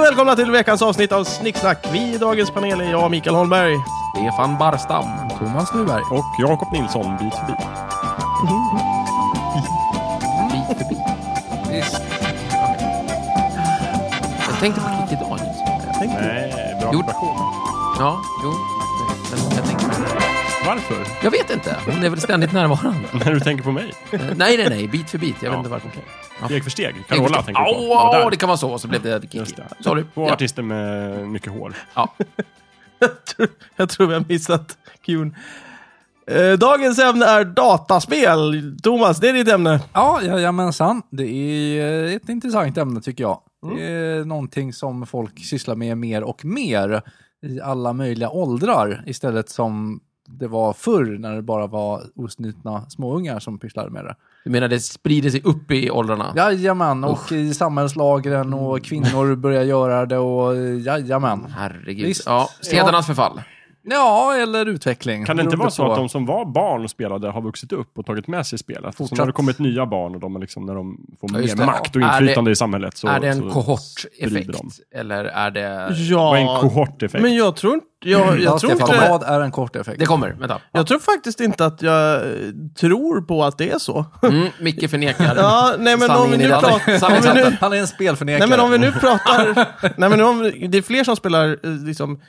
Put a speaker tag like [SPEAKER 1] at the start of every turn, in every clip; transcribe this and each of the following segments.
[SPEAKER 1] välkomna till veckans avsnitt av Snicksnack. Vi i dagens panel är jag, Mikael Holmberg.
[SPEAKER 2] Stefan Barstam.
[SPEAKER 3] Thomas Nyberg.
[SPEAKER 4] Och Jakob Nilsson, bit för bit.
[SPEAKER 2] Bit för bit. Visst. Jag tänkte på Kikki Danielsson.
[SPEAKER 4] Nej, bra
[SPEAKER 2] Jo.
[SPEAKER 4] kombination.
[SPEAKER 2] Ja, jo. Men jag, tänkte,
[SPEAKER 4] Varför?
[SPEAKER 2] jag vet inte. Hon är väl ständigt närvarande.
[SPEAKER 4] När du tänker på mig?
[SPEAKER 2] Eh, Nej, nej, nej. Bit för bit. Jag vet
[SPEAKER 4] Ja.
[SPEAKER 2] inte varför.
[SPEAKER 4] Steg för steg. Carola tänker du på.
[SPEAKER 2] Au,
[SPEAKER 4] Ja,
[SPEAKER 2] au,
[SPEAKER 4] där.
[SPEAKER 2] det kan vara så. Och så blev det Kikki.
[SPEAKER 4] Just det.
[SPEAKER 2] Sorry.
[SPEAKER 4] Två
[SPEAKER 2] Ja.
[SPEAKER 4] artister med mycket hår.
[SPEAKER 2] Ja.
[SPEAKER 1] Jag tror- jag tror vi har missat Qn. Eh, Dagens ämne är dataspel. Thomas, det är ditt ämne.
[SPEAKER 3] Ja, jajamensan. Det är eh, ett intressant ämne tycker jag.
[SPEAKER 1] Mm.
[SPEAKER 3] Det är någonting som folk sysslar med mer och mer i alla möjliga åldrar istället som det var förr när det bara var osnutna småungar som pysslade med det.
[SPEAKER 2] Du menar det sprider sig upp i åldrarna?
[SPEAKER 3] Jajamän, och i samhällslagren
[SPEAKER 1] Mm.
[SPEAKER 3] och kvinnor börjar göra det och eh, jajamän.
[SPEAKER 2] Herregud.
[SPEAKER 3] Visst.
[SPEAKER 2] Ja, sedernas förfall.
[SPEAKER 3] Ja, eller utveckling.
[SPEAKER 4] Kan det inte
[SPEAKER 3] Beroende
[SPEAKER 4] vara så
[SPEAKER 3] på.
[SPEAKER 4] att de som var barn och spelade har vuxit upp och tagit med sig spelet? Så
[SPEAKER 3] Fortsatt.
[SPEAKER 4] nu har det kommit nya barn och de är liksom, när de får
[SPEAKER 2] Ja, just
[SPEAKER 4] mer
[SPEAKER 2] det.
[SPEAKER 4] makt och
[SPEAKER 2] Är
[SPEAKER 4] inflytande i samhället så...
[SPEAKER 2] är det en
[SPEAKER 4] så sprider de.
[SPEAKER 2] kohorteffekt? Eller är det...
[SPEAKER 4] Vad är en kohorteffekt? Mm.
[SPEAKER 1] men jag tror inte... Jag, jag
[SPEAKER 3] Ja,
[SPEAKER 1] tror
[SPEAKER 3] Stefan,
[SPEAKER 1] inte...
[SPEAKER 3] vad är en kort effekt?
[SPEAKER 2] Det kommer, vänta.
[SPEAKER 1] Jag tror faktiskt inte att jag eh, tror på att det är så.
[SPEAKER 2] Mm, Micke förnekar.
[SPEAKER 1] Ja, nej men om vi
[SPEAKER 2] Sanningen
[SPEAKER 1] nu
[SPEAKER 2] i dagen.
[SPEAKER 1] pratar... Om vi nu,
[SPEAKER 2] Sanningen.
[SPEAKER 3] Han är en spelförnekare.
[SPEAKER 1] nej men om vi nu pratar... Nej men om, det är fler som spelar eh, liksom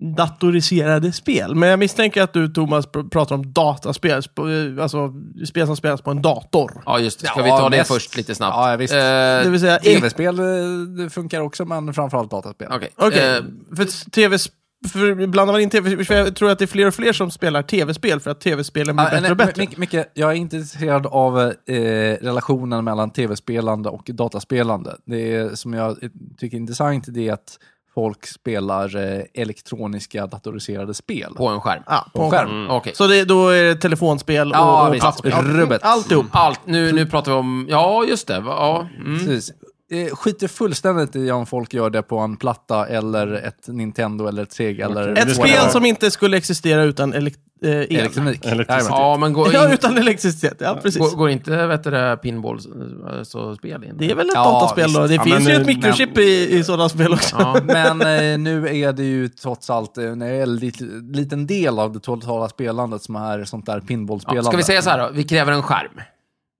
[SPEAKER 1] datoriserade spel. Men jag misstänker att du Thomas pr- pratar om dataspel, sp- eh, alltså spel som spelas på en dator.
[SPEAKER 2] Ja, just det. Ska
[SPEAKER 3] Ja,
[SPEAKER 2] vi ta det
[SPEAKER 3] mest.
[SPEAKER 2] först lite snabbt?
[SPEAKER 3] Ja, visst.
[SPEAKER 2] Eh,
[SPEAKER 1] Det vill säga, e-
[SPEAKER 3] Tv-spel eh, det funkar också, men framförallt dataspel.
[SPEAKER 2] Okej.
[SPEAKER 1] okej,
[SPEAKER 2] Eh,
[SPEAKER 1] för tv för blandar man in tv för jag tror att det är fler och fler som spelar tv-spel för att tv-spelen blir
[SPEAKER 3] Ah,
[SPEAKER 1] bättre
[SPEAKER 3] nej,
[SPEAKER 1] och bättre.
[SPEAKER 3] Mic- Micke, jag är inte intresserad av eh, relationen mellan tv-spelande och dataspelande. Det är, som jag tycker är intressant det är att folk spelar eh, elektroniska datoriserade spel.
[SPEAKER 2] På en skärm?
[SPEAKER 1] Ja, på
[SPEAKER 3] på
[SPEAKER 1] en
[SPEAKER 3] skärm.
[SPEAKER 1] skärm.
[SPEAKER 2] Mm, Okej.
[SPEAKER 1] Så det, då är det telefonspel och,
[SPEAKER 2] Ja,
[SPEAKER 1] och
[SPEAKER 2] visst.
[SPEAKER 1] plattspel.
[SPEAKER 3] Rubbet.
[SPEAKER 1] Alltihop.
[SPEAKER 2] Allt, nu, nu pratar vi om... Ja, just det. Va- Ja. Mm.
[SPEAKER 3] Precis. Eh, skiter fullständigt i om folk gör det på en platta eller ett Nintendo eller ett Sega eller...
[SPEAKER 1] Ett spel som inte skulle existera utan elek- eh, el.
[SPEAKER 3] Elektronik.
[SPEAKER 4] Elektricitet.
[SPEAKER 3] Jajamän.
[SPEAKER 2] ja men går,
[SPEAKER 1] typ- Ja,
[SPEAKER 2] in,
[SPEAKER 1] utan elektricitet. Ja, precis.
[SPEAKER 2] går, går inte vet du, det, pinball eh, så spel in?
[SPEAKER 1] Det är väl ett
[SPEAKER 3] Ja,
[SPEAKER 1] dataspel då?
[SPEAKER 3] visst.
[SPEAKER 1] Det
[SPEAKER 4] Ja,
[SPEAKER 1] finns
[SPEAKER 4] men,
[SPEAKER 1] ju ett
[SPEAKER 4] eh,
[SPEAKER 1] mikrochip i, i sådana spel också.
[SPEAKER 2] Ja.
[SPEAKER 3] Men eh, nu är det ju trots allt eh, en väldigt liten del av det totala spelandet som är sånt där
[SPEAKER 2] Ja,
[SPEAKER 3] pinbollspelande.
[SPEAKER 2] ska vi säga så här då? Vi kräver en skärm.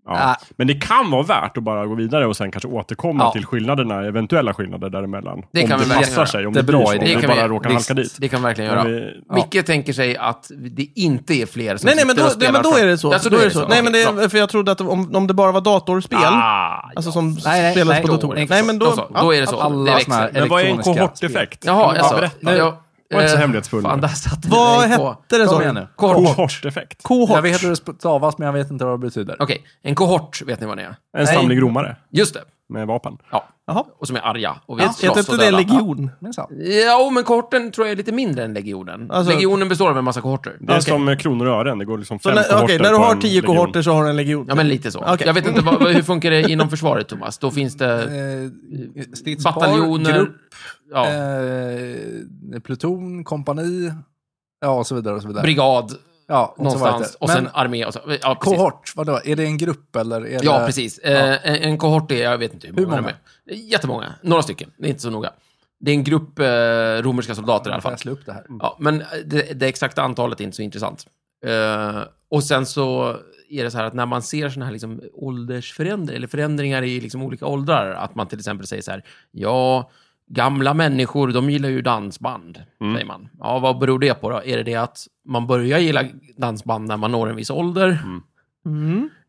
[SPEAKER 4] Ja.
[SPEAKER 3] Ah.
[SPEAKER 2] Äh.
[SPEAKER 4] Men det kan vara värt att bara gå vidare och sen kanske återkomma
[SPEAKER 3] Ja.
[SPEAKER 4] till skillnaderna, eventuella skillnader däremellan.
[SPEAKER 2] Det kan
[SPEAKER 4] om
[SPEAKER 2] vi
[SPEAKER 4] det
[SPEAKER 2] verkligen
[SPEAKER 4] passar
[SPEAKER 2] göra.
[SPEAKER 4] sig, om
[SPEAKER 3] Det
[SPEAKER 4] det,
[SPEAKER 3] är bra
[SPEAKER 4] blir så,
[SPEAKER 3] idé.
[SPEAKER 4] om
[SPEAKER 2] Det
[SPEAKER 4] vi
[SPEAKER 2] kan
[SPEAKER 4] bara
[SPEAKER 2] vi-
[SPEAKER 4] råkar
[SPEAKER 2] det-
[SPEAKER 4] halka dit.
[SPEAKER 2] Det kan vi verkligen göra.
[SPEAKER 4] Men vi-
[SPEAKER 3] Ja.
[SPEAKER 2] Micke tänker sig att det inte är fler som
[SPEAKER 1] Nej, nej,
[SPEAKER 2] sitter
[SPEAKER 1] men då,
[SPEAKER 2] och
[SPEAKER 1] nej,
[SPEAKER 2] spelar.
[SPEAKER 1] men då är det så.
[SPEAKER 2] Alltså,
[SPEAKER 1] då är det så. Nej,
[SPEAKER 2] Okej,
[SPEAKER 1] men det
[SPEAKER 2] bra.
[SPEAKER 1] är, för jag trodde att om, om det bara var datorspel,
[SPEAKER 2] Ah,
[SPEAKER 1] alltså som
[SPEAKER 3] Nej, nej,
[SPEAKER 1] spelas
[SPEAKER 3] nej,
[SPEAKER 1] på
[SPEAKER 3] då-
[SPEAKER 1] datorer.
[SPEAKER 3] nej,
[SPEAKER 1] Nej, men då...
[SPEAKER 2] då, så, då är det så.
[SPEAKER 3] Alla
[SPEAKER 2] det
[SPEAKER 3] såna här
[SPEAKER 2] växer.
[SPEAKER 4] Men vad är en
[SPEAKER 3] elektroniska
[SPEAKER 4] kohorteffekt?
[SPEAKER 2] Jaha,
[SPEAKER 4] Kan du
[SPEAKER 2] alltså.
[SPEAKER 4] berätta? Var inte så hemlighetsfull.
[SPEAKER 2] eh, Fan, där satte ni
[SPEAKER 1] Vad
[SPEAKER 2] mig på-
[SPEAKER 1] hette det?
[SPEAKER 3] Kom
[SPEAKER 1] sa
[SPEAKER 3] igen
[SPEAKER 1] du?
[SPEAKER 3] nu.
[SPEAKER 2] Kohort.
[SPEAKER 4] Kohorteffekt.
[SPEAKER 1] Kohort.
[SPEAKER 3] Jag vet hur det stavas, men jag vet inte vad det betyder.
[SPEAKER 2] Okej, en kohort vet ni vad det är?
[SPEAKER 4] En samling romare
[SPEAKER 2] Just det.
[SPEAKER 4] med vapen.
[SPEAKER 2] Ja.
[SPEAKER 1] Jaha.
[SPEAKER 2] Och som är arga och vill
[SPEAKER 1] Ja,
[SPEAKER 2] slåss
[SPEAKER 1] Heter inte
[SPEAKER 2] och
[SPEAKER 1] det
[SPEAKER 2] döda.
[SPEAKER 1] legion?
[SPEAKER 3] Minsann.
[SPEAKER 2] Ja, men kohorten tror jag är lite mindre än legionen.
[SPEAKER 1] Alltså-
[SPEAKER 2] legionen består av en massa kohorter.
[SPEAKER 4] Det är
[SPEAKER 1] Okej.
[SPEAKER 4] som eh, kronor och ören, det går liksom
[SPEAKER 1] Så
[SPEAKER 4] fem
[SPEAKER 1] när,
[SPEAKER 4] kohorter
[SPEAKER 1] okej, när du
[SPEAKER 4] på
[SPEAKER 1] har
[SPEAKER 4] en
[SPEAKER 1] tio
[SPEAKER 4] legion.
[SPEAKER 1] kohorter så har du en legion.
[SPEAKER 2] Ja, men lite så.
[SPEAKER 1] Okej.
[SPEAKER 2] Jag vet inte, vad, vad- hur funkar det inom försvaret, Thomas? Då finns det
[SPEAKER 3] Eh, stridspar,
[SPEAKER 2] bataljoner,
[SPEAKER 3] grupp,
[SPEAKER 2] ja,
[SPEAKER 3] eh, pluton, kompani, ja och så vidare. Och så vidare.
[SPEAKER 2] brigad
[SPEAKER 3] ja, och så var det
[SPEAKER 2] någonstans
[SPEAKER 3] inte.
[SPEAKER 2] och sen
[SPEAKER 3] men
[SPEAKER 2] armé och så. Ja, precis.
[SPEAKER 3] kohort, vadå? Är det en grupp eller? Är
[SPEAKER 2] Ja,
[SPEAKER 3] det...
[SPEAKER 2] precis. Eh, en, en kohort är, jag vet inte hur många,
[SPEAKER 3] Hur
[SPEAKER 2] de
[SPEAKER 3] många?
[SPEAKER 2] är. Jättemånga. Några stycken. Det är inte så noga. Det är en grupp eh, romerska soldater i alla
[SPEAKER 3] Får
[SPEAKER 2] fall.
[SPEAKER 3] jag slå upp det här?
[SPEAKER 2] Ja, men eh, det, det exakta antalet är inte så intressant. Eh, och sen så är det så här att när man ser såna här liksom åldersförändringar, eller förändringar i liksom olika åldrar, att man till exempel säger så här, ja, gamla människor, de gillar ju dansband, säger man. Ja, vad beror det på då? Är det det att man börjar gilla dansband när man når en viss ålder?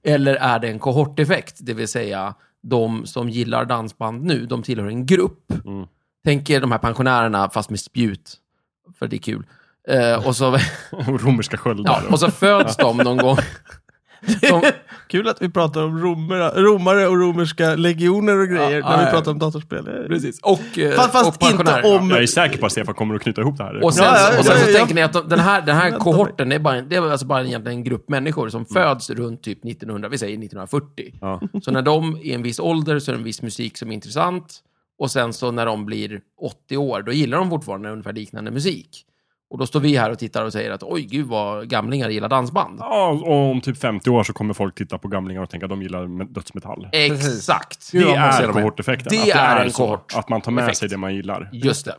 [SPEAKER 2] Eller är det en kohorteffekt? Det vill säga, de som gillar dansband nu, de tillhör en grupp. Tänk er de här pensionärerna, fast med spjut, för det är kul. Eh, och, så,
[SPEAKER 4] Och romerska
[SPEAKER 2] ja,
[SPEAKER 4] sköldar.
[SPEAKER 2] och så föds de någon gång. De,
[SPEAKER 1] Kul att vi pratar om romera, romare och romerska legioner och grejer
[SPEAKER 2] Ja,
[SPEAKER 1] när vi
[SPEAKER 2] ja,
[SPEAKER 1] pratar om datorspel.
[SPEAKER 2] precis. Och, eh,
[SPEAKER 1] Fast, fast
[SPEAKER 2] och
[SPEAKER 1] inte
[SPEAKER 2] pensionärer.
[SPEAKER 1] om...
[SPEAKER 4] Jag är säker på att Stefan kommer att knyta ihop det här.
[SPEAKER 2] Och sen,
[SPEAKER 1] Ja, ja,
[SPEAKER 2] och sen så
[SPEAKER 1] ja, ja.
[SPEAKER 2] tänker ni att de, den här, den här kohorten är bara, en- det är alltså bara egentligen en grupp människor som föds runt typ 1900, vi säger 1940.
[SPEAKER 4] Ja.
[SPEAKER 2] Så när de är en viss ålder så är det en viss musik som är intressant. Och sen så när de blir 80 år, då gillar de fortfarande ungefär liknande musik. Och då står vi här och tittar och säger att oj gud vad gamlingar gillar dansband.
[SPEAKER 4] Ja, och om typ 50 år så kommer folk titta på gamlingar och tänka att de gillar me- dödsmetall.
[SPEAKER 2] Exakt!
[SPEAKER 3] Gud,
[SPEAKER 4] Det
[SPEAKER 3] vad man ser
[SPEAKER 4] är
[SPEAKER 3] dem i.
[SPEAKER 4] kohorteffekten.
[SPEAKER 2] Det
[SPEAKER 4] att
[SPEAKER 2] är en
[SPEAKER 4] så,
[SPEAKER 2] kohort-
[SPEAKER 4] Att man tar med
[SPEAKER 2] effekt.
[SPEAKER 4] sig det man gillar.
[SPEAKER 2] Just det.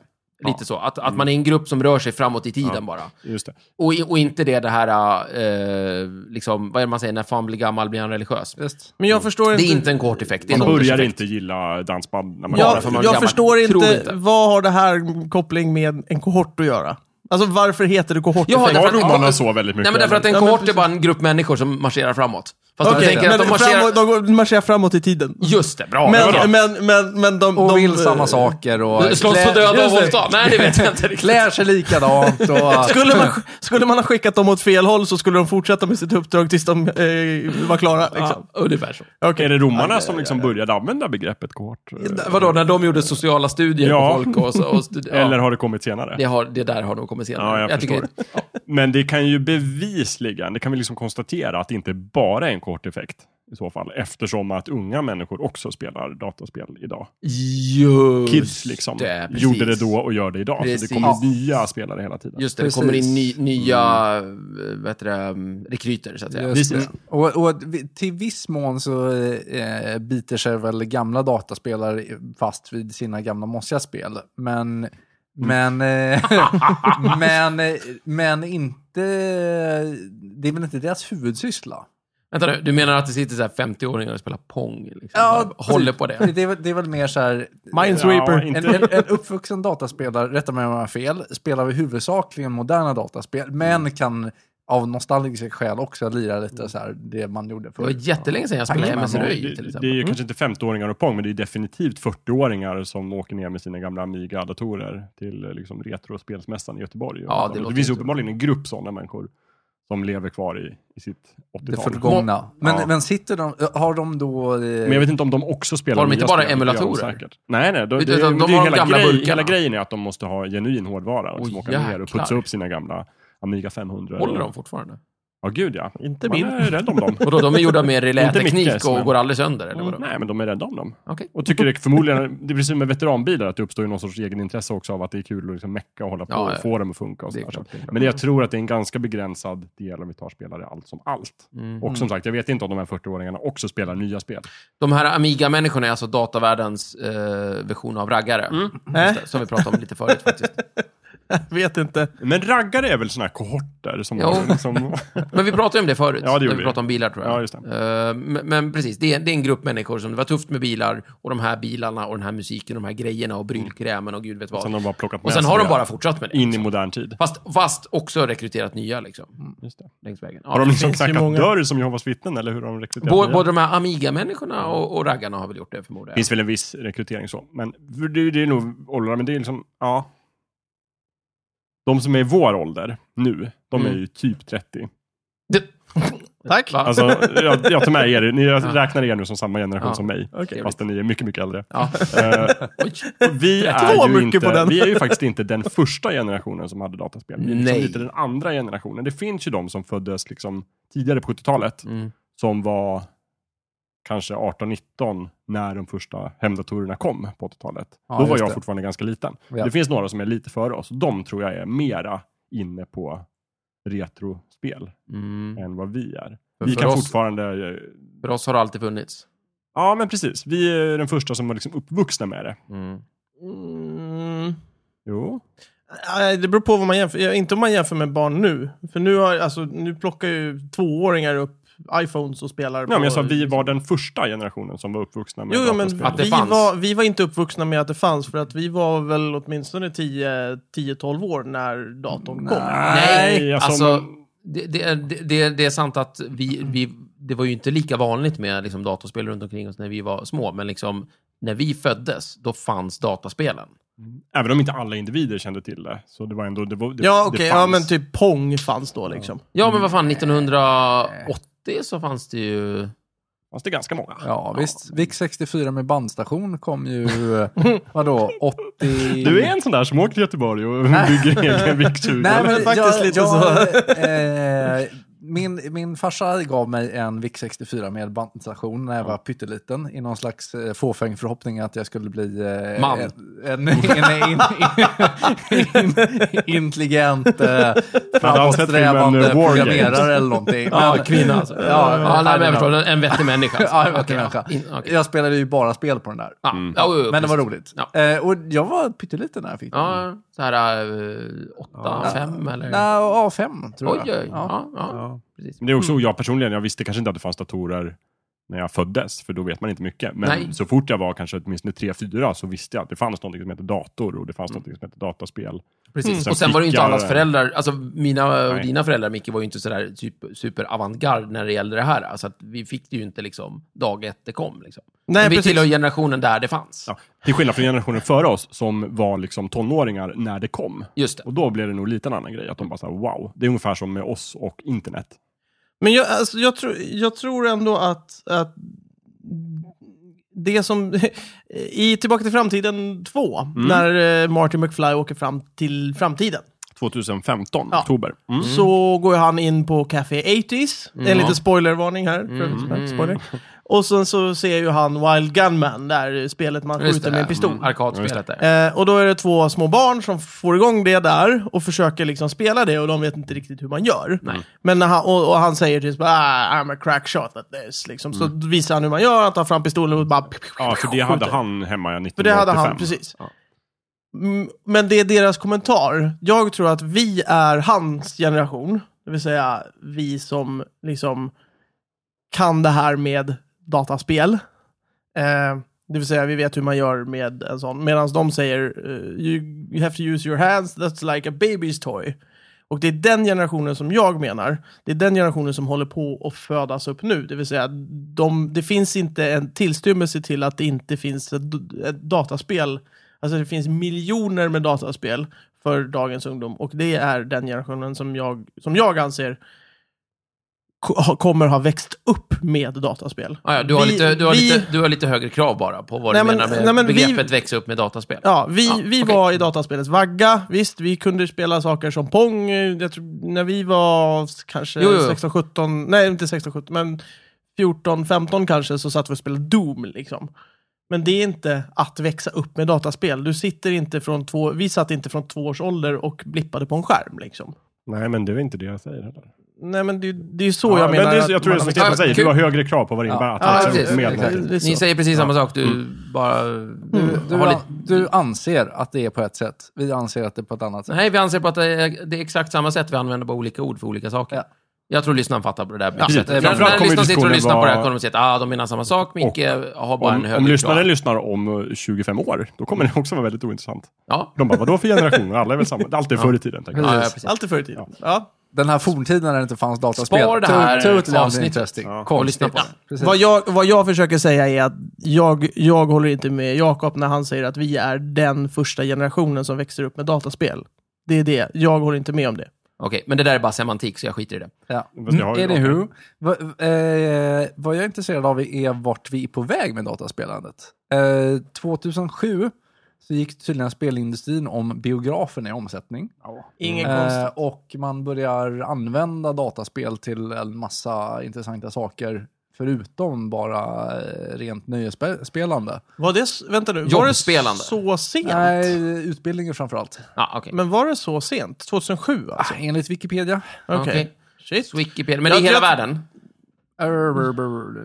[SPEAKER 2] Lite så. Att, att man är en grupp som rör sig framåt i tiden
[SPEAKER 4] Ja.
[SPEAKER 2] bara.
[SPEAKER 4] Just det.
[SPEAKER 2] Och, i- och inte det, det här, eh, liksom, vad är det man säger, när fan blir gammal blir han religiös.
[SPEAKER 3] Just.
[SPEAKER 1] Men jag förstår
[SPEAKER 2] Det
[SPEAKER 1] inte...
[SPEAKER 2] är inte en kohorteffekt, det är en
[SPEAKER 4] Man börjar
[SPEAKER 2] ålderseffekt.
[SPEAKER 4] inte gilla dansband när man
[SPEAKER 2] Bara
[SPEAKER 1] Jag,
[SPEAKER 2] för man är
[SPEAKER 1] jag
[SPEAKER 2] gammal.
[SPEAKER 1] förstår
[SPEAKER 2] Tror
[SPEAKER 1] inte,
[SPEAKER 2] inte.
[SPEAKER 1] vad har det här koppling med en kohort att göra? Alltså varför heter det kohort?
[SPEAKER 2] Jaha,
[SPEAKER 1] För-
[SPEAKER 2] därför att-
[SPEAKER 4] Var romarna så väldigt mycket?
[SPEAKER 2] Nej, men därför att en
[SPEAKER 1] Ja, men
[SPEAKER 2] kohort är
[SPEAKER 1] precis.
[SPEAKER 2] bara en grupp människor som marscherar framåt. Fast
[SPEAKER 1] Okej,
[SPEAKER 2] jag tänker
[SPEAKER 1] men
[SPEAKER 2] att de marscherar...
[SPEAKER 1] framåt, de går- marscherar framåt i tiden.
[SPEAKER 2] Just det, bra.
[SPEAKER 1] Men,
[SPEAKER 2] Bra, bra.
[SPEAKER 1] men, men, men, de...
[SPEAKER 3] Och
[SPEAKER 1] de, eh,
[SPEAKER 3] vill samma saker och
[SPEAKER 2] Slåss för
[SPEAKER 3] klä-
[SPEAKER 2] döda och
[SPEAKER 3] Just det.
[SPEAKER 2] våldta? Nej, det vet jag inte riktigt.
[SPEAKER 3] klär sig likadant och...
[SPEAKER 1] Skulle man, skulle man ha skickat dem åt fel håll så skulle de fortsätta med sitt uppdrag tills de eh, var klara. Liksom.
[SPEAKER 2] Ja, ungefär så.
[SPEAKER 4] Är det romarna som liksom började använda begreppet kohort?
[SPEAKER 2] Vadå, när de gjorde sociala studier
[SPEAKER 4] Ja.
[SPEAKER 2] på folk och, så, och stud- ja.
[SPEAKER 4] Eller har det kommit senare?
[SPEAKER 2] det, har, det där har nog kommit senare.
[SPEAKER 4] Ja, jag, förstår.
[SPEAKER 2] tycker-
[SPEAKER 4] det. Men det kan ju bevisligen, det kan vi liksom konstatera att det inte bara är en kohorteffekt i så fall, eftersom att unga människor också spelar dataspel idag.
[SPEAKER 2] Just
[SPEAKER 4] Kids liksom
[SPEAKER 2] det, precis.
[SPEAKER 4] gjorde det då och gör det idag. Så
[SPEAKER 2] Precis.
[SPEAKER 4] det kommer nya spelare hela tiden.
[SPEAKER 2] Just det,
[SPEAKER 3] Precis.
[SPEAKER 2] det kommer in ny, nya
[SPEAKER 4] Mm.
[SPEAKER 2] eh, vad heter det, mm, rekryter, så att säga.
[SPEAKER 3] Just det.
[SPEAKER 4] Visst.
[SPEAKER 3] Och, och vi- till viss mån så eh, biter sig väl gamla dataspelare fast vid sina gamla mossiga spel. Men, men, eh, men, eh, men inte, det är väl inte deras huvudsyssla?
[SPEAKER 2] Vänta nu, du menar att det sitter så här 50-åringar och spelar Pong? Liksom,
[SPEAKER 3] Ja,
[SPEAKER 2] bara håller på det?
[SPEAKER 3] Det är, väl- det är väl mer så här...
[SPEAKER 4] Ja,
[SPEAKER 1] Minesweeper.
[SPEAKER 4] inte-
[SPEAKER 3] En, en, en uppvuxen dataspelare, rätta mig om jag har fel, spelar vi huvudsakligen moderna dataspel, men kan av nostalgiska skäl också lira lite så här det man gjorde
[SPEAKER 2] Det var
[SPEAKER 3] förr.
[SPEAKER 2] jättelänge sedan jag spelade
[SPEAKER 3] Pac-Man
[SPEAKER 2] MS
[SPEAKER 3] var-
[SPEAKER 2] Röj, till
[SPEAKER 4] det, det är
[SPEAKER 2] exempel. Mm.
[SPEAKER 4] ju kanske inte 50-åringar och Pong, men det är definitivt 40-åringar som åker ner med sina gamla Amiga-datorer till eh, liksom, Retrospelsmässan i Göteborg.
[SPEAKER 2] Ja, det
[SPEAKER 4] det,
[SPEAKER 2] låter
[SPEAKER 4] finns
[SPEAKER 2] ju-
[SPEAKER 4] uppenbarligen en grupp sådana människor som lever kvar i, i sitt
[SPEAKER 3] Det
[SPEAKER 4] 80-tal.
[SPEAKER 3] förgångna. Men,
[SPEAKER 4] Ja.
[SPEAKER 3] men sitter de, har de då... eh,
[SPEAKER 4] Men jag vet inte om de också spelar
[SPEAKER 2] Har de inte
[SPEAKER 4] nya
[SPEAKER 2] bara
[SPEAKER 4] spel, det gör de
[SPEAKER 2] emulatorer?
[SPEAKER 4] säkert. Nej, nej. De, det,
[SPEAKER 2] Utan de-
[SPEAKER 4] det
[SPEAKER 2] de
[SPEAKER 4] är
[SPEAKER 2] har
[SPEAKER 4] hela,
[SPEAKER 2] gamla
[SPEAKER 4] grej,
[SPEAKER 2] burkarna.
[SPEAKER 4] hela grejen är att de måste ha genuin hårdvara. Och
[SPEAKER 2] Åh,
[SPEAKER 4] liksom åka ner och
[SPEAKER 2] jäklar.
[SPEAKER 4] putsa upp sina gamla Amiga 500.
[SPEAKER 2] Håller de fortfarande?
[SPEAKER 4] Ja, gud ja.
[SPEAKER 1] Inte
[SPEAKER 4] Man
[SPEAKER 1] min.
[SPEAKER 4] är rädd om dem.
[SPEAKER 2] Och då, de är gjorda med
[SPEAKER 4] Inte
[SPEAKER 2] reläteknik
[SPEAKER 4] mycket,
[SPEAKER 2] och
[SPEAKER 4] men-
[SPEAKER 2] går aldrig sönder, eller vadå?
[SPEAKER 4] Mm, Nej, men de är rädda om dem.
[SPEAKER 2] Okej.
[SPEAKER 4] Och tycker det förmodligen, det är precis som med veteranbilar, att det uppstår ju någon sorts egenintresse också av att det är kul att liksom mecka och hålla på
[SPEAKER 2] Ja,
[SPEAKER 4] och
[SPEAKER 2] ja.
[SPEAKER 4] få dem att funka. Och
[SPEAKER 2] Det är
[SPEAKER 4] sådär.
[SPEAKER 2] klart, det är klart.
[SPEAKER 4] Men jag tror att det är en ganska begränsad del om vi tar spelare allt som allt.
[SPEAKER 2] Mm.
[SPEAKER 4] Och som sagt, jag vet inte om de här 40-åringarna också spelar nya spel.
[SPEAKER 2] De här Amiga-människorna är alltså datavärldens eh, version av raggare.
[SPEAKER 4] Mm.
[SPEAKER 2] Just det, som vi pratade om lite förut faktiskt.
[SPEAKER 1] Vet inte.
[SPEAKER 4] Men raggare är väl sådana här kohorter som...
[SPEAKER 2] Jo.
[SPEAKER 4] liksom,
[SPEAKER 2] Men vi pratade ju om det förut,
[SPEAKER 4] Ja, det
[SPEAKER 2] när
[SPEAKER 4] gjorde
[SPEAKER 2] vi
[SPEAKER 4] vi.
[SPEAKER 2] pratade om bilar tror jag.
[SPEAKER 4] Ja, just
[SPEAKER 2] Eh, men, men precis, det är, det är en grupp människor som det var tufft med bilar, och de här bilarna, och den här musiken, och de här grejerna, och brylkrämen och gud vet vad.
[SPEAKER 4] sen har de bara plockat
[SPEAKER 2] och
[SPEAKER 4] med
[SPEAKER 2] sen
[SPEAKER 4] sig
[SPEAKER 2] har de
[SPEAKER 4] det
[SPEAKER 2] bara fortsatt med det.
[SPEAKER 4] In i
[SPEAKER 2] liksom.
[SPEAKER 4] modern tid.
[SPEAKER 2] fast, fast också rekryterat nya liksom,
[SPEAKER 4] Just det.
[SPEAKER 2] längs vägen.
[SPEAKER 4] Har
[SPEAKER 2] Ja.
[SPEAKER 4] de liksom
[SPEAKER 1] finns ju
[SPEAKER 4] knackat
[SPEAKER 1] många.
[SPEAKER 4] dörr som Jehovas vittnen, eller hur har de rekryterat
[SPEAKER 2] Bå-
[SPEAKER 4] nya?
[SPEAKER 2] Både de här Amiga-människorna och, och raggarna har väl gjort det förmodar
[SPEAKER 4] Det
[SPEAKER 2] jag.
[SPEAKER 4] finns väl en viss rekrytering så. Men för det, det är nog åldrar, men det är liksom, ja. De som är i vår ålder nu, de är
[SPEAKER 2] Mm.
[SPEAKER 4] ju typ 30.
[SPEAKER 2] Det-
[SPEAKER 1] Tack.
[SPEAKER 2] Va?
[SPEAKER 4] Alltså, jag, jag tar med er, ni jag räknar er nu som samma generation
[SPEAKER 2] Ja.
[SPEAKER 4] som mig.
[SPEAKER 1] Okej.
[SPEAKER 4] Fast ni är mycket, mycket äldre.
[SPEAKER 2] Ja.
[SPEAKER 4] Eh,
[SPEAKER 2] Oj.
[SPEAKER 4] och vi,
[SPEAKER 1] Två
[SPEAKER 4] är ju
[SPEAKER 1] mycket på
[SPEAKER 4] inte,
[SPEAKER 1] den.
[SPEAKER 4] vi är ju faktiskt inte den första generationen som hade dataspel. Vi är liksom
[SPEAKER 2] Nej.
[SPEAKER 4] lite den andra generationen. Det finns ju de som föddes liksom tidigare på 70-talet,
[SPEAKER 2] Mm.
[SPEAKER 4] som var kanske 18-19 när de första hemdatorerna kom på 80-talet.
[SPEAKER 3] Ja,
[SPEAKER 4] Då var
[SPEAKER 3] just
[SPEAKER 4] jag
[SPEAKER 3] det.
[SPEAKER 4] fortfarande ganska liten.
[SPEAKER 3] Ja.
[SPEAKER 4] Det finns några som är lite före oss. De tror jag är mera inne på retrospel
[SPEAKER 2] Mm.
[SPEAKER 4] än vad vi är.
[SPEAKER 2] För-
[SPEAKER 4] Vi
[SPEAKER 2] för
[SPEAKER 4] kan
[SPEAKER 2] oss-
[SPEAKER 4] fortfarande... eh,
[SPEAKER 2] För oss har det alltid funnits.
[SPEAKER 4] Ja, men precis. Vi är den första som var liksom uppvuxna med det.
[SPEAKER 2] Mm.
[SPEAKER 1] Mm.
[SPEAKER 4] Jo.
[SPEAKER 1] Nej, Det beror på vad man jämför. Ja, Inte om man jämför med barn nu. För nu, har, alltså, nu plockar ju tvååringar upp iPhones och spelar.
[SPEAKER 4] Ja, men jag sa vi var den första generationen som var uppvuxna med
[SPEAKER 1] Jo, jo, men
[SPEAKER 4] dataspel.
[SPEAKER 2] Att det
[SPEAKER 1] vi
[SPEAKER 2] fanns.
[SPEAKER 1] var, vi var inte uppvuxna med att det fanns. För att vi var väl åtminstone 10 10-12 år när datorn kom.
[SPEAKER 2] Nej, alltså,
[SPEAKER 4] men-
[SPEAKER 2] det, det, är- det, det, det är sant att vi, vi, det var ju inte lika vanligt med liksom, datorspel runt omkring oss när vi var små, men liksom, när vi föddes, då fanns dataspelen.
[SPEAKER 4] Även om inte alla individer kände till det. Så det var ändå... Det, var- det,
[SPEAKER 1] Ja,
[SPEAKER 4] det
[SPEAKER 1] okej. Ja,
[SPEAKER 4] fanns.
[SPEAKER 1] men typ Pong fanns då liksom.
[SPEAKER 2] Ja, men vad fan, 1980 så fanns det ju...
[SPEAKER 4] Fanns det ganska många.
[SPEAKER 3] eh, Ja, visst. VIX 64 med bandstation kom ju, vadå, 80...
[SPEAKER 4] Du är en sån där som åker till Göteborg och bygger egen viktuga.
[SPEAKER 3] Nej, men
[SPEAKER 1] faktiskt
[SPEAKER 3] jag,
[SPEAKER 1] lite
[SPEAKER 3] jag,
[SPEAKER 1] så.
[SPEAKER 3] eh, Min, min farsa gav mig en VIC-64 med bandstation när jag var pytteliten i någon slags eh, fåfäng förhoppning att jag skulle bli... eh,
[SPEAKER 2] Man.
[SPEAKER 3] En, en, en, in, in, intelligent, eh,
[SPEAKER 4] filmen,
[SPEAKER 3] framåtsträvande
[SPEAKER 4] eh, War Games.
[SPEAKER 3] programmerare eller någonting.
[SPEAKER 2] Ja,
[SPEAKER 3] Men-
[SPEAKER 2] kvinna alltså.
[SPEAKER 3] Ja, ja,
[SPEAKER 2] ja, nej, men jag
[SPEAKER 3] ja.
[SPEAKER 2] förstår. En, en vettig människa. alltså.
[SPEAKER 3] Ja, jag, var
[SPEAKER 2] Okej,
[SPEAKER 3] människa.
[SPEAKER 2] ja. In- okej.
[SPEAKER 3] jag spelade ju bara spel på den där.
[SPEAKER 2] Ja, ja, jo, jo,
[SPEAKER 3] Men det var
[SPEAKER 2] precis.
[SPEAKER 3] roligt.
[SPEAKER 2] Ja.
[SPEAKER 3] Eh, och jag var pytteliten när jag fick den.
[SPEAKER 2] Ja, så här eh, åtta, fem eller?
[SPEAKER 3] Nej, A5 tror
[SPEAKER 2] Oj,
[SPEAKER 3] jag.
[SPEAKER 2] oj, oj.
[SPEAKER 3] Ja.
[SPEAKER 2] Ja, ja.
[SPEAKER 4] Ja.
[SPEAKER 2] precis.
[SPEAKER 4] Men det är också jag personligen, jag visste kanske inte att det fanns datorer när jag föddes, för då vet man inte mycket. Men
[SPEAKER 2] Nej.
[SPEAKER 4] så fort jag var kanske åtminstone 3-4 så visste jag att det fanns något som hette dator och det fanns något som hette dataspel.
[SPEAKER 2] Precis.
[SPEAKER 4] Mm.
[SPEAKER 2] Och sen var det ju inte
[SPEAKER 4] Fickar-
[SPEAKER 2] allas föräldrar, alltså mina och
[SPEAKER 4] Nej.
[SPEAKER 2] dina föräldrar Micke var ju inte sådär super, super avantgard när det gällde det här. Alltså att vi fick det ju inte liksom dag ett det kom. Liksom.
[SPEAKER 1] Nej,
[SPEAKER 2] Men vi
[SPEAKER 1] precis.
[SPEAKER 2] tillhör generationen där det fanns.
[SPEAKER 4] Ja. Till skillnad från generationen före oss som var liksom tonåringar när det kom.
[SPEAKER 2] Just det.
[SPEAKER 4] Och då blev det nog lite en annan grej, att de bara såhär wow. Det är ungefär som med oss och internet.
[SPEAKER 1] Men jag, alltså, jag, tror, jag tror ändå att, att det som... I Tillbaka till framtiden 2,
[SPEAKER 4] Mm.
[SPEAKER 1] när eh, Martin McFly åker fram till framtiden,
[SPEAKER 4] 2015,
[SPEAKER 1] Ja.
[SPEAKER 4] oktober. Mm.
[SPEAKER 1] så går han in på Café 80s. En liten spoilervarning här. För
[SPEAKER 2] Mm.
[SPEAKER 1] spoiler. Och sen så ser ju han Wild Gunman, där spelet man
[SPEAKER 2] Just
[SPEAKER 1] skjuter
[SPEAKER 2] det.
[SPEAKER 1] med en pistol.
[SPEAKER 2] Mm, arkadspelet där.
[SPEAKER 1] Eh, och då är det två små barn som får igång det där och försöker liksom spela det och de vet inte riktigt hur man gör. Men när han, och, och han säger typ bara, ah, I'm a crack shot at this. Liksom. Så
[SPEAKER 2] Mm.
[SPEAKER 1] visar han hur man gör, han tar fram pistolen och bara...
[SPEAKER 4] Ja, för det hade han hemma 1985.
[SPEAKER 1] För det hade han, precis.
[SPEAKER 4] Ja.
[SPEAKER 1] Mm, Men det är deras kommentar. Jag tror att vi är hans generation. Det vill säga vi som liksom kan det här med dataspel. Eh, det vill säga vi vet hur man gör med en sån. Medan de säger eh, you, you have to use your hands, that's like a baby's toy. Och det är den generationen som jag menar. Det är den generationen som håller på att födas upp nu. Det vill säga, de, det finns inte en tillstymmelse till att det inte finns ett, d- ett dataspel. Alltså det finns miljoner med dataspel för dagens ungdom. Och det är den generationen som jag, som jag anser ko- ha- kommer ha växt upp med dataspel.
[SPEAKER 2] Ah, Ja, ja, du, har
[SPEAKER 1] Vi-
[SPEAKER 2] lite, du, har
[SPEAKER 1] vi-
[SPEAKER 2] lite, du har lite högre krav bara på vad
[SPEAKER 1] Nej,
[SPEAKER 2] du
[SPEAKER 1] men-
[SPEAKER 2] menar med
[SPEAKER 1] nej, men vi-
[SPEAKER 2] begreppet växa upp med dataspel.
[SPEAKER 1] Ja, vi,
[SPEAKER 2] Ja,
[SPEAKER 1] vi
[SPEAKER 2] okej.
[SPEAKER 1] var i dataspelets vagga. Visst, vi kunde spela saker som Pong. eh, Jag tror, när vi var s- kanske
[SPEAKER 2] Jo, jo, jo.
[SPEAKER 1] 16-17, nej inte 16-17, men 14-15 kanske så satt vi och spelade Doom liksom. Men det är inte att växa upp med dataspel. Du sitter inte från två, vi satt inte från två års ålder och blippade på en skärm liksom.
[SPEAKER 4] Nej, men det är inte det jag säger heller.
[SPEAKER 1] Nej men det, det är så
[SPEAKER 4] Ja,
[SPEAKER 1] Oh, jag
[SPEAKER 4] men
[SPEAKER 1] menar.
[SPEAKER 4] det, är-
[SPEAKER 1] att
[SPEAKER 4] jag tror det är
[SPEAKER 1] man-
[SPEAKER 4] som Stefan
[SPEAKER 2] Ja,
[SPEAKER 4] säger,
[SPEAKER 2] kul.
[SPEAKER 4] du har högre krav på vad det innebär
[SPEAKER 3] Ja.
[SPEAKER 4] att
[SPEAKER 1] Ja,
[SPEAKER 4] växa
[SPEAKER 2] precis.
[SPEAKER 4] upp med
[SPEAKER 3] Exakt.
[SPEAKER 4] någonting.
[SPEAKER 1] det är
[SPEAKER 2] Ni
[SPEAKER 1] så. Mm.
[SPEAKER 2] säger precis samma sak, du bara...
[SPEAKER 3] Du, du,
[SPEAKER 2] har
[SPEAKER 3] an-
[SPEAKER 2] lite...
[SPEAKER 3] du anser att det är på ett sätt. Vi anser att det är på ett annat sätt.
[SPEAKER 2] Nej, vi anser på att det är, det är exakt samma sätt, vi använder bara olika ord för olika saker.
[SPEAKER 3] Ja.
[SPEAKER 2] Jag tror lyssnaren fattar på det där. Ja,
[SPEAKER 4] precis.
[SPEAKER 2] när
[SPEAKER 4] Framförallt
[SPEAKER 2] när
[SPEAKER 4] kommer
[SPEAKER 2] lyssnaren sitter och
[SPEAKER 4] diskussionen
[SPEAKER 2] lyssnar på det här
[SPEAKER 4] vara-
[SPEAKER 2] kommer de säga att ah, de menar samma sak, Micke har bara en
[SPEAKER 4] Om,
[SPEAKER 2] högre
[SPEAKER 4] om lyssnaren
[SPEAKER 2] krav.
[SPEAKER 4] lyssnar om eh, 25 år, då kommer det också vara väldigt ointressant.
[SPEAKER 2] Ja.
[SPEAKER 4] De bara, vadå för generationer? Alla är väl samma? Det är alltid förr i tiden. tänker jag.
[SPEAKER 2] Ja, ja,
[SPEAKER 3] Precis.
[SPEAKER 2] precis.
[SPEAKER 1] Alltid förr i tiden. Ja.
[SPEAKER 3] Den här forntiden när det inte fanns dataspel.
[SPEAKER 2] Spar det här
[SPEAKER 3] To- totally
[SPEAKER 2] avsnittet.
[SPEAKER 3] uninteresting.
[SPEAKER 4] Ja.
[SPEAKER 3] Konstigt.
[SPEAKER 2] Och lyssna på det.
[SPEAKER 3] Precis.
[SPEAKER 1] Vad jag, vad jag försöker säga är att jag, jag håller inte med Jakob när han säger att vi är den första generationen som växer upp med dataspel. Det är det. Jag håller inte med om det.
[SPEAKER 2] Okej, men det där är bara semantik, så jag skiter i det.
[SPEAKER 3] Ja.
[SPEAKER 4] Fast jag har ju
[SPEAKER 3] Anywho, vad, eh, vad jag är intresserad av är vart vi är på väg med dataspelandet. Eh, 2007 så gick tydligen spelindustrin om biografen i omsättning.
[SPEAKER 1] Ingen
[SPEAKER 3] Eh, och man börjar använda dataspel till en massa intressanta saker förutom bara eh, rent nöjesspelande.
[SPEAKER 1] Var det, s- vänta nu, var det
[SPEAKER 2] Jobbspelande.
[SPEAKER 1] så sent?
[SPEAKER 3] Nej, utbildningen framförallt.
[SPEAKER 2] Ja, okej.
[SPEAKER 1] Men var det så sent? 2007 alltså?
[SPEAKER 3] Ah, enligt Wikipedia.
[SPEAKER 1] Okej.
[SPEAKER 2] Ah, okej.
[SPEAKER 1] Shit.
[SPEAKER 2] Wikipedia, men
[SPEAKER 1] Jag-
[SPEAKER 2] i hela
[SPEAKER 1] jag-
[SPEAKER 2] världen?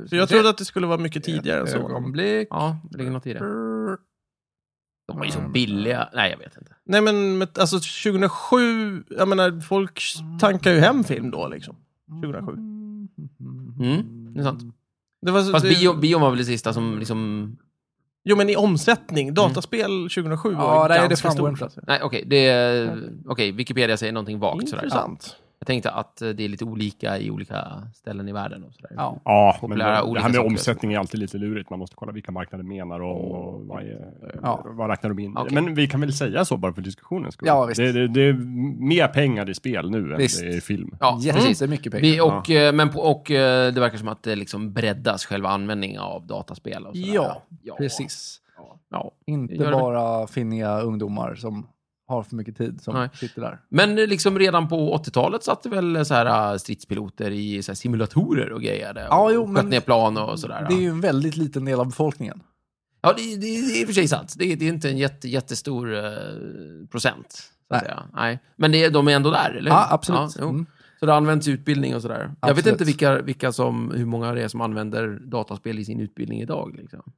[SPEAKER 1] Så jag trodde att det skulle vara mycket tidigare än så.
[SPEAKER 3] Ögonblick.
[SPEAKER 2] Ja, det ligger något i det. De var ju så
[SPEAKER 3] Mm.
[SPEAKER 2] billiga. Nej, jag vet inte.
[SPEAKER 1] Nej men men, alltså 2007, jag menar folk tankar ju hem film då liksom. 2007.
[SPEAKER 2] Mm, det är sant.
[SPEAKER 1] Det var, så-
[SPEAKER 2] Fast
[SPEAKER 1] det,
[SPEAKER 2] bio, bio var väl det sista som liksom...
[SPEAKER 1] Jo men i omsättning, dataspel
[SPEAKER 2] Mm.
[SPEAKER 1] 2007
[SPEAKER 3] Ja,
[SPEAKER 1] var
[SPEAKER 3] där är det
[SPEAKER 1] ganska
[SPEAKER 3] framgår
[SPEAKER 1] stort.
[SPEAKER 3] inte.
[SPEAKER 1] alltså.
[SPEAKER 2] Nej, okej. det Okej, Wikipedia säger någonting vagt sådär. Ja.
[SPEAKER 1] Intressant.
[SPEAKER 2] Jag tänkte att eh, det är lite olika i olika ställen i världen och sådär.
[SPEAKER 3] Ja.
[SPEAKER 4] Ja, men det,
[SPEAKER 2] Populära
[SPEAKER 4] det
[SPEAKER 2] olika
[SPEAKER 4] här med
[SPEAKER 2] saker.
[SPEAKER 4] omsättning är alltid lite lurigt. Man måste kolla vilka marknader menar om och vad, är,
[SPEAKER 3] Mm.
[SPEAKER 4] eh,
[SPEAKER 3] Ja.
[SPEAKER 4] vad räknar de in.
[SPEAKER 2] Okej.
[SPEAKER 4] Men vi kan väl säga så bara för diskussionens skull.
[SPEAKER 3] Ja, visst.
[SPEAKER 4] Det, det, det är mer pengar i spel nu än
[SPEAKER 3] Visst.
[SPEAKER 4] det är i film.
[SPEAKER 2] Ja, precis.
[SPEAKER 3] Jättemycket pengar.
[SPEAKER 2] Vi, och, eh, men på, och eh, det verkar som att det liksom breddas, själva användningen av dataspel och sådär.
[SPEAKER 3] Ja,
[SPEAKER 2] ja,
[SPEAKER 3] Precis.
[SPEAKER 2] Ja.
[SPEAKER 3] Inte
[SPEAKER 2] Gör det.
[SPEAKER 3] bara finniga ungdomar som har för mycket tid som
[SPEAKER 2] Nej.
[SPEAKER 3] sitter där.
[SPEAKER 2] Men liksom redan på 80-talet satt det väl så här äh, stridspiloter i så här simulatorer och grejade.
[SPEAKER 3] Ja,
[SPEAKER 2] och
[SPEAKER 3] jo,
[SPEAKER 2] sköt
[SPEAKER 3] men
[SPEAKER 2] ner plan och sådär.
[SPEAKER 3] Det är ju en väldigt liten del av befolkningen.
[SPEAKER 2] Ja, det, det, det är i och för sig sant. Det, det är inte en jätte, jättestor eh, procent. Så att
[SPEAKER 3] Nej.
[SPEAKER 2] säga. Nej. Men det, är- de är ändå där, eller hur?
[SPEAKER 3] Ja, absolut.
[SPEAKER 2] Ja, jo.
[SPEAKER 3] mm.
[SPEAKER 2] Så det används i utbildning och sådär. Jag vet
[SPEAKER 3] Absolut.
[SPEAKER 2] inte vilka, vilka som, hur många det är som använder dataspel i sin utbildning idag. Liksom.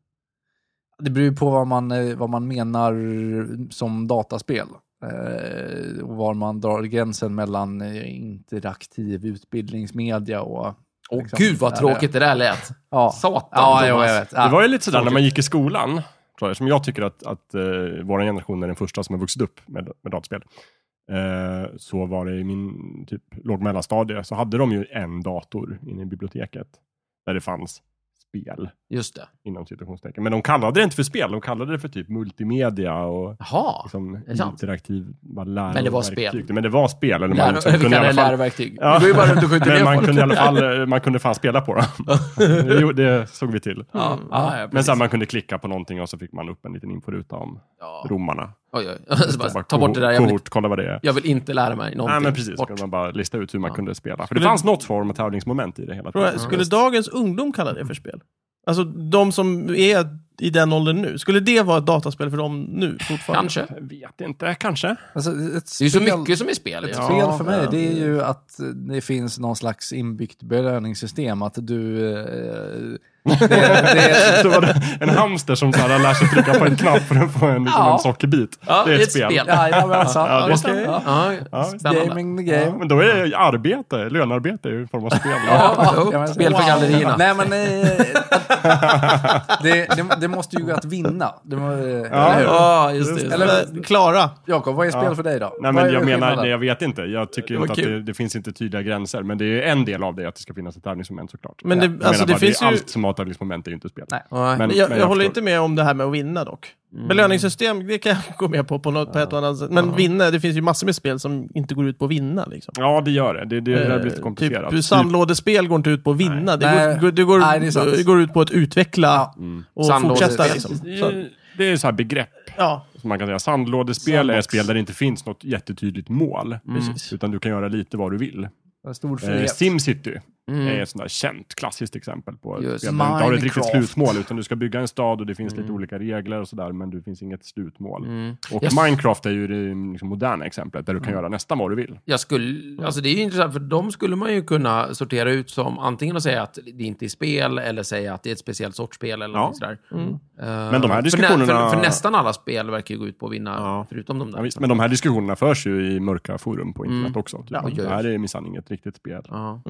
[SPEAKER 3] Det beror ju på vad man, eh, vad man menar som dataspel. Eh, och var man drar gränsen mellan eh, interaktiv utbildningsmedia och...
[SPEAKER 2] Åh
[SPEAKER 3] Exakt.
[SPEAKER 2] gud vad
[SPEAKER 3] Ja,
[SPEAKER 2] tråkigt Liksom. det där lät.
[SPEAKER 3] Ja,
[SPEAKER 2] Satan
[SPEAKER 3] ja jo,
[SPEAKER 2] Thomas.
[SPEAKER 3] jag vet.
[SPEAKER 4] Det
[SPEAKER 3] Ja.
[SPEAKER 4] var ju lite sådär när man gick i skolan, tror jag, som jag tycker att, att eh, vår generation är den första som har vuxit upp med, med dataspel. Eh, så var det i min typ, låg mellanstadie, så hade de ju en dator inne i biblioteket, där det fanns spel,
[SPEAKER 2] Just det.
[SPEAKER 4] inom citationstecken. Men de kallade det inte för spel, de kallade det för typ multimedia och
[SPEAKER 2] Jaha.
[SPEAKER 4] liksom,
[SPEAKER 2] det är sant.
[SPEAKER 4] interaktiv bara läro-
[SPEAKER 2] Men det var spel.
[SPEAKER 4] verktyg. Men det var spel. Eller man,
[SPEAKER 2] Lär,
[SPEAKER 4] liksom,
[SPEAKER 2] vi kan
[SPEAKER 4] kunde i alla
[SPEAKER 2] lära
[SPEAKER 4] fall,
[SPEAKER 2] läroverktyg.
[SPEAKER 4] Ja.
[SPEAKER 2] Det går ju bara runt och skjuter
[SPEAKER 4] men
[SPEAKER 2] ner
[SPEAKER 4] man
[SPEAKER 2] folk.
[SPEAKER 4] kunde i alla fall, eh, man kunde fan spela på dem. det, gjorde- det såg vi till.
[SPEAKER 2] Ja, ja, ja,
[SPEAKER 4] Men
[SPEAKER 2] precis.
[SPEAKER 4] sen man kunde klicka på någonting och så fick man upp en liten inforuta om
[SPEAKER 2] Ja.
[SPEAKER 4] romarna.
[SPEAKER 2] Oj, oj. Så bara,
[SPEAKER 4] Bara
[SPEAKER 2] Ta bort det där, jag vill,
[SPEAKER 4] Kohort, kolla vad det är.
[SPEAKER 2] jag vill inte lära mig någonting.
[SPEAKER 4] Nej men precis, så
[SPEAKER 2] Bort.
[SPEAKER 4] kunde man bara lista ut hur man
[SPEAKER 2] Ja.
[SPEAKER 4] kunde spela. För det fanns något form av tävlingsmoment i det hela
[SPEAKER 1] Fråga,
[SPEAKER 4] tiden.
[SPEAKER 1] Skulle dagens ungdom kalla det för spel? Alltså de som är i den åldern nu, skulle det vara ett dataspel för dem nu fortfarande?
[SPEAKER 2] Kanske.
[SPEAKER 4] Jag vet inte, kanske.
[SPEAKER 3] Alltså, ett
[SPEAKER 2] Det är ju så
[SPEAKER 3] spel-
[SPEAKER 2] mycket som är spel.
[SPEAKER 3] Ett
[SPEAKER 2] Ja.
[SPEAKER 3] spel för mig
[SPEAKER 4] ja.
[SPEAKER 3] det är ju att det finns någon slags inbyggt belöningssystem. Att du... Eh, det, det,
[SPEAKER 4] Så var det en hamster som så här lär sig trycka på en knapp för att få en, liksom
[SPEAKER 2] Ja.
[SPEAKER 4] en sockerbit.
[SPEAKER 2] Ja,
[SPEAKER 4] det är ett spel.
[SPEAKER 3] ja, ja, men alltså,
[SPEAKER 4] Ja, det är sant.
[SPEAKER 3] okej. ja.
[SPEAKER 2] Ja,
[SPEAKER 4] Ja.
[SPEAKER 2] spännande.
[SPEAKER 3] Gaming the
[SPEAKER 4] Ja,
[SPEAKER 3] game.
[SPEAKER 4] men då är det arbete, lönearbete är ju en form av spel.
[SPEAKER 2] Ja,
[SPEAKER 3] Ja, men-
[SPEAKER 2] spel för gallerierna.
[SPEAKER 3] Nej, men eh, det, det, det måste ju gå att vinna. Det, må- eller hur?
[SPEAKER 2] Ja, just det. Just det.
[SPEAKER 3] Eller-
[SPEAKER 1] Eller Klara?
[SPEAKER 3] Jakob, vad är spel
[SPEAKER 4] Ja.
[SPEAKER 3] för dig då?
[SPEAKER 4] Nej,
[SPEAKER 3] Vad
[SPEAKER 4] men
[SPEAKER 3] är
[SPEAKER 4] jag menar,
[SPEAKER 3] skillnaden?
[SPEAKER 4] nej, jag vet inte. Jag tycker
[SPEAKER 2] var
[SPEAKER 4] inte att
[SPEAKER 2] kul.
[SPEAKER 4] det, det finns inte tydliga gränser. Men det är en del av det att det ska finnas ett tävlingsmoment såklart.
[SPEAKER 1] Men
[SPEAKER 4] Jag
[SPEAKER 1] det,
[SPEAKER 4] menar
[SPEAKER 1] alltså, det
[SPEAKER 4] bara,
[SPEAKER 1] finns
[SPEAKER 4] det,
[SPEAKER 1] ju...
[SPEAKER 4] Allt som har tävlingsmoment är ju inte spel.
[SPEAKER 3] Nej.
[SPEAKER 2] Nej.
[SPEAKER 4] Men-
[SPEAKER 1] Jag,
[SPEAKER 4] men
[SPEAKER 1] jag, håller
[SPEAKER 4] förstår.
[SPEAKER 1] inte med om det här med att vinna dock.
[SPEAKER 3] Mm.
[SPEAKER 1] Belöningssystem, det kan jag gå med på på, något, på ett och annat sätt. Men vinna, det finns ju massor med spel som inte går ut på att vinna. Liksom.
[SPEAKER 4] Ja, det gör det. Det, det, det
[SPEAKER 1] Eh,
[SPEAKER 4] blir lite komplicerat.
[SPEAKER 1] Typ, sandlådespel går inte ut på att vinna. Det,
[SPEAKER 3] Nej.
[SPEAKER 1] går, det, går,
[SPEAKER 3] Nej, det är sant.
[SPEAKER 1] det går ut på att utveckla och
[SPEAKER 2] Sandlådespel.
[SPEAKER 1] fortsätta. Liksom.
[SPEAKER 4] Det
[SPEAKER 1] Så,
[SPEAKER 4] är- Det är så här begrepp
[SPEAKER 1] ja,
[SPEAKER 4] som man kan säga. Sandlådespel är spel där det inte finns något jättetydligt mål.
[SPEAKER 1] Mm. Precis.
[SPEAKER 4] Utan du kan göra lite vad du vill.
[SPEAKER 3] Vad Stor
[SPEAKER 4] Eh,
[SPEAKER 3] frihet.
[SPEAKER 4] Simcity
[SPEAKER 2] Mm.
[SPEAKER 4] är ett sånt där känt klassiskt exempel på ett
[SPEAKER 2] Just.
[SPEAKER 4] spel där du inte har ett riktigt
[SPEAKER 3] Minecraft.
[SPEAKER 4] slutmål. Utan du ska bygga en stad och det finns lite olika regler och sådär. Men det finns inget slutmål.
[SPEAKER 2] Mm.
[SPEAKER 4] Och
[SPEAKER 2] Yes.
[SPEAKER 4] Minecraft är ju det liksom moderna exemplet där du kan göra nästan vad du vill.
[SPEAKER 2] Jag skulle, alltså det är ju intressant, för de skulle man ju kunna sortera ut som antingen att säga att det inte är spel eller säga att det är ett speciellt sorts spel eller
[SPEAKER 4] Ja. Mm.
[SPEAKER 2] något sådär. Eh,
[SPEAKER 4] Men de här
[SPEAKER 2] för nä- För,
[SPEAKER 4] diskussionerna-
[SPEAKER 2] för nästan alla spel verkar ju gå ut på att vinna,
[SPEAKER 4] Ja.
[SPEAKER 2] förutom de där.
[SPEAKER 4] Ja, visst, men de här diskussionerna förs ju i mörka forum på internet
[SPEAKER 2] Mm.
[SPEAKER 4] också. Typ.
[SPEAKER 2] Ja,
[SPEAKER 4] det här är minsann inget riktigt spel.
[SPEAKER 2] Ja.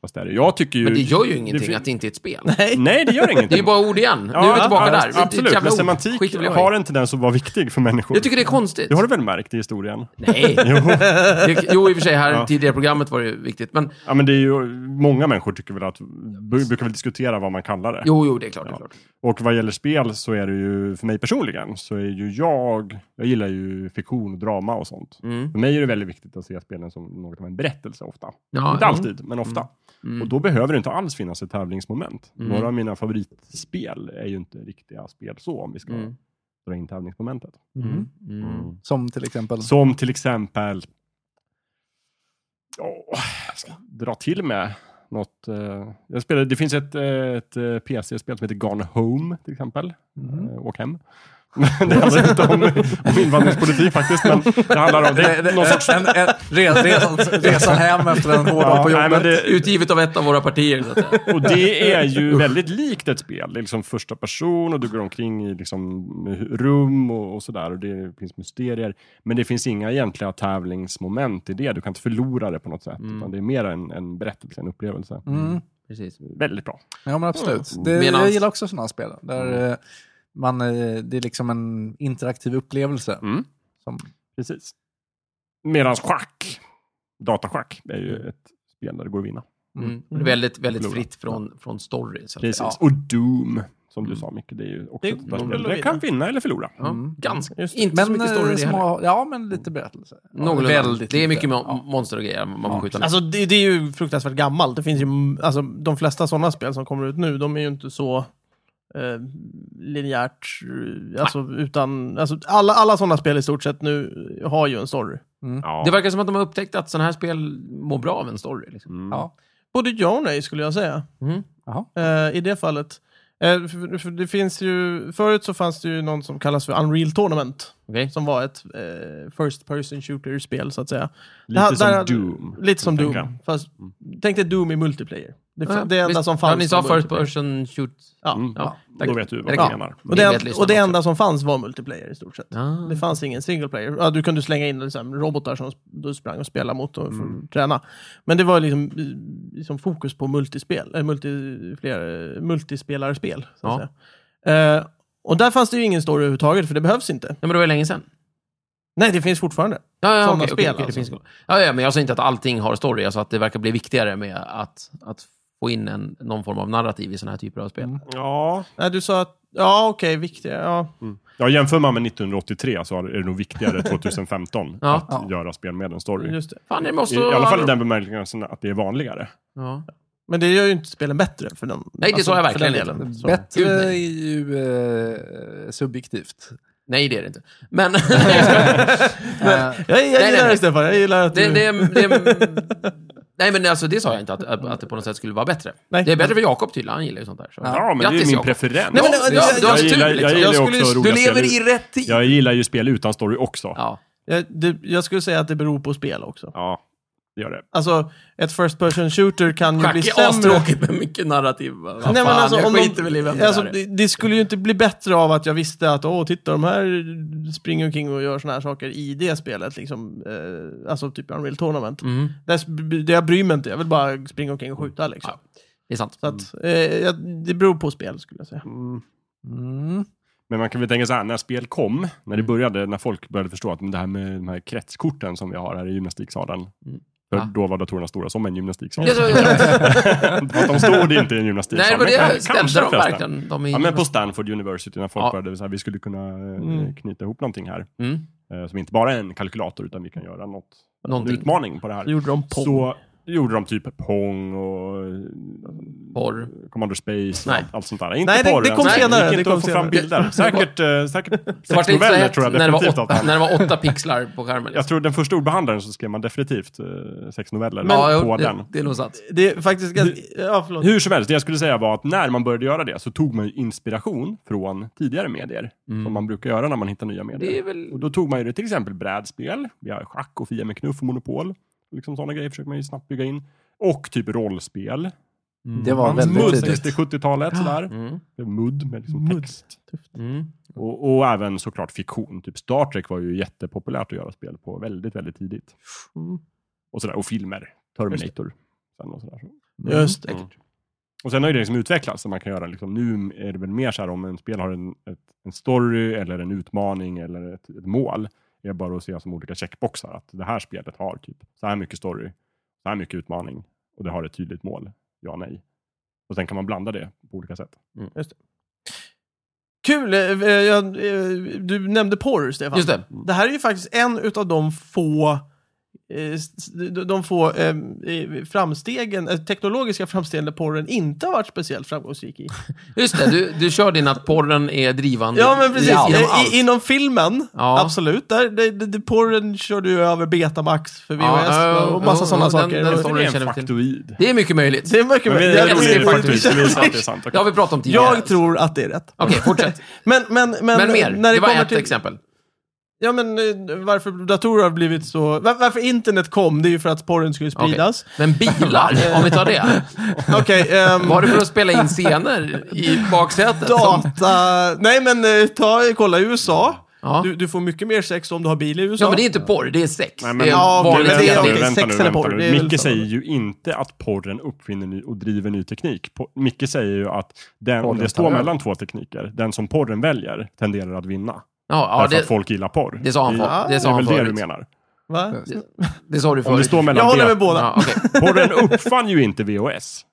[SPEAKER 4] Fast det är det. Jag tycker ju...
[SPEAKER 2] Men det gör ju ingenting
[SPEAKER 4] Mm. fin-
[SPEAKER 2] att det inte är ett spel.
[SPEAKER 1] nej.
[SPEAKER 4] Nej, det gör ingenting.
[SPEAKER 2] Det är ju bara ord igen.
[SPEAKER 4] Ja,
[SPEAKER 2] nu är vi tillbaka där.
[SPEAKER 4] ja,
[SPEAKER 2] Det är ett
[SPEAKER 4] Absolut,
[SPEAKER 2] jävla
[SPEAKER 4] men
[SPEAKER 2] ord.
[SPEAKER 4] semantik
[SPEAKER 2] Skit i vad det var.
[SPEAKER 4] har en tendens att vara viktig för människor.
[SPEAKER 2] Jag tycker det är konstigt.
[SPEAKER 4] Det har du väl märkt i historien?
[SPEAKER 2] Nej. Det- jo, i och för sig, här i tidigare programmet var det ju viktigt. Men
[SPEAKER 4] Ja, men det är ju, många människor tycker väl att, bu- brukar väl diskutera vad man kallar det.
[SPEAKER 2] jo, jo, det är klart. Det är klart.
[SPEAKER 4] Och vad gäller spel så är det ju, för mig personligen, så är ju jag, jag gillar ju fiktion och drama och sånt.
[SPEAKER 2] Mm.
[SPEAKER 4] För mig är det väldigt viktigt att se spelen som något av en berättelse ofta.
[SPEAKER 2] Ja,
[SPEAKER 4] inte
[SPEAKER 2] mm.
[SPEAKER 4] alltid, men ofta.
[SPEAKER 2] Mm.
[SPEAKER 4] Och då behöver det inte alls finnas ett tävlingsmoment. Några av mina favoritspel är ju inte riktiga spel så, om vi ska
[SPEAKER 2] Mm.
[SPEAKER 4] dra in tävlingsmomentet.
[SPEAKER 3] Mm.
[SPEAKER 2] Mm.
[SPEAKER 3] Som till exempel?
[SPEAKER 4] Som till exempel... Åh, jag ska dra till med något. Eh, jag spelade, det finns ett, eh, ett eh, PC-spel som heter Gone Home, till exempel.
[SPEAKER 3] Mhm.
[SPEAKER 4] Eh, åk hem. Men det handlar inte om, om invandringspolitik faktiskt, men det handlar om... Det, är någon sorts,
[SPEAKER 3] en, en, res, resan, resan hem efter en hård dag
[SPEAKER 4] ja,
[SPEAKER 3] på
[SPEAKER 4] nej,
[SPEAKER 3] jobbet.
[SPEAKER 4] men det,
[SPEAKER 2] Utgivet av ett av våra partier. Så att säga.
[SPEAKER 4] Och det är ju väldigt likt ett spel. Det är liksom första person och du går omkring i liksom rum och, och sådär. Och det finns mysterier. Men det finns inga egentliga tävlingsmoment i det. Du kan inte förlora det på något sätt. Utan det är mer en, en berättelse, en upplevelse.
[SPEAKER 3] Mm.
[SPEAKER 2] Precis.
[SPEAKER 4] Väldigt bra.
[SPEAKER 3] Ja, men absolut. Det,
[SPEAKER 2] Mm. Medans-
[SPEAKER 3] Jag gillar också sådana spel. Där
[SPEAKER 4] Mm.
[SPEAKER 3] eh, man, eh, det är liksom en interaktiv upplevelse.
[SPEAKER 4] Mm.
[SPEAKER 3] Som,
[SPEAKER 4] Precis. Medan schack, dataschack, är ju ett spel där det går att vinna.
[SPEAKER 2] Mm. Det är Väldigt, väldigt
[SPEAKER 4] Förlora.
[SPEAKER 2] fritt från, från story. Så att
[SPEAKER 4] Precis.
[SPEAKER 2] säga.
[SPEAKER 4] Och Doom, som du sa Micke, det är ju också
[SPEAKER 1] Det
[SPEAKER 4] ett
[SPEAKER 1] går
[SPEAKER 4] spel.
[SPEAKER 1] att
[SPEAKER 4] Det kan vinna eller förlora.
[SPEAKER 2] Ja.
[SPEAKER 3] Mm.
[SPEAKER 2] Ganska,
[SPEAKER 1] Just det.
[SPEAKER 2] inte så
[SPEAKER 3] men,
[SPEAKER 2] mycket story
[SPEAKER 3] eh,
[SPEAKER 2] det
[SPEAKER 3] som
[SPEAKER 2] heller.
[SPEAKER 3] har, ja, men lite berättelse. Ja,
[SPEAKER 2] Någorlunda.
[SPEAKER 3] väldigt
[SPEAKER 2] Det är
[SPEAKER 3] lite.
[SPEAKER 2] mycket mo-
[SPEAKER 3] Ja.
[SPEAKER 2] monster och grejer man får skjuta.
[SPEAKER 1] Alltså, det, det är ju fruktansvärt gammalt. Det finns ju, alltså, de flesta sådana spel som kommer ut nu, de är ju inte så eh, linjärt, eh, alltså utan, alltså alla, alla sådana spel i stort sett nu har ju en story.
[SPEAKER 4] Ja.
[SPEAKER 2] Det verkar som att de har upptäckt att sådana här spel mår bra av en story. Liksom.
[SPEAKER 4] Mm.
[SPEAKER 3] Ja.
[SPEAKER 1] Både ja och nej skulle jag säga.
[SPEAKER 2] Mm.
[SPEAKER 3] Jaha.
[SPEAKER 1] eh, i det fallet. Eh, för, för det finns ju, förut så fanns det ju någon som kallas för Unreal Tournament,
[SPEAKER 2] Okej.
[SPEAKER 1] som var ett eh, first person shooter-spel så att säga.
[SPEAKER 4] Lite
[SPEAKER 1] Där-
[SPEAKER 4] som
[SPEAKER 1] där-
[SPEAKER 4] Doom.
[SPEAKER 1] Lite som
[SPEAKER 4] kan
[SPEAKER 1] Doom,
[SPEAKER 4] jag tänka. Mm.
[SPEAKER 1] fast tänk dig Doom i multiplayer. Det,
[SPEAKER 2] Ja,
[SPEAKER 1] det enda
[SPEAKER 2] visst.
[SPEAKER 1] som fanns
[SPEAKER 2] Ja, ni sa
[SPEAKER 1] var
[SPEAKER 2] first
[SPEAKER 1] multiplayer.
[SPEAKER 2] person shoot.
[SPEAKER 1] Ja.
[SPEAKER 4] Mm.
[SPEAKER 2] Ja,
[SPEAKER 4] Då vet du vad
[SPEAKER 2] Ja.
[SPEAKER 4] jag menar.
[SPEAKER 1] Och
[SPEAKER 2] Det vet
[SPEAKER 1] det,
[SPEAKER 2] lyssnarna
[SPEAKER 1] och det
[SPEAKER 2] också.
[SPEAKER 1] enda som fanns var multiplayer i stort sett.
[SPEAKER 2] Ah.
[SPEAKER 1] Det fanns ingen single player. Ja, du kunde slänga in liksom, robotar som du sprang och spelade mot och
[SPEAKER 4] Mm.
[SPEAKER 1] för att träna. Men det var liksom, eh, liksom fokus på multispel, äh, multi, fler, eh, multispelarspel. Så att
[SPEAKER 2] Ja.
[SPEAKER 1] säga. Eh, och där fanns det ju ingen story överhuvudtaget, för det behövs inte.
[SPEAKER 2] Ja, men det var ju länge sedan.
[SPEAKER 1] Nej, det finns fortfarande.
[SPEAKER 2] Ja, ja,
[SPEAKER 1] Sådana
[SPEAKER 2] okej, okej,
[SPEAKER 1] spel,
[SPEAKER 2] okej,
[SPEAKER 1] alltså.
[SPEAKER 2] det finns- ja, ja, men jag sa inte att allting har story. Jag sa att det verkar bli viktigare med att, att få in en, någon form av narrativ i sådana här typer av spel.
[SPEAKER 3] Mm.
[SPEAKER 4] Ja.
[SPEAKER 1] Nej, du sa att, ja okej, viktiga, ja.
[SPEAKER 4] ja, jämför man med 1983 så är det nog viktigare 2015
[SPEAKER 2] Ja.
[SPEAKER 4] att
[SPEAKER 3] Ja.
[SPEAKER 4] göra spel med en story.
[SPEAKER 1] Just det.
[SPEAKER 2] Fan, det måste...
[SPEAKER 4] I, I alla fall i den bemärkelsen att det är vanligare.
[SPEAKER 2] Ja.
[SPEAKER 1] Men det gör ju inte spelen bättre för den.
[SPEAKER 2] Nej, det sa jag verkligen
[SPEAKER 1] för den delen. Så.
[SPEAKER 3] Bättre
[SPEAKER 2] Gud,
[SPEAKER 3] är
[SPEAKER 2] nej.
[SPEAKER 3] ju eh, subjektivt.
[SPEAKER 2] Nej, det är det inte. Men
[SPEAKER 3] Eh,
[SPEAKER 1] Jag, jag
[SPEAKER 2] Nej, nej,
[SPEAKER 1] gillar
[SPEAKER 2] nej.
[SPEAKER 1] det Stefan, jag gillar att
[SPEAKER 2] det,
[SPEAKER 1] du...
[SPEAKER 2] det, det, Nej, men alltså, det sa jag inte, att, att att det på något sätt skulle vara bättre.
[SPEAKER 1] Nej.
[SPEAKER 2] Det är bättre för Jakob tydligen, han gillar ju sånt där. Så.
[SPEAKER 4] Ja, men det är
[SPEAKER 2] Grattis,
[SPEAKER 4] min
[SPEAKER 2] Jakob.
[SPEAKER 4] preferens.
[SPEAKER 2] Nej, men,
[SPEAKER 1] Ja,
[SPEAKER 2] du,
[SPEAKER 1] jag-
[SPEAKER 2] du har
[SPEAKER 4] jag
[SPEAKER 2] tur,
[SPEAKER 4] gillar- jag
[SPEAKER 2] liksom.
[SPEAKER 4] gillar också
[SPEAKER 2] skulle-
[SPEAKER 4] roliga
[SPEAKER 2] Du lever
[SPEAKER 4] spel.
[SPEAKER 2] i rätt tid.
[SPEAKER 4] Jag gillar ju spel utan story också. Ja,
[SPEAKER 2] Ja.
[SPEAKER 1] Jag, det, jag skulle säga att det beror på spel också.
[SPEAKER 4] det gör det.
[SPEAKER 1] Alltså, ett first person shooter kan ju
[SPEAKER 2] Schack
[SPEAKER 1] bli
[SPEAKER 2] är
[SPEAKER 1] sämre.
[SPEAKER 2] astråkigt med mycket narrativ. Vad
[SPEAKER 1] Nej,
[SPEAKER 2] fan,
[SPEAKER 1] men alltså,
[SPEAKER 2] jag
[SPEAKER 1] om de-
[SPEAKER 2] skiter väl i vem
[SPEAKER 1] alltså,
[SPEAKER 2] det där är.
[SPEAKER 1] det, det skulle ju inte bli bättre av att jag visste att åh, titta, de här springer omkring och gör såna här saker i det spelet. Liksom, eh, alltså typ Unreal Tournament.
[SPEAKER 2] Mm,
[SPEAKER 1] Det, det, jag bryr mig inte, jag vill bara springa omkring och skjuta. Liksom.
[SPEAKER 2] Ja. det är sant.
[SPEAKER 1] Så att, eh, jag, det beror på spel skulle jag säga.
[SPEAKER 3] Mm.
[SPEAKER 4] Men man kan väl tänka så här, när spel kom, när det började, när folk började förstå att men det här med de här kretskorten som vi har här i gymnastiksalen, för
[SPEAKER 2] Ah.
[SPEAKER 4] då var datorerna stora som en gymnastiksal.
[SPEAKER 2] Ja, så-
[SPEAKER 4] Fast de stod inte i en gymnastiksal.
[SPEAKER 2] Nej, det var det
[SPEAKER 4] Typ. men kan-
[SPEAKER 2] jag ställde dem
[SPEAKER 4] förresten.
[SPEAKER 2] verkligen. De är
[SPEAKER 4] Ja, men på Stanford University, när folk
[SPEAKER 2] Ja.
[SPEAKER 4] började så här, vi skulle kunna eh,
[SPEAKER 1] Mm.
[SPEAKER 4] knyta ihop någonting här,
[SPEAKER 2] mm,
[SPEAKER 4] eh, som inte bara är en kalkylator, utan vi kan göra något, en
[SPEAKER 2] någonting.
[SPEAKER 4] utmaning på det
[SPEAKER 1] Så
[SPEAKER 4] här.
[SPEAKER 1] gjorde de Pong.
[SPEAKER 4] Så gjorde de typ Pong och eh,
[SPEAKER 2] Porr.
[SPEAKER 4] Commander Space och
[SPEAKER 2] Nej.
[SPEAKER 4] allt, allt sånt där. Inte
[SPEAKER 1] Nej, det-
[SPEAKER 4] porr
[SPEAKER 1] det kom
[SPEAKER 4] ens.
[SPEAKER 1] senare,
[SPEAKER 4] gick
[SPEAKER 1] det
[SPEAKER 4] inte
[SPEAKER 1] kom
[SPEAKER 4] att få
[SPEAKER 1] senare.
[SPEAKER 4] fram bilder. Säkert, eh, säkert
[SPEAKER 2] Det var
[SPEAKER 4] sex
[SPEAKER 2] inte så
[SPEAKER 4] noveller
[SPEAKER 2] hett
[SPEAKER 4] tror jag
[SPEAKER 2] när det, var
[SPEAKER 4] definitivt.
[SPEAKER 2] åtta,
[SPEAKER 4] att man-
[SPEAKER 2] när det var åtta pixlar på skärmen. liksom.
[SPEAKER 4] Jag tror den första ordbehandlaren så skrev man definitivt eh, sex noveller
[SPEAKER 2] ja,
[SPEAKER 4] på
[SPEAKER 2] jo, det,
[SPEAKER 4] den.
[SPEAKER 2] det är nog sant.
[SPEAKER 1] Det är faktiskt ganska... Ja, förlåt.
[SPEAKER 4] Hur som helst, det jag skulle säga var att när man började göra det så tog man ju inspiration från tidigare medier. Som man brukar göra när man hittar nya medier.
[SPEAKER 2] Mm. Det är väl-
[SPEAKER 4] Och då tog man ju det till exempel brädspel, vi har schack och Fia med knuff och Monopol. Liksom sådana grejer försöker man ju snabbt bygga in. Och typ rollspel.
[SPEAKER 3] Det var
[SPEAKER 4] Fanns
[SPEAKER 3] väldigt
[SPEAKER 4] Mm. MUD
[SPEAKER 3] tidigt.
[SPEAKER 4] 60-70-talet sådär.
[SPEAKER 2] Mm.
[SPEAKER 4] MUD med liksom
[SPEAKER 1] Mudd.
[SPEAKER 4] text.
[SPEAKER 2] Mm.
[SPEAKER 4] Och, och även såklart fiktion. Typ Star Trek var ju jättepopulärt att göra spel på väldigt, väldigt tidigt.
[SPEAKER 1] Mm.
[SPEAKER 4] Och, sådär, och filmer. Terminator. Sen och, sådär.
[SPEAKER 1] Just det.
[SPEAKER 4] Mm. och sen har ju det liksom utvecklats. Så man kan göra liksom, nu är det väl mer så här om en spel har en, ett, en story eller en utmaning eller ett, ett mål. Det är bara att se som olika checkboxar. Att det här spelet har typ så här mycket story, så här mycket utmaning och det har ett tydligt mål. Ja, nej. Och sen kan man blanda det på olika sätt.
[SPEAKER 1] Kul! eh, eh, jag, eh, du nämnde porr, Stefan.
[SPEAKER 2] Just det.
[SPEAKER 1] Det här är ju faktiskt en utav de få eh, s- s- de- de få eh, eh, framstegen, eh, teknologiska framstegen där porren inte har varit speciellt framgångsrik i.
[SPEAKER 2] Just det, du, du kör din att porren är drivande.
[SPEAKER 1] Ja men precis,
[SPEAKER 2] i allt.
[SPEAKER 1] Eh, i, inom filmen,
[SPEAKER 2] Ja.
[SPEAKER 1] absolut. Där, det, det, det, porren körde ju över Betamax för
[SPEAKER 2] Ja,
[SPEAKER 1] VHS
[SPEAKER 2] ja,
[SPEAKER 1] och massa
[SPEAKER 2] ja,
[SPEAKER 1] sådana
[SPEAKER 2] ja, den-
[SPEAKER 1] saker.
[SPEAKER 2] den-
[SPEAKER 1] Och-
[SPEAKER 2] Story
[SPEAKER 4] det är
[SPEAKER 2] känner
[SPEAKER 4] en
[SPEAKER 2] vi till.
[SPEAKER 4] faktoid.
[SPEAKER 2] Det är mycket möjligt.
[SPEAKER 1] det är mycket
[SPEAKER 4] Men
[SPEAKER 1] möjligt.
[SPEAKER 4] det
[SPEAKER 2] jag
[SPEAKER 4] är
[SPEAKER 2] tror
[SPEAKER 4] roligt
[SPEAKER 2] det
[SPEAKER 4] faktiskt. Det visar att det är sant.
[SPEAKER 2] Det har vi pratat om tidigare.
[SPEAKER 1] Jag tror att det är rätt.
[SPEAKER 2] Okej, fortsätt.
[SPEAKER 1] Men, men, men,
[SPEAKER 2] Men mer.
[SPEAKER 1] när det,
[SPEAKER 2] det var
[SPEAKER 1] kommer
[SPEAKER 2] ett
[SPEAKER 1] till,
[SPEAKER 2] exempel.
[SPEAKER 1] Ja, men eh, varför datorer har blivit så... Var, varför internet kom, det är ju för att porren skulle
[SPEAKER 2] Okej.
[SPEAKER 1] spridas.
[SPEAKER 2] Men bilar, om vi tar det.
[SPEAKER 1] Okej, ehm,
[SPEAKER 2] Var det för att spela in scener i baksätet? som-
[SPEAKER 1] data... Nej, men eh, ta, kolla i USA.
[SPEAKER 2] Ja.
[SPEAKER 1] Du, du får mycket mer sex om du har bil i USA.
[SPEAKER 2] Ja, men det är inte porr, det är sex.
[SPEAKER 4] Nej,
[SPEAKER 2] det är
[SPEAKER 1] ja, okej,
[SPEAKER 2] vanliga
[SPEAKER 1] men det är-
[SPEAKER 2] scener.
[SPEAKER 1] okej.
[SPEAKER 4] vänta
[SPEAKER 1] sex
[SPEAKER 4] nu,
[SPEAKER 1] eller
[SPEAKER 4] vänta
[SPEAKER 1] porr,
[SPEAKER 4] nu.
[SPEAKER 1] det är väl
[SPEAKER 4] Micke
[SPEAKER 1] samma.
[SPEAKER 4] säger ju inte att porren uppfinner ny och driver ny teknik. Po- Micke säger ju att den, om
[SPEAKER 3] Porren
[SPEAKER 4] det
[SPEAKER 3] tar
[SPEAKER 4] står
[SPEAKER 3] över.
[SPEAKER 4] mellan två tekniker, den som porren väljer tenderar att vinna.
[SPEAKER 2] Ja, ja,
[SPEAKER 4] därför
[SPEAKER 2] det,
[SPEAKER 4] att folk gillar porr.
[SPEAKER 2] det sa han,
[SPEAKER 4] Det-
[SPEAKER 2] för, det
[SPEAKER 4] Det
[SPEAKER 2] sa
[SPEAKER 4] är
[SPEAKER 2] han
[SPEAKER 4] väl det du
[SPEAKER 2] förut.
[SPEAKER 4] menar?
[SPEAKER 1] Va?
[SPEAKER 2] Det sa du
[SPEAKER 4] Om det
[SPEAKER 2] förut.
[SPEAKER 4] står
[SPEAKER 1] Jag
[SPEAKER 4] mellan
[SPEAKER 1] håller
[SPEAKER 4] det.
[SPEAKER 1] med båda.
[SPEAKER 2] Ja, okej.
[SPEAKER 4] Porren uppfann ju inte VHS.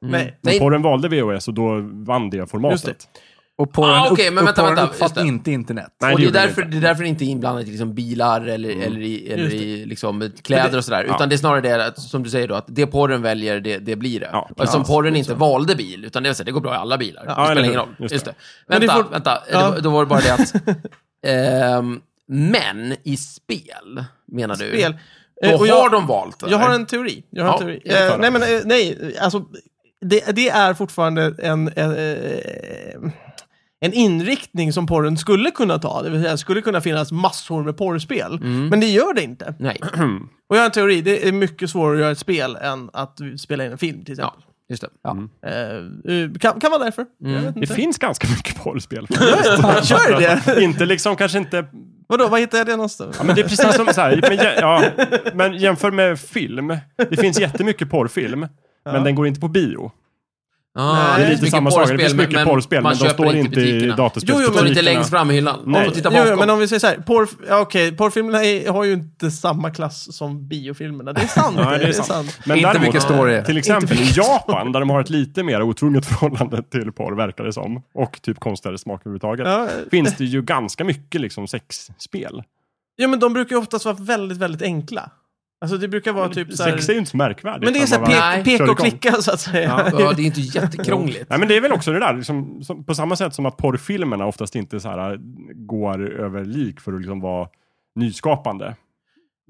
[SPEAKER 1] Mm. Nej.
[SPEAKER 4] Men
[SPEAKER 2] Nej.
[SPEAKER 4] porren valde VHS och då vann det
[SPEAKER 1] Just det.
[SPEAKER 4] formatet.
[SPEAKER 3] Och på
[SPEAKER 2] Ah,
[SPEAKER 3] den
[SPEAKER 2] okej, men vänta, vänta, just
[SPEAKER 3] uppfatt
[SPEAKER 2] det.
[SPEAKER 3] inte internet.
[SPEAKER 4] Nej,
[SPEAKER 2] och det är,
[SPEAKER 4] gjorde den
[SPEAKER 2] därför,
[SPEAKER 4] inte.
[SPEAKER 2] det är därför det inte är inblandat i liksom bilar eller, eller i, eller
[SPEAKER 1] Just
[SPEAKER 2] i liksom, kläder och sådär. Utan det är snarare det, att, som du säger då, att det porren väljer, det, det blir det.
[SPEAKER 4] Ja,
[SPEAKER 2] och eftersom porren inte valde bil, utan det, var så här, det går bra i alla bilar. det
[SPEAKER 4] eller
[SPEAKER 2] spelar
[SPEAKER 4] hur.
[SPEAKER 2] ingen roll.
[SPEAKER 4] Just
[SPEAKER 2] Just,
[SPEAKER 4] det.
[SPEAKER 2] det.
[SPEAKER 1] Men det
[SPEAKER 2] Vänta,
[SPEAKER 1] är fort-
[SPEAKER 2] vänta.
[SPEAKER 1] Ja.
[SPEAKER 2] Det, då var det bara det att... ehm, men i spel, menar du?
[SPEAKER 1] Spel.
[SPEAKER 2] Mm. Då
[SPEAKER 1] Eh, och
[SPEAKER 2] har
[SPEAKER 1] jag-
[SPEAKER 2] de valt det?
[SPEAKER 1] Jag har en teori. Jag har en
[SPEAKER 2] Ja,
[SPEAKER 1] teori.
[SPEAKER 2] jag tar
[SPEAKER 1] Eh,
[SPEAKER 4] den.
[SPEAKER 1] nej, men eh, nej, alltså det, det är fortfarande en, eh, eh, en inriktning som porren skulle kunna ta. Det vill säga, det skulle kunna finnas massor med porrspel. Men det gör det inte.
[SPEAKER 2] Nej,
[SPEAKER 1] Och jag har en teori, det är mycket svårare att göra ett spel än att spela in en film till
[SPEAKER 2] ja,
[SPEAKER 1] exempel.
[SPEAKER 2] just det.
[SPEAKER 4] Mm.
[SPEAKER 1] Eh, kan, kan vara därför. Jag vet
[SPEAKER 4] Det
[SPEAKER 1] inte.
[SPEAKER 4] finns ganska mycket porrspel.
[SPEAKER 1] Gör det?
[SPEAKER 4] inte liksom, kanske inte...
[SPEAKER 1] Vadå, vad hittar jag det någonstans?
[SPEAKER 4] Men det är precis som så här, men, jä- ja, men jämför med film. Det finns jättemycket porrfilm, men den går inte på bio.
[SPEAKER 2] Ah,
[SPEAKER 1] Nej,
[SPEAKER 4] Det är
[SPEAKER 2] finns
[SPEAKER 4] lite
[SPEAKER 2] mycket
[SPEAKER 4] samma sak. Det
[SPEAKER 2] porrspel,
[SPEAKER 4] finns mycket porrspel, men de
[SPEAKER 2] köper
[SPEAKER 4] står inte i
[SPEAKER 2] butikerna.
[SPEAKER 1] Jo, jo,
[SPEAKER 4] dataspelsbutikerna.
[SPEAKER 1] men
[SPEAKER 2] Står inte längst fram i hyllan.
[SPEAKER 4] Nej.
[SPEAKER 2] Man får titta
[SPEAKER 1] Jo,
[SPEAKER 2] bakom.
[SPEAKER 1] jo, men om vi säger så här, porr, ja, okej, porrfilmerna är, har ju inte samma klass som biofilmerna. Det är sant.
[SPEAKER 4] Ja, det är sant. Men
[SPEAKER 3] Inte
[SPEAKER 4] däremot,
[SPEAKER 3] mycket story.
[SPEAKER 4] till exempel i Japan, där de har ett lite mer otvunget förhållande till porr, verkar det som, och typ konstigare smak överhuvudtaget,
[SPEAKER 1] Ja.
[SPEAKER 4] finns det ju ganska mycket liksom sexspel.
[SPEAKER 1] Ja, men de brukar ju oftast vara väldigt, väldigt enkla. Alltså det brukar vara typ så här...
[SPEAKER 4] Sex är ju inte så märkvärdigt.
[SPEAKER 1] Men det är
[SPEAKER 4] när
[SPEAKER 1] så
[SPEAKER 4] man väl
[SPEAKER 1] här
[SPEAKER 2] Nej.
[SPEAKER 1] pek,
[SPEAKER 4] kör
[SPEAKER 1] pek och
[SPEAKER 4] igång.
[SPEAKER 1] klicka så att säga.
[SPEAKER 2] Ja, det är inte jättekrångligt.
[SPEAKER 4] Nej, men det är väl också det där, liksom, som, på samma sätt som att porrfilmerna oftast inte så här, äh, går över lik för att liksom vara nyskapande.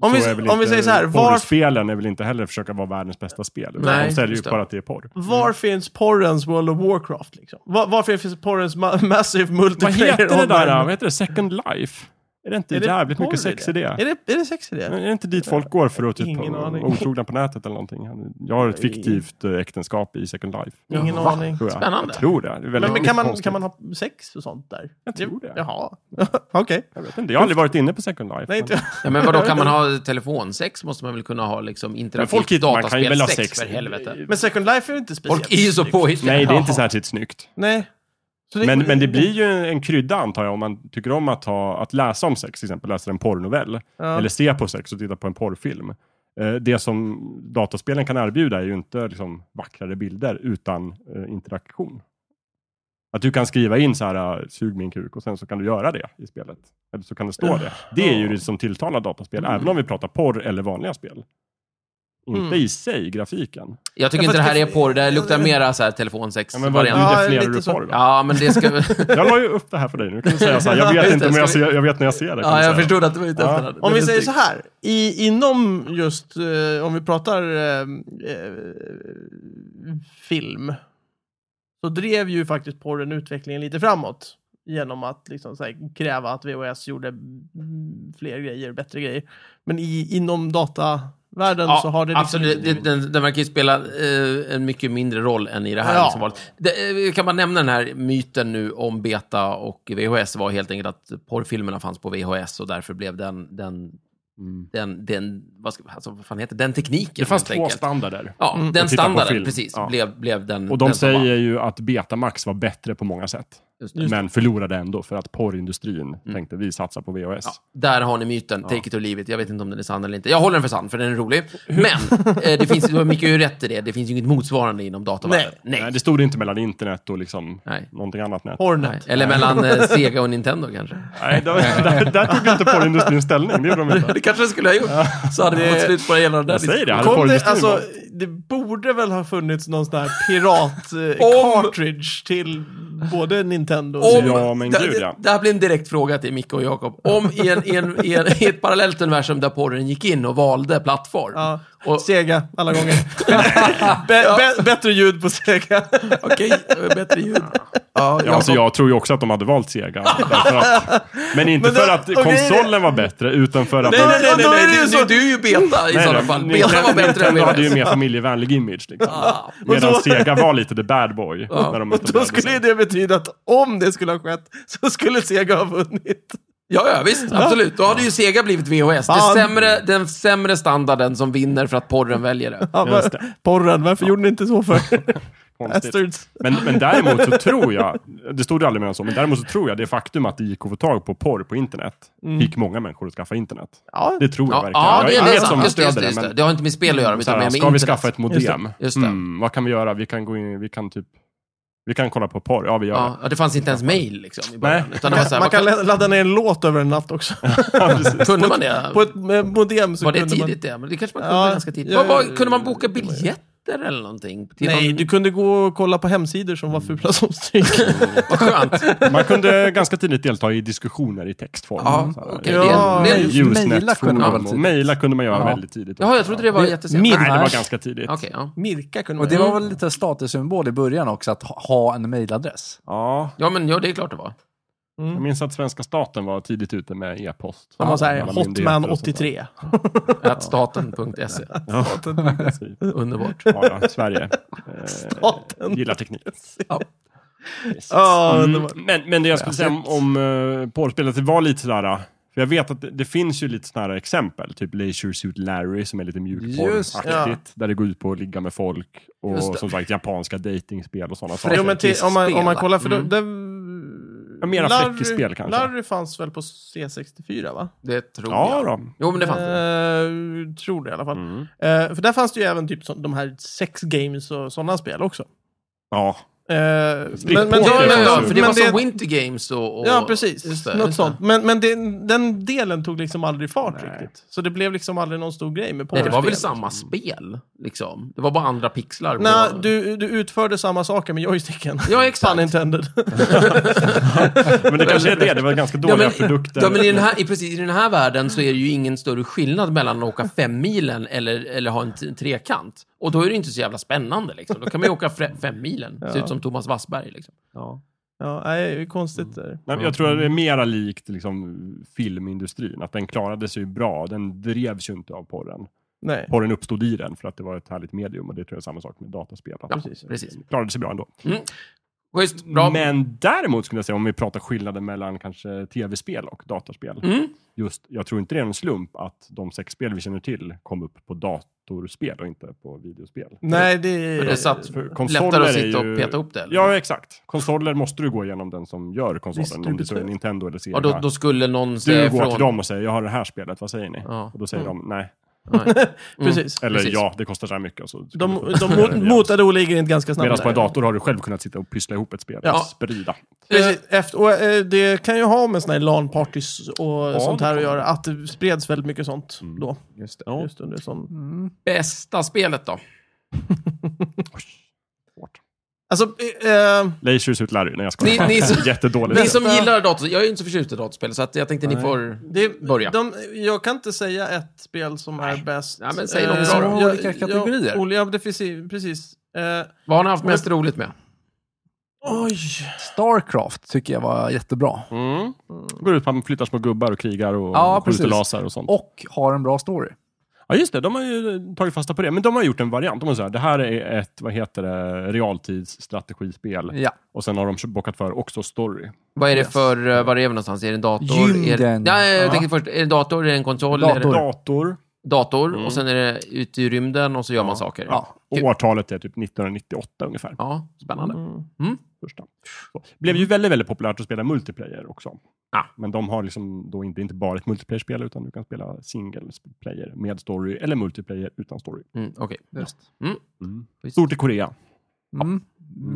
[SPEAKER 1] Om
[SPEAKER 4] så
[SPEAKER 1] vi-
[SPEAKER 4] är väl
[SPEAKER 1] om
[SPEAKER 4] inte-
[SPEAKER 1] vi säger så här, var-
[SPEAKER 4] Porrspelen är väl inte heller försöka vara världens bästa spel. utan
[SPEAKER 2] Nej,
[SPEAKER 4] de säljer ju
[SPEAKER 2] just det.
[SPEAKER 4] bara att det är porr.
[SPEAKER 1] Var finns porrens World of Warcraft? Liksom? Var, varför finns porrens ma Massive
[SPEAKER 4] Vad
[SPEAKER 1] Multiplayer
[SPEAKER 4] heter det där?
[SPEAKER 1] online?
[SPEAKER 4] Vad heter det? Second Life? Är det inte
[SPEAKER 1] Är det
[SPEAKER 4] jävligt mycket
[SPEAKER 1] porr i
[SPEAKER 4] sex i det? Mm.
[SPEAKER 1] Är det, är det sex i
[SPEAKER 4] Men
[SPEAKER 1] det?
[SPEAKER 4] Är det inte dit folk går för att typ
[SPEAKER 1] Ingen
[SPEAKER 4] vara
[SPEAKER 1] aning.
[SPEAKER 4] otrogna på nätet eller någonting? Jag har ett fiktivt eh, äktenskap i Second Life.
[SPEAKER 1] Ingen
[SPEAKER 2] Va?
[SPEAKER 1] aning.
[SPEAKER 4] Tror jag.
[SPEAKER 2] Spännande.
[SPEAKER 4] Jag tror det. det är väldigt
[SPEAKER 1] Men, men kan, man,
[SPEAKER 4] konstigt.
[SPEAKER 1] kan man ha sex och sånt där? Jag
[SPEAKER 4] tror det.
[SPEAKER 1] Jaha, okej.
[SPEAKER 4] Jag vet inte. Jag har aldrig varit inne på Second Life.
[SPEAKER 1] Nej, inte jag.
[SPEAKER 2] Ja, men vadå, kan man ha telefonsex måste man väl kunna ha liksom
[SPEAKER 4] Men
[SPEAKER 2] interaktivt
[SPEAKER 4] folk hittar, man kan ju väl ha
[SPEAKER 2] dataspelsex,
[SPEAKER 4] sex.
[SPEAKER 2] för helvete.
[SPEAKER 1] Men Second Life är ju inte speciellt
[SPEAKER 2] Folk är ju så
[SPEAKER 1] snyggt.
[SPEAKER 2] påhittiga.
[SPEAKER 4] Nej, det är inte särskilt snyggt.
[SPEAKER 1] Nej. Så det-
[SPEAKER 4] Men, men det blir ju en krydda antar jag om man tycker om att, ha, att läsa om sex, till exempel läsa en porrnovell.
[SPEAKER 1] Ja.
[SPEAKER 4] Eller se på sex och titta på en porrfilm. Eh, Det som dataspelen kan erbjuda är ju inte liksom vackrare bilder utan eh, interaktion. Att du kan skriva in så här, eh, sug min kuk och sen så kan du göra det i spelet. Eller så kan det stå det. Det är ju det som tilltalar dataspel, även om vi pratar porr eller vanliga spel. Inte
[SPEAKER 1] Mm.
[SPEAKER 4] i sig grafiken.
[SPEAKER 2] Jag tycker
[SPEAKER 1] Ja,
[SPEAKER 2] inte det
[SPEAKER 1] fast
[SPEAKER 2] här är
[SPEAKER 1] det-
[SPEAKER 2] porr, det här luktar mera så här telefonsex
[SPEAKER 4] Ja,
[SPEAKER 2] ja,
[SPEAKER 4] men vad
[SPEAKER 2] variant.
[SPEAKER 1] Ja,
[SPEAKER 4] definierar
[SPEAKER 1] lite
[SPEAKER 4] du
[SPEAKER 1] så.
[SPEAKER 4] porr? då?
[SPEAKER 2] Ja, men det ska...
[SPEAKER 4] Jag la ju upp det här för dig nu. Kan du säga så här, jag
[SPEAKER 2] Just
[SPEAKER 4] vet
[SPEAKER 2] det,
[SPEAKER 4] inte, men jag,
[SPEAKER 2] ska vi-
[SPEAKER 4] ser, jag vet när jag ser det. kan
[SPEAKER 2] Ja,
[SPEAKER 4] du
[SPEAKER 2] jag
[SPEAKER 4] säga.
[SPEAKER 2] förstod att du var ute efter
[SPEAKER 4] Ja.
[SPEAKER 2] det.
[SPEAKER 1] Om vi
[SPEAKER 2] Det är
[SPEAKER 1] säger så
[SPEAKER 2] snyggt.
[SPEAKER 1] här, i, inom just, eh, om vi pratar eh, eh, film, så drev ju faktiskt porren utvecklingen lite framåt. Genom att liksom så här, kräva att VHS gjorde mm, fler grejer, bättre grejer. Men i, inom datavärlden
[SPEAKER 2] Ja,
[SPEAKER 1] så har det liksom
[SPEAKER 2] absolut.
[SPEAKER 1] inte
[SPEAKER 2] Det, den, den verkar ju spela eh, en mycket mindre roll än i det här
[SPEAKER 1] Ja.
[SPEAKER 2] liksom, valet. Det, eh, kan man nämna den här myten nu om beta och VHS var helt enkelt att porrfilmerna fanns på VHS och därför blev den, den,
[SPEAKER 4] Mm.
[SPEAKER 2] den, den, vad, ska, alltså, vad fan heter den tekniken?
[SPEAKER 4] Det fanns
[SPEAKER 2] helt
[SPEAKER 4] två
[SPEAKER 2] enkelt.
[SPEAKER 4] standarder.
[SPEAKER 2] Ja,
[SPEAKER 1] Mm.
[SPEAKER 2] den
[SPEAKER 4] på film.
[SPEAKER 2] standarden, precis,
[SPEAKER 4] Ja.
[SPEAKER 2] blev, blev den.
[SPEAKER 4] Och de
[SPEAKER 2] den som
[SPEAKER 4] säger
[SPEAKER 2] vann.
[SPEAKER 4] ju att Betamax var bättre på många sätt.
[SPEAKER 2] Just det. Mm.
[SPEAKER 4] Men förlorade ändå för att porrindustrin tänkte vi satsar på VHS.
[SPEAKER 2] Ja, där har ni myten, take it or leave it. Jag vet inte om den är sann eller inte. Jag håller den för sann, för den är rolig. Men, eh, det finns, du har Micke ju rätt i det, det finns ju inget motsvarande inom datavärlden. Nej.
[SPEAKER 4] Nej, det stod inte mellan internet och liksom
[SPEAKER 2] Nej.
[SPEAKER 4] någonting annat nät.
[SPEAKER 1] Porrnet.
[SPEAKER 2] Nej. Eller mellan eh, Sega och Nintendo kanske.
[SPEAKER 4] Nej, då, där, där tog inte porrindustrin ställning. Det gjorde de inte.
[SPEAKER 2] Det kanske jag skulle ha gjort. Så hade vi fått slut på hela den där
[SPEAKER 4] Jag säger det,
[SPEAKER 2] diskussionen.
[SPEAKER 4] hade
[SPEAKER 1] Kom det,
[SPEAKER 4] porrindustrin
[SPEAKER 1] alltså,
[SPEAKER 4] varit-
[SPEAKER 1] det borde väl ha funnits någon sån här pirat-cartridge till både Nintendo och...
[SPEAKER 2] Om-
[SPEAKER 4] Ja, men
[SPEAKER 2] det,
[SPEAKER 4] gud,
[SPEAKER 2] det-
[SPEAKER 4] ja.
[SPEAKER 2] Det här blir en direkt fråga till Micke och Jakob. Om i, en, i, en, i, en, i ett parallellt universum där porren gick in och valde plattform.
[SPEAKER 1] Ja,
[SPEAKER 2] Och,
[SPEAKER 1] Sega, alla gånger. Bä- bä- bättre ljud på Sega.
[SPEAKER 2] Okej, okay, bättre ljud. Ja,
[SPEAKER 4] Ja, alltså, jag tror ju också att de hade valt Sega. därför att, men inte
[SPEAKER 1] Men det-
[SPEAKER 4] för att
[SPEAKER 1] och grejen är-
[SPEAKER 4] konsolen var bättre, utan för att...
[SPEAKER 2] Nej, nej, nej,
[SPEAKER 1] Ja,
[SPEAKER 2] nej,
[SPEAKER 1] då är
[SPEAKER 2] nej,
[SPEAKER 1] det ju
[SPEAKER 2] du-
[SPEAKER 1] så-
[SPEAKER 2] Du, du är ju beta i sådana fall. Beta var bättre än
[SPEAKER 4] Nintendo hade ju
[SPEAKER 2] VHS.
[SPEAKER 4] mer familjevänlig image. Liksom.
[SPEAKER 2] Ja.
[SPEAKER 4] Medan
[SPEAKER 1] då-
[SPEAKER 4] Sega var lite the bad boy. när de
[SPEAKER 1] Och då
[SPEAKER 4] etablerade sig.
[SPEAKER 1] skulle ju det betyda att om det skulle ha skett så skulle Sega ha vunnit.
[SPEAKER 2] Ja, ja, visst. Absolut. Då hade ju Sega blivit VHS. Det
[SPEAKER 1] Fan.
[SPEAKER 2] sämre, den sämre standarden som vinner för att porren väljer det.
[SPEAKER 1] Ja,
[SPEAKER 4] Just
[SPEAKER 1] men, porren, varför gjorde ni inte så för?
[SPEAKER 4] Konstigt.
[SPEAKER 1] Bastards.
[SPEAKER 4] Men, men däremot så tror jag, det stod ju aldrig mer än så, men däremot så tror jag det faktum att det gick att få tag på porr på internet fick många människor att skaffa internet.
[SPEAKER 1] Ja,
[SPEAKER 4] Det tror jag
[SPEAKER 2] Mm. Ja,
[SPEAKER 4] verkligen.
[SPEAKER 2] ja det
[SPEAKER 4] jag
[SPEAKER 2] är det.
[SPEAKER 4] som
[SPEAKER 2] sant. Just det, just
[SPEAKER 4] stöder
[SPEAKER 2] det,
[SPEAKER 4] det,
[SPEAKER 2] just det.
[SPEAKER 4] men Mm.
[SPEAKER 2] Det har inte med spel att göra,
[SPEAKER 4] så
[SPEAKER 2] utan
[SPEAKER 4] här,
[SPEAKER 2] med, med
[SPEAKER 4] ska vi
[SPEAKER 2] internet.
[SPEAKER 4] skaffa ett modem?
[SPEAKER 2] Just det.
[SPEAKER 4] Mm, vad kan vi göra? Vi kan gå in, vi kan typ Vi kan kolla på porr. Ja, vi gör
[SPEAKER 2] Ja, ja, det fanns inte ens mail liksom, i början.
[SPEAKER 4] Nej.
[SPEAKER 2] Utan det var så här,
[SPEAKER 1] man
[SPEAKER 2] man
[SPEAKER 1] kan lä- ladda ner en låt över en natt också.
[SPEAKER 4] det. Ja, precis.
[SPEAKER 2] kunde man det?
[SPEAKER 1] På ett med modem så
[SPEAKER 2] var det
[SPEAKER 1] kunde man...
[SPEAKER 2] tidigt det? Men det kanske man kunde
[SPEAKER 1] Ja,
[SPEAKER 2] ganska tidigt.
[SPEAKER 1] ja,
[SPEAKER 2] Vad- vad-
[SPEAKER 1] ja,
[SPEAKER 2] kunde man boka biljetter eller någonting? Till
[SPEAKER 1] Nej,
[SPEAKER 2] någon-
[SPEAKER 1] du kunde gå och kolla på hemsidor som var fula som stryk.
[SPEAKER 2] Vad skönt.
[SPEAKER 4] Man kunde ganska tidigt delta i diskussioner i textform.
[SPEAKER 2] Ja,
[SPEAKER 4] Så här,
[SPEAKER 2] okej.
[SPEAKER 1] Ja,
[SPEAKER 2] det, det,
[SPEAKER 3] just
[SPEAKER 4] Usenet
[SPEAKER 3] mejla kunde man
[SPEAKER 4] forum.
[SPEAKER 3] väl tidigt?
[SPEAKER 4] Mejla kunde man göra
[SPEAKER 3] Ja.
[SPEAKER 4] väldigt tidigt.
[SPEAKER 2] Jaha, jag trodde det var
[SPEAKER 3] Det-
[SPEAKER 2] jättesent.
[SPEAKER 1] Min-
[SPEAKER 4] Nej, det var
[SPEAKER 3] Nej.
[SPEAKER 4] ganska tidigt.
[SPEAKER 2] Okej, ja.
[SPEAKER 1] Mirka kunde
[SPEAKER 3] Och
[SPEAKER 1] man
[SPEAKER 3] det
[SPEAKER 1] göra.
[SPEAKER 4] Mm.
[SPEAKER 3] var väl lite statussymbol i början också, att ha- ha en mejladress.
[SPEAKER 4] Ja.
[SPEAKER 2] ja, men ja, det är klart det var.
[SPEAKER 4] Jag minns att svenska staten var tidigt ute med e-post.
[SPEAKER 1] De var såhär,
[SPEAKER 4] Alla myndigheter och sånt där.
[SPEAKER 1] Hotman83.
[SPEAKER 2] Att staten.se.
[SPEAKER 4] Precis.
[SPEAKER 2] Underbart.
[SPEAKER 4] Ja, ja, Sverige.
[SPEAKER 1] Staten.
[SPEAKER 4] Eh, gillar teknik.
[SPEAKER 3] Ja.
[SPEAKER 4] Precis.
[SPEAKER 1] Ja,
[SPEAKER 4] Mm.
[SPEAKER 1] underbart.
[SPEAKER 4] Men, men det jag skulle säga om, om eh, porrspelet, det var lite sådär... eh, För jag vet att det, det finns ju lite sådana här exempel, typ Leisure Suit Larry som är lite
[SPEAKER 3] Just
[SPEAKER 4] mjukporraktigt.
[SPEAKER 1] ja.
[SPEAKER 4] Där det går ut på att ligga med folk
[SPEAKER 2] Just
[SPEAKER 4] och
[SPEAKER 2] det.
[SPEAKER 4] som sagt japanska datingspel och sådana
[SPEAKER 1] Jo,
[SPEAKER 4] saker.
[SPEAKER 1] men till, om, man, om man
[SPEAKER 2] Fräckisspel,
[SPEAKER 1] kollar, för då,
[SPEAKER 2] mm.
[SPEAKER 1] det,
[SPEAKER 4] Ja, mera
[SPEAKER 1] Larry-
[SPEAKER 4] fräckisspel kanske.
[SPEAKER 1] Larry fanns väl på C64 va?
[SPEAKER 2] Det tror
[SPEAKER 4] Ja,
[SPEAKER 2] jag.
[SPEAKER 4] då.
[SPEAKER 2] Jo, men det fanns det.
[SPEAKER 1] Eh, tror det i alla fall.
[SPEAKER 4] Mm.
[SPEAKER 1] Eh, för där fanns det ju även typ så, de här sex games och sådana spel också.
[SPEAKER 4] Ja,
[SPEAKER 1] Eh, men, men,
[SPEAKER 4] Strippor,
[SPEAKER 2] Ja, ja, ja, för det
[SPEAKER 1] men
[SPEAKER 2] var som Winter Games och... och
[SPEAKER 1] Ja, precis.
[SPEAKER 2] Just det,
[SPEAKER 1] Något
[SPEAKER 2] just det.
[SPEAKER 1] sånt. Men, men det, den delen tog liksom aldrig fart
[SPEAKER 4] Nej.
[SPEAKER 1] riktigt. Så det blev liksom aldrig någon stor grej med
[SPEAKER 2] Nej, det var väl
[SPEAKER 1] porrspel.
[SPEAKER 2] samma spel, liksom. Det var bara andra pixlar. på-
[SPEAKER 1] Nej, du, du utförde samma saker med joysticken.
[SPEAKER 2] Ja, exakt.
[SPEAKER 1] Pun intended.
[SPEAKER 4] men det kanske är det. Det var ganska
[SPEAKER 2] Ja,
[SPEAKER 4] dåliga
[SPEAKER 2] men,
[SPEAKER 4] produkter.
[SPEAKER 2] ja, men i, den här, i, precis, I den här världen så är det ju ingen större skillnad mellan att åka fem milen eller, eller ha en, t- en trekant. Och då är det inte så jävla spännande. Liksom. Då kan man ju åka fre- fem milen. Se ut som Thomas Wassberg. Liksom.
[SPEAKER 4] Ja.
[SPEAKER 1] ja, nej, det är konstigt. där.
[SPEAKER 4] Nej, men jag tror att det
[SPEAKER 2] Mm.
[SPEAKER 4] är mera likt liksom, filmindustrin. Att den klarade sig ju bra. Den drevs ju inte av porren.
[SPEAKER 1] Nej.
[SPEAKER 4] Porren uppstod i den för att det var ett härligt medium. Och det tror jag är samma sak med dataspel. Att
[SPEAKER 2] Ja,
[SPEAKER 4] den
[SPEAKER 2] precis. precis.
[SPEAKER 4] klarade sig bra ändå.
[SPEAKER 2] Schysst, bra.
[SPEAKER 4] Men däremot skulle jag säga, om vi pratar skillnaden mellan kanske tv-spel och dataspel.
[SPEAKER 2] Mm.
[SPEAKER 4] Just, jag tror inte det är en slump att de sex spel vi känner till kom upp på datorspel och inte på videospel.
[SPEAKER 1] Nej, det...
[SPEAKER 2] det satt
[SPEAKER 4] För
[SPEAKER 2] lättare att
[SPEAKER 4] är
[SPEAKER 2] sitta
[SPEAKER 4] ju-
[SPEAKER 2] och peta upp det. eller?
[SPEAKER 4] Ja, exakt. Konsoler måste du gå igenom den som gör konsolen. Om det så är
[SPEAKER 1] Distributör.
[SPEAKER 4] Nintendo eller Sega.
[SPEAKER 2] Ja, då, då skulle någon
[SPEAKER 4] Du
[SPEAKER 2] säga
[SPEAKER 4] går till
[SPEAKER 2] ifrån.
[SPEAKER 4] dem och säger, jag har det här spelet, vad säger ni?
[SPEAKER 2] Ja.
[SPEAKER 4] Och då säger de, nej.
[SPEAKER 2] Nej.
[SPEAKER 1] Precis.
[SPEAKER 4] Eller
[SPEAKER 2] Precis.
[SPEAKER 4] ja, det kostar så här mycket. Och så
[SPEAKER 1] De, de mot, motade olägenhet ganska snabbt.
[SPEAKER 4] eh, Medan på en
[SPEAKER 1] där.
[SPEAKER 4] dator har du själv kunnat sitta och pyssla ihop ett spel.
[SPEAKER 2] Ja.
[SPEAKER 4] Och sprida.
[SPEAKER 1] Eh, Precis. Efter, och, eh, det kan ju ha med såna här LAN-partys och sånt här
[SPEAKER 4] det
[SPEAKER 1] att
[SPEAKER 4] kan
[SPEAKER 1] göra. Att det spreds väldigt mycket sånt då.
[SPEAKER 4] Just det.
[SPEAKER 1] Just under sån.
[SPEAKER 2] Bästa spelet då?
[SPEAKER 1] Alltså, eh, eh,
[SPEAKER 4] Leisure Suit Larry. Nej, jag
[SPEAKER 2] Ni,
[SPEAKER 4] skojar.
[SPEAKER 2] ni, som,
[SPEAKER 4] Jättedåligt.
[SPEAKER 2] ni som gillar datorspel. Jag är ju inte så förtjust i datorspel, så att jag tänkte ni får...
[SPEAKER 1] det,
[SPEAKER 2] Börja.
[SPEAKER 1] De, jag kan inte säga ett spel som är bäst.
[SPEAKER 2] Ja, men säg något
[SPEAKER 1] Eh,
[SPEAKER 2] bra då.
[SPEAKER 1] jag-
[SPEAKER 3] Olika kategorier.
[SPEAKER 1] Jag, olja, det finns, i- precis. Eh,
[SPEAKER 2] Vad har ni haft mest roligt med?
[SPEAKER 1] oj!
[SPEAKER 3] Starcraft tycker jag var jättebra.
[SPEAKER 4] Mm. Går ut på att man flyttar små gubbar och krigar och
[SPEAKER 3] Ja,
[SPEAKER 4] skjuter
[SPEAKER 3] precis.
[SPEAKER 4] laser och sånt.
[SPEAKER 3] Och har en bra story.
[SPEAKER 4] Ja, just det. De har ju tagit fasta på det. Men de har gjort en variant. De har så här, det här är ett, vad heter det, realtidsstrategispel.
[SPEAKER 3] Ja.
[SPEAKER 4] Och sen har de bockat för också story.
[SPEAKER 2] Vad är det
[SPEAKER 3] Yes.
[SPEAKER 2] för, eh, vad är det för någonstans? Är det en dator? Är det,
[SPEAKER 3] Gymden.
[SPEAKER 2] nej, jag
[SPEAKER 3] Ja.
[SPEAKER 2] tänker först, är det en dator, är det en konsol,
[SPEAKER 3] Dator.
[SPEAKER 2] Är det
[SPEAKER 4] Dator.
[SPEAKER 2] dator och sen är det ute i rymden och så gör man saker.
[SPEAKER 3] Ja.
[SPEAKER 4] Och årtalet är typ 1998 ungefär.
[SPEAKER 2] Ja, spännande.
[SPEAKER 4] första. Så. Blev ju väldigt, väldigt populärt att spela multiplayer också.
[SPEAKER 2] Ah.
[SPEAKER 4] Men de har liksom då inte, inte bara ett multiplayer-spel, utan du kan spela single player med story, eller multiplayer utan story.
[SPEAKER 2] Mm, Okej.
[SPEAKER 3] Just.
[SPEAKER 4] Stort i Korea.
[SPEAKER 3] Mm.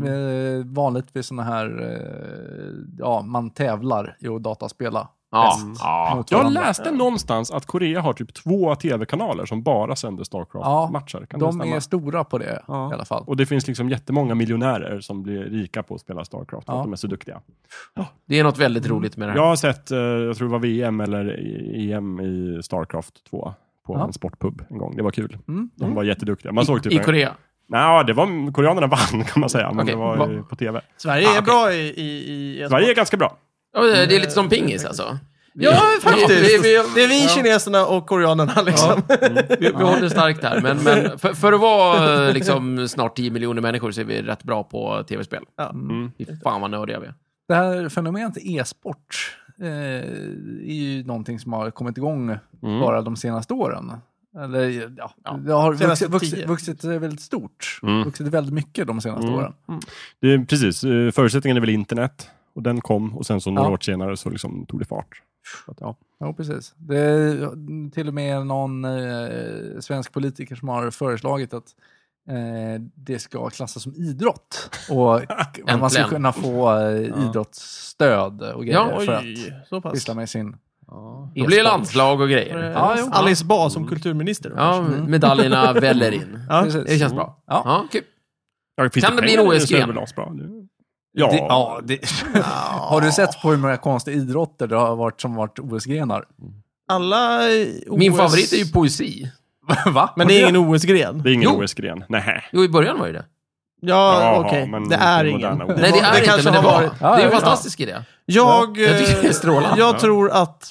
[SPEAKER 3] Eh, vanligt vid sådana här, eh, ja, man tävlar i att dataspela.
[SPEAKER 2] Ja.
[SPEAKER 3] bäst
[SPEAKER 2] Ja.
[SPEAKER 3] mot
[SPEAKER 4] Jag
[SPEAKER 3] varandra.
[SPEAKER 4] läste någonstans att Korea har typ två tv-kanaler som bara sänder Starcraft-matcher. Kan det
[SPEAKER 3] De
[SPEAKER 4] stämma?
[SPEAKER 3] är stora på det
[SPEAKER 4] Ja.
[SPEAKER 3] i alla fall.
[SPEAKER 4] Och det finns liksom jättemånga miljonärer som blir rika på att spela Starcraft, för
[SPEAKER 3] Ja.
[SPEAKER 4] att de är så duktiga.
[SPEAKER 2] Det är något väldigt
[SPEAKER 3] Mm.
[SPEAKER 2] roligt med det här.
[SPEAKER 4] Jag har sett, eh, jag tror det var VM eller EM i Starcraft 2 på
[SPEAKER 3] Ja.
[SPEAKER 4] en sportpub en gång. Det var kul.
[SPEAKER 3] Mm.
[SPEAKER 4] De var jätteduktiga. Man såg typ
[SPEAKER 2] I
[SPEAKER 4] en-
[SPEAKER 2] Korea.
[SPEAKER 4] Nej, det var koreanerna vann kan man säga, men
[SPEAKER 2] Okej,
[SPEAKER 4] det var
[SPEAKER 2] va-
[SPEAKER 4] ju på tv.
[SPEAKER 1] Sverige
[SPEAKER 2] Ah,
[SPEAKER 1] är
[SPEAKER 2] okej.
[SPEAKER 1] bra i... i, i e-sport.
[SPEAKER 4] Sverige är ganska bra.
[SPEAKER 2] Ja, det det är lite som pingis alltså. Vi-
[SPEAKER 1] Ja, faktiskt.
[SPEAKER 2] Vi, vi,
[SPEAKER 1] det är vi kineserna och koreanerna liksom.
[SPEAKER 2] vi, vi håller starkt här, men, men för, för att vara eh, liksom, snart 10 miljoner människor så är vi rätt bra på tv-spel.
[SPEAKER 1] Ja.
[SPEAKER 4] Mm.
[SPEAKER 2] Fy fan vad nördiga vi är.
[SPEAKER 3] Det här fenomenet e-sport eh, är ju någonting som har kommit igång
[SPEAKER 2] Mm.
[SPEAKER 3] bara de senaste åren. Eller ja, det har
[SPEAKER 1] Senaste
[SPEAKER 3] vuxit, vuxit,
[SPEAKER 1] tio.
[SPEAKER 3] vuxit eh, väldigt stort.
[SPEAKER 4] Mm.
[SPEAKER 3] Vuxit väldigt mycket de senaste
[SPEAKER 4] Mm.
[SPEAKER 3] åren.
[SPEAKER 4] Det är, precis, eh, förutsättningen är väl internet. Och den kom och sen så några
[SPEAKER 3] Ja.
[SPEAKER 4] år senare så liksom tog det fart. Så att, ja.
[SPEAKER 3] Ja, precis. Det mm, är till och med någon eh, svensk politiker som har föreslagit att eh, det ska klassas som idrott. Och man ska
[SPEAKER 2] Äntligen.
[SPEAKER 3] kunna få eh, idrottsstöd och grejer
[SPEAKER 2] Ja,
[SPEAKER 3] för
[SPEAKER 1] Oj, så
[SPEAKER 3] att
[SPEAKER 1] pass.
[SPEAKER 3] syssla med sin...
[SPEAKER 2] Då blir det
[SPEAKER 3] E-sport.
[SPEAKER 2] landslag och grejer.
[SPEAKER 3] Ja, jo.
[SPEAKER 1] Alice Bah som kulturminister. då,
[SPEAKER 2] Ja, medaljerna väller in.
[SPEAKER 1] Ja.
[SPEAKER 3] Precis.
[SPEAKER 2] Det känns bra.
[SPEAKER 3] Ja.
[SPEAKER 2] Ja, kul.
[SPEAKER 4] Ja, finns
[SPEAKER 2] Kan det bli
[SPEAKER 4] pengar
[SPEAKER 2] en
[SPEAKER 4] i
[SPEAKER 2] OS-gren?
[SPEAKER 4] serverlasbra? Det- Ja,
[SPEAKER 3] Det, ja, det, har du sett på hur många konstiga idrotter det har varit som varit OS-grenar?
[SPEAKER 1] Alla eh, OS...
[SPEAKER 2] Min favorit är ju poesi.
[SPEAKER 3] Va?
[SPEAKER 1] Men det är ingen OS-gren?
[SPEAKER 4] det är ingen
[SPEAKER 2] Jo.
[SPEAKER 4] OS-gren. Nej.
[SPEAKER 2] Jo, i början var ju det.
[SPEAKER 1] Ja,
[SPEAKER 4] Jaha,
[SPEAKER 1] okej.
[SPEAKER 4] men
[SPEAKER 1] Det är
[SPEAKER 4] det
[SPEAKER 1] ingen.
[SPEAKER 4] moderna ordet.
[SPEAKER 2] Nej, det är inte,
[SPEAKER 1] kanske
[SPEAKER 2] men det
[SPEAKER 1] har
[SPEAKER 2] var.
[SPEAKER 1] varit-
[SPEAKER 2] Det är en
[SPEAKER 3] Ja, ja.
[SPEAKER 2] fantastisk idé.
[SPEAKER 1] Jag,
[SPEAKER 2] Jag tycker det är
[SPEAKER 1] eh,
[SPEAKER 2] strålande.
[SPEAKER 1] jag
[SPEAKER 4] Ja.
[SPEAKER 1] tror att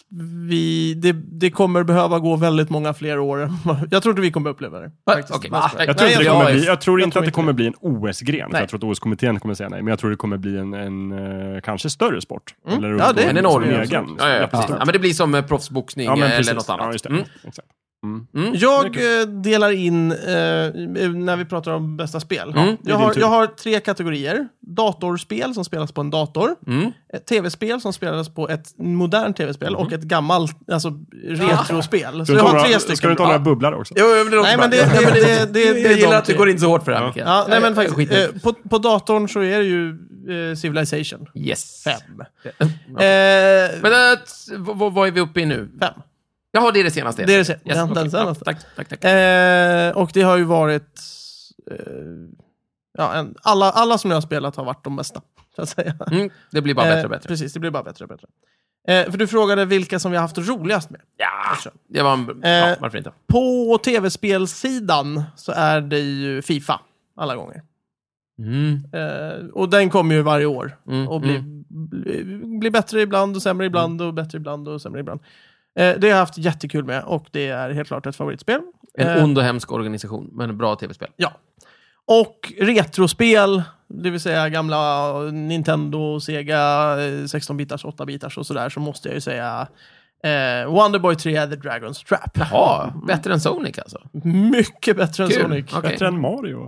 [SPEAKER 1] vi, det, det kommer behöva gå väldigt många fler år. än vad- Jag tror inte vi kommer uppleva det.
[SPEAKER 2] Va?
[SPEAKER 1] faktiskt.
[SPEAKER 2] Okej.
[SPEAKER 3] Va?
[SPEAKER 2] Nej,
[SPEAKER 4] Jag tror,
[SPEAKER 1] Nej,
[SPEAKER 4] inte, det
[SPEAKER 1] jag-
[SPEAKER 4] kommer
[SPEAKER 2] är-
[SPEAKER 4] bli, jag tror
[SPEAKER 1] jag
[SPEAKER 4] inte
[SPEAKER 1] tror
[SPEAKER 4] att det
[SPEAKER 1] inte
[SPEAKER 4] kommer bli en OS-gren. För
[SPEAKER 2] Nej.
[SPEAKER 4] jag tror att OS-kommittén kommer säga nej. Men jag tror det kommer bli en, en eh, kanske större sport.
[SPEAKER 1] Mm.
[SPEAKER 4] Eller
[SPEAKER 1] Ja, det är en
[SPEAKER 2] En enorm
[SPEAKER 1] egen.
[SPEAKER 4] egen.
[SPEAKER 2] Ja, ja, precis.
[SPEAKER 4] Jättestor.
[SPEAKER 2] ja, men det blir som eh, proffsboxning
[SPEAKER 4] Ja, men
[SPEAKER 2] eh, eller
[SPEAKER 4] precis.
[SPEAKER 2] något
[SPEAKER 4] Ja,
[SPEAKER 2] annat.
[SPEAKER 4] just det.
[SPEAKER 2] Mm.
[SPEAKER 4] Exakt.
[SPEAKER 2] Mm.
[SPEAKER 1] Jag eh, delar in, eh, när vi pratar om bästa spel.
[SPEAKER 2] Ja, det är
[SPEAKER 1] jag,
[SPEAKER 4] Mm, din
[SPEAKER 1] har,
[SPEAKER 4] tur.
[SPEAKER 1] jag har tre kategorier. Datorspel som spelas på en dator.
[SPEAKER 2] Mm.
[SPEAKER 1] ett tv-spel som spelades på ett modernt tv-spel och ett gammalt alltså, retrospel. Så
[SPEAKER 4] Mm. Ska du
[SPEAKER 1] jag
[SPEAKER 4] inte ha
[SPEAKER 1] har tre
[SPEAKER 4] några- Ska du
[SPEAKER 1] stycken.
[SPEAKER 4] inte ha några bubblor också?
[SPEAKER 2] Jo, men det
[SPEAKER 1] Nej,
[SPEAKER 2] låter
[SPEAKER 1] men
[SPEAKER 2] bra.
[SPEAKER 1] det- det- det- det- det är
[SPEAKER 2] Jag gillar
[SPEAKER 1] de
[SPEAKER 2] att du
[SPEAKER 1] tre.
[SPEAKER 2] går in så hårt för det här, Micke.
[SPEAKER 1] Ja, nej, men faktiskt,
[SPEAKER 2] Skit i det.
[SPEAKER 1] eh, på, på datorn så är det ju eh, Civilization
[SPEAKER 2] Yes.
[SPEAKER 1] 5. Eh,
[SPEAKER 2] Men eh, t- v- v- vad är vi uppe i nu?
[SPEAKER 1] fem.
[SPEAKER 2] Jaha, det är det senaste.
[SPEAKER 1] Det är det sen-
[SPEAKER 2] Yes,
[SPEAKER 1] den-
[SPEAKER 2] okej.
[SPEAKER 1] den senaste.
[SPEAKER 2] Ja, Tack, tack, tack.
[SPEAKER 1] Eh, och det har ju varit... Eh, ja, en, alla, alla som jag har spelat har varit de bästa. Så att säga.
[SPEAKER 2] Mm, det blir bara bättre och
[SPEAKER 1] Eh,
[SPEAKER 2] bättre.
[SPEAKER 1] precis, det blir bara bättre och bättre. Eh, för du frågade vilka som vi har haft roligast med.
[SPEAKER 2] Ja, det var en... Ja,
[SPEAKER 1] Eh,
[SPEAKER 2] varför inte?
[SPEAKER 1] På tv-spelsidan så är det ju Fifa alla gånger.
[SPEAKER 2] Mm.
[SPEAKER 1] Eh, och den kommer ju varje år
[SPEAKER 2] Mm,
[SPEAKER 1] och blir, bli- blir bättre ibland och sämre ibland och bättre ibland och sämre ibland. Eh, det har jag haft jättekul med och det är helt klart ett favoritspel.
[SPEAKER 2] En
[SPEAKER 1] Eh,
[SPEAKER 2] ond och hemsk organisation, men bra tv-spel.
[SPEAKER 1] ja. Och retrospel, det vill säga gamla Nintendo, Sega, eh, 16-bitars, 8-bitars och sådär, så måste jag ju säga eh, Wonderboy 3 The Dragon's Trap.
[SPEAKER 2] Jaha, bättre än Sonic alltså?
[SPEAKER 1] Mycket bättre än
[SPEAKER 2] Kul.
[SPEAKER 1] Sonic.
[SPEAKER 2] Okej.
[SPEAKER 4] Bättre än Mario.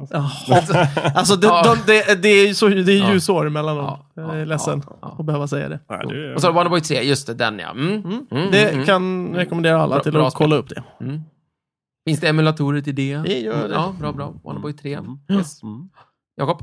[SPEAKER 4] alltså.
[SPEAKER 1] Jaha. Alltså det,
[SPEAKER 2] Ja.
[SPEAKER 1] de, det, det är ju så, det är
[SPEAKER 2] Ja.
[SPEAKER 1] ljusår emellan dem.
[SPEAKER 2] Ja, ja,
[SPEAKER 1] Jag är ledsen
[SPEAKER 2] ja, ja.
[SPEAKER 1] att behöva säga det.
[SPEAKER 4] Nej, det är-
[SPEAKER 2] Och så Wonderboy 3, just det, den ja. Mm. Mm. Mm.
[SPEAKER 1] Det
[SPEAKER 2] mm.
[SPEAKER 1] kan rekommendera alla
[SPEAKER 2] Bra-
[SPEAKER 1] till
[SPEAKER 2] bra
[SPEAKER 1] att
[SPEAKER 2] spel.
[SPEAKER 1] kolla upp det.
[SPEAKER 2] Finns det emulatorer till det? Mm,
[SPEAKER 1] Det gör det.
[SPEAKER 2] Ja, bra, bra. Wonderboy 3. Yes.
[SPEAKER 1] Mm.
[SPEAKER 2] Jakob,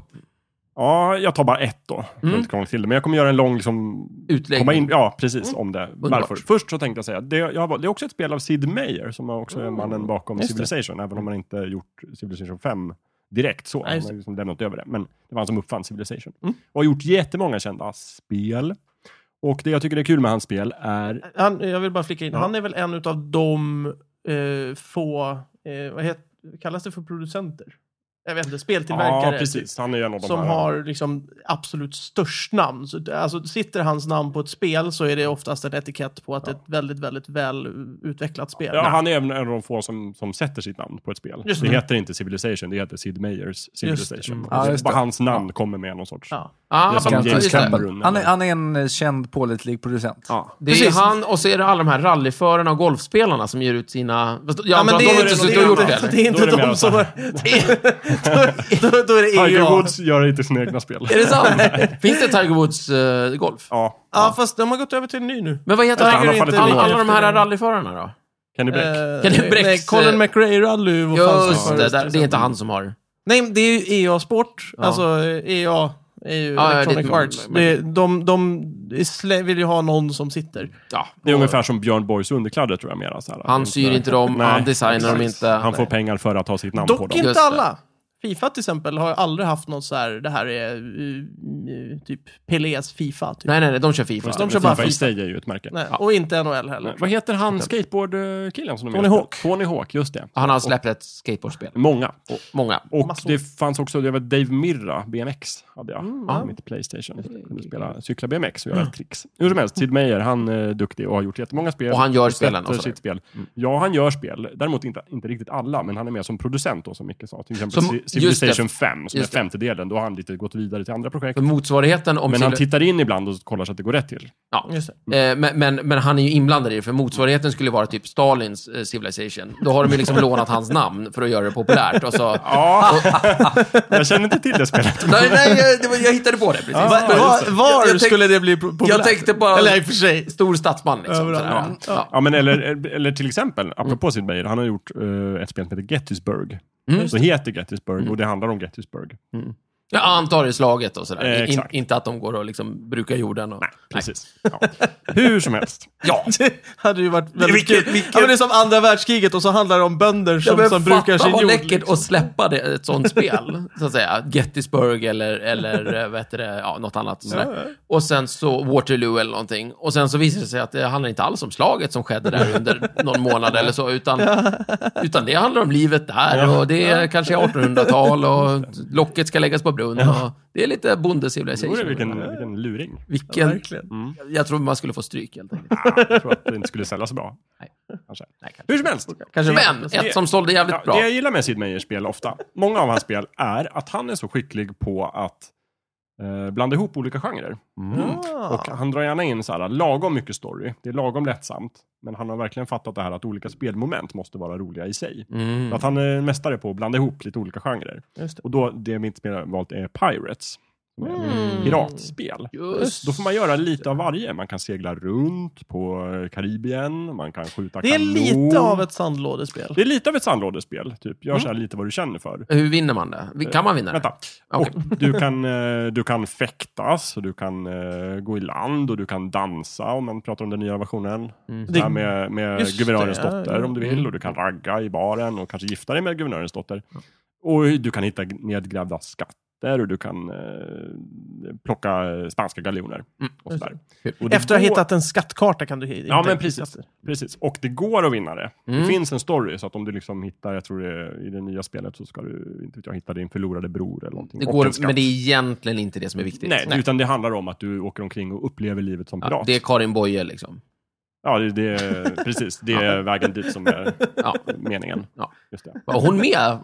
[SPEAKER 4] Ja, jag tar bara ett då.
[SPEAKER 2] Mm.
[SPEAKER 4] Mm. Inte krångla till det. Men jag kommer göra en lång liksom,
[SPEAKER 2] utlägg.
[SPEAKER 4] komma in, ja, precis,
[SPEAKER 1] Mm.
[SPEAKER 4] om det.
[SPEAKER 2] Underbart.
[SPEAKER 4] Varför? Först så tänkte jag säga, det, jag, har- det är också ett spel av Sid Meier, som är också är mannen bakom
[SPEAKER 1] Mm. Just det.
[SPEAKER 4] Civilization, även om han inte gjort Civilization 5 direkt så.
[SPEAKER 1] Ja,
[SPEAKER 4] han
[SPEAKER 1] just Mm.
[SPEAKER 4] har liksom lämnat över det. Men det var han som uppfann Civilization. Och har gjort jättemånga kända spel. Och det jag tycker är kul med hans spel är...
[SPEAKER 1] Han, jag vill bara flika in, han är väl en av de eh, få, eh, vad het, kallas det för producenter? Jag vet inte, speltillverkare.
[SPEAKER 4] Ja, precis. Han är ju en av de
[SPEAKER 1] Som
[SPEAKER 4] här.
[SPEAKER 1] har liksom absolut störst namn. Så, det- alltså, sitter hans namn på ett spel så är det oftast en etikett på att det är ett väldigt, väldigt väl utvecklat spel.
[SPEAKER 4] Ja, han är även en av de få som, som sätter sitt namn på ett spel.
[SPEAKER 1] Just
[SPEAKER 4] det
[SPEAKER 1] det.
[SPEAKER 4] heter inte Civilization, det heter Sid Meiers Civilization.
[SPEAKER 1] Mm.
[SPEAKER 3] Ja, just
[SPEAKER 4] Bara
[SPEAKER 3] det.
[SPEAKER 4] hans namn kommer med någon sorts...
[SPEAKER 1] Ja.
[SPEAKER 2] Ah,
[SPEAKER 4] Det är som
[SPEAKER 2] bra.
[SPEAKER 3] James
[SPEAKER 2] Just det.
[SPEAKER 4] Cameron.
[SPEAKER 3] Han är, han är en eh, känd pålitlig producent.
[SPEAKER 4] Ja.
[SPEAKER 2] Det är
[SPEAKER 1] Precis.
[SPEAKER 2] han och så är det alla de här rallyförarna och golfspelarna som ger ut sina... Fast- Ja,
[SPEAKER 1] Ja,
[SPEAKER 2] men
[SPEAKER 1] men det
[SPEAKER 2] de har
[SPEAKER 1] är,
[SPEAKER 2] inte
[SPEAKER 1] det,
[SPEAKER 2] suttit
[SPEAKER 1] är
[SPEAKER 2] och gjort
[SPEAKER 1] inte-
[SPEAKER 2] det. eller?
[SPEAKER 1] det är inte
[SPEAKER 4] Då är det
[SPEAKER 1] de
[SPEAKER 4] mer
[SPEAKER 1] som...
[SPEAKER 4] så
[SPEAKER 1] Då, då, då är det EU.
[SPEAKER 4] Tiger
[SPEAKER 1] Ja,
[SPEAKER 4] Woods gör inte sina egna spel.
[SPEAKER 2] Är det sant? Finns det Tiger Woods eh, golf?
[SPEAKER 4] Ja.
[SPEAKER 1] fast de har gått över till en ny nu.
[SPEAKER 2] Men vad heter
[SPEAKER 4] Ja,
[SPEAKER 2] alla,
[SPEAKER 4] han har fallit
[SPEAKER 2] alla,
[SPEAKER 4] tillbaka
[SPEAKER 2] alla de
[SPEAKER 1] efter
[SPEAKER 2] här
[SPEAKER 1] den.
[SPEAKER 2] rallyförarna då?
[SPEAKER 4] Kenny Beck.
[SPEAKER 1] Eh,
[SPEAKER 2] Kan det
[SPEAKER 1] nej,
[SPEAKER 2] bräcks,
[SPEAKER 1] nej, Colin
[SPEAKER 2] eh,
[SPEAKER 1] McRae Rally. Vad fan
[SPEAKER 2] Just
[SPEAKER 1] som
[SPEAKER 2] det,
[SPEAKER 1] förut.
[SPEAKER 2] där, det är inte han som har...
[SPEAKER 1] Nej, det är ju EA Sport.
[SPEAKER 2] Ja.
[SPEAKER 1] Alltså EA är ju
[SPEAKER 2] Ja, ja,
[SPEAKER 1] Electronic
[SPEAKER 2] det är-
[SPEAKER 1] Arts. Det, de de är slä- vill ju ha någon som sitter.
[SPEAKER 2] Ja,
[SPEAKER 4] det är ungefär som Björn Borgs underkläder tror jag mera. Så här.
[SPEAKER 2] Han syr inte dem,
[SPEAKER 4] Nej,
[SPEAKER 2] han designar dem
[SPEAKER 4] exakt.
[SPEAKER 2] inte.
[SPEAKER 4] Han får pengar för att ha sitt namn på
[SPEAKER 1] Dock
[SPEAKER 4] dem.
[SPEAKER 1] inte
[SPEAKER 2] Just det.
[SPEAKER 1] alla. Fifa till exempel har ju aldrig haft något så här, det här är eh, eh, typ Pelés Fifa. Typ.
[SPEAKER 2] Nej, nej, nej, de kör Fifa.
[SPEAKER 1] De
[SPEAKER 4] Men
[SPEAKER 1] kör bara
[SPEAKER 4] FIFA i
[SPEAKER 1] FIFA.
[SPEAKER 4] sig är ju ett märke.
[SPEAKER 1] Nej, Och inte NHL heller.
[SPEAKER 4] Vad heter han skateboardkillen som de
[SPEAKER 1] Tony
[SPEAKER 4] heter?
[SPEAKER 1] Hawk.
[SPEAKER 4] Tony Hawk, just det.
[SPEAKER 2] Han har släppt ett skateboardspel.
[SPEAKER 4] Många.
[SPEAKER 2] Och många.
[SPEAKER 4] Och
[SPEAKER 1] Massor.
[SPEAKER 4] det fanns också, jag vet, Dave Mirra, BMX, hade jag.
[SPEAKER 2] Mm.
[SPEAKER 4] på mitt Playstation. Jag kunde spela, cykla BMX och göra tricks. Hur som helst, Sid Meier, han är duktig och har gjort jättemånga spel.
[SPEAKER 2] Och han gör spelen alltså. Mm. och
[SPEAKER 4] sätter
[SPEAKER 2] sådär.
[SPEAKER 4] sitt spel. Ja, han gör spel. Däremot inte, inte riktigt alla, men han är med som producent då, som Micke sa. Till exempel
[SPEAKER 2] Som-
[SPEAKER 4] Ci-
[SPEAKER 2] just
[SPEAKER 4] Civilization
[SPEAKER 2] det.
[SPEAKER 4] 5, som är
[SPEAKER 2] Just det.
[SPEAKER 4] femtedelen. Då har han lite gått vidare till andra projekt.
[SPEAKER 2] För motsvarigheten om...
[SPEAKER 4] Men han
[SPEAKER 2] Silver-
[SPEAKER 4] tittar in ibland och kollar så att det går rätt till.
[SPEAKER 2] ja.
[SPEAKER 1] Just det.
[SPEAKER 2] Eh, Men, men, men han är ju inblandad i det, för motsvarigheten skulle vara typ Stalins eh, Civilization. Då har de ju liksom lånat hans namn för att göra det populärt. Och så,
[SPEAKER 4] Ja, jag känner inte till det spelet.
[SPEAKER 2] nej, nej, jag- det var, jag hittade på det precis.
[SPEAKER 1] Va-
[SPEAKER 2] Men-
[SPEAKER 1] var var
[SPEAKER 2] jag tänkte-
[SPEAKER 1] skulle det bli po- populärt?
[SPEAKER 2] jag tänkte bara-
[SPEAKER 1] Eller i och för sig.
[SPEAKER 2] Stor statsman liksom.
[SPEAKER 1] Överallt.
[SPEAKER 2] sådär. Ja.
[SPEAKER 4] Ja, men eller, eller till exempel, apropå Sid Meier, han har gjort eh, ett spel som heter Gettysburg.
[SPEAKER 2] Mm.
[SPEAKER 4] Så heter Gettysburg
[SPEAKER 2] Mm.
[SPEAKER 4] och det handlar om Gettysburg.
[SPEAKER 2] Jag antar det är slaget och sådär.
[SPEAKER 4] Eh,
[SPEAKER 2] In-
[SPEAKER 4] exakt.
[SPEAKER 2] inte att de går och liksom brukar jorden. Och...
[SPEAKER 4] Precis. Ja. Hur som helst.
[SPEAKER 2] Ja.
[SPEAKER 1] Det hade ju varit väldigt
[SPEAKER 2] Vilket-
[SPEAKER 1] kul.
[SPEAKER 2] vilket-
[SPEAKER 1] Ja, men det är som andra världskriget och så handlar det om bönder som, som brukar sin
[SPEAKER 2] vad
[SPEAKER 1] jord.
[SPEAKER 2] läckert att släppa det, ett sånt spel. så att säga. Gettysburg eller, eller eh, vad heter det, ja, något annat. och Sådär. Och sen så Waterloo eller någonting. Och sen så visar det sig att det handlar inte alls om slaget som skedde där under någon månad eller så, utan, utan det handlar om livet där och det är kanske 1800-tal och locket ska läggas på brunnen. Och det är lite
[SPEAKER 4] Jo, det är
[SPEAKER 2] bondecivilisation.
[SPEAKER 4] vilken, vilken luring.
[SPEAKER 2] Vilken-
[SPEAKER 1] Verkligen.
[SPEAKER 2] Jag tror man skulle få stryk helt enkelt.
[SPEAKER 4] Ah, jag tror att det inte skulle sälja så bra.
[SPEAKER 2] Nej.
[SPEAKER 4] Kanske.
[SPEAKER 2] Nej, kanske.
[SPEAKER 4] Hur som helst.
[SPEAKER 1] Kanske
[SPEAKER 2] Men ett som sålde jävligt
[SPEAKER 4] Ja,
[SPEAKER 2] bra.
[SPEAKER 4] det jag gillar med Sid Meiers spel ofta, många av hans spel, är att han är så skicklig på att eh, blanda ihop olika genrer.
[SPEAKER 1] Ah.
[SPEAKER 4] Mm. Och han drar gärna in så här, lagom mycket story. Det är lagom lättsamt. Men han har verkligen fattat det här att olika spelmoment måste vara roliga i sig.
[SPEAKER 2] Mm.
[SPEAKER 4] Så Att han är en mästare på att blanda ihop lite olika genrer.
[SPEAKER 1] Just det.
[SPEAKER 4] Och då, det mitt spel har valt är Pirates. som är
[SPEAKER 1] Mm.
[SPEAKER 4] ett Piratspel.
[SPEAKER 2] Just.
[SPEAKER 4] Då får man göra lite av varje. Man kan segla runt på eh, Karibien, man kan skjuta
[SPEAKER 1] Det är
[SPEAKER 4] kanon.
[SPEAKER 1] lite av ett Mm. sandlådespel.
[SPEAKER 4] Det är lite av ett sandlådespel, typ. Gör så här lite vad du känner för.
[SPEAKER 2] Hur vinner man det? Kan man vinna det?
[SPEAKER 4] Vänta.
[SPEAKER 2] Okej.
[SPEAKER 4] Och du kan, eh, du kan fäktas, och du kan eh, gå i land och du kan dansa om man pratar om den nya versionen. Det här med, med
[SPEAKER 1] Mm. Just
[SPEAKER 4] guvernörens
[SPEAKER 1] det, ja, Mm.
[SPEAKER 4] dotter
[SPEAKER 1] ja.
[SPEAKER 4] om du vill. Och du kan ragga i baren och kanske gifta dig med guvernörens dotter. Och du kan hitta nedgrävda skatter och du kan eh, plocka eh, spanska galjoner. Och sådär. Och det
[SPEAKER 1] Mm. Efter att ha
[SPEAKER 4] går-
[SPEAKER 1] hittat en skattkarta kan du hitta.
[SPEAKER 4] Ja, men precis. Precis, och det går att vinna det.
[SPEAKER 2] Mm.
[SPEAKER 4] Det finns en story, så att om du liksom hittar, jag tror det är i det nya spelet, så ska du inte vet jag, hitta din förlorade bror eller någonting.
[SPEAKER 2] Det
[SPEAKER 4] Och en
[SPEAKER 2] går,
[SPEAKER 4] skatt.
[SPEAKER 2] men det är egentligen inte det som är viktigt.
[SPEAKER 4] Nej, utan det handlar om att du åker omkring och upplever livet som
[SPEAKER 2] Ja,
[SPEAKER 4] pirat.
[SPEAKER 2] det är Karin Boye liksom.
[SPEAKER 4] Ja, det, det är, precis. Det är vägen dit som är
[SPEAKER 2] Ja.
[SPEAKER 4] meningen.
[SPEAKER 2] Ja.
[SPEAKER 4] Just det.
[SPEAKER 2] Var hon med?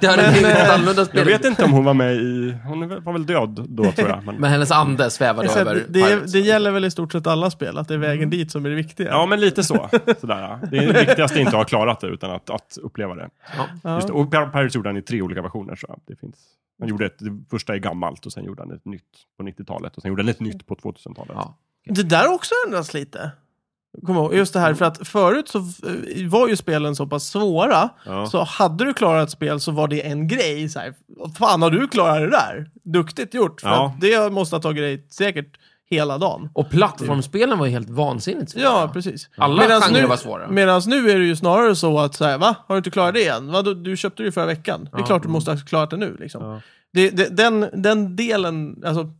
[SPEAKER 2] Det hade blivit ett annorlunda
[SPEAKER 4] eh, Jag
[SPEAKER 2] spel.
[SPEAKER 4] vet inte om hon var med i... Hon var väl död då, tror jag. Men,
[SPEAKER 2] Men hennes ande svävade
[SPEAKER 1] Så
[SPEAKER 2] över
[SPEAKER 1] att det,
[SPEAKER 2] Pirates.
[SPEAKER 1] det gäller väl i stort sett alla spel, att det är vägen dit som är det viktiga.
[SPEAKER 4] Mm. ja, men lite så. Sådär, ja. Det är det viktigaste är inte att ha klarat det, utan att, att uppleva det.
[SPEAKER 2] Ja.
[SPEAKER 4] Just det. Och Pir- Pirates gjorde han i tre olika versioner, så det finns... Han gjorde ett, det första är gammalt och sen gjorde han ett nytt på 90-talet och sen gjorde han ett nytt på 2000-talet.
[SPEAKER 2] Ja.
[SPEAKER 1] Det där har också ändras lite. Kom ihåg, just det här, för att förut så eh, var ju spelen så pass svåra,
[SPEAKER 4] Ja.
[SPEAKER 1] så hade du klarat ett spel så var det en grej. Så här, Fan, har du klarat det där? Duktigt gjort, för
[SPEAKER 4] Ja.
[SPEAKER 1] att det måste ha tagit dig säkert hela dagen.
[SPEAKER 2] Och plattformsspelen var ju helt vansinnigt svåra.
[SPEAKER 1] Ja, precis.
[SPEAKER 2] Alla
[SPEAKER 1] Medans
[SPEAKER 2] genrer
[SPEAKER 1] nu-
[SPEAKER 2] var svåra.
[SPEAKER 1] Medans nu är det ju snarare så att, så här, va? Har du inte klarat det än? Vadå, du köpte det ju förra veckan. Det är klart du måste ha klarat det nu. Liksom. Det, det, den, den delen, alltså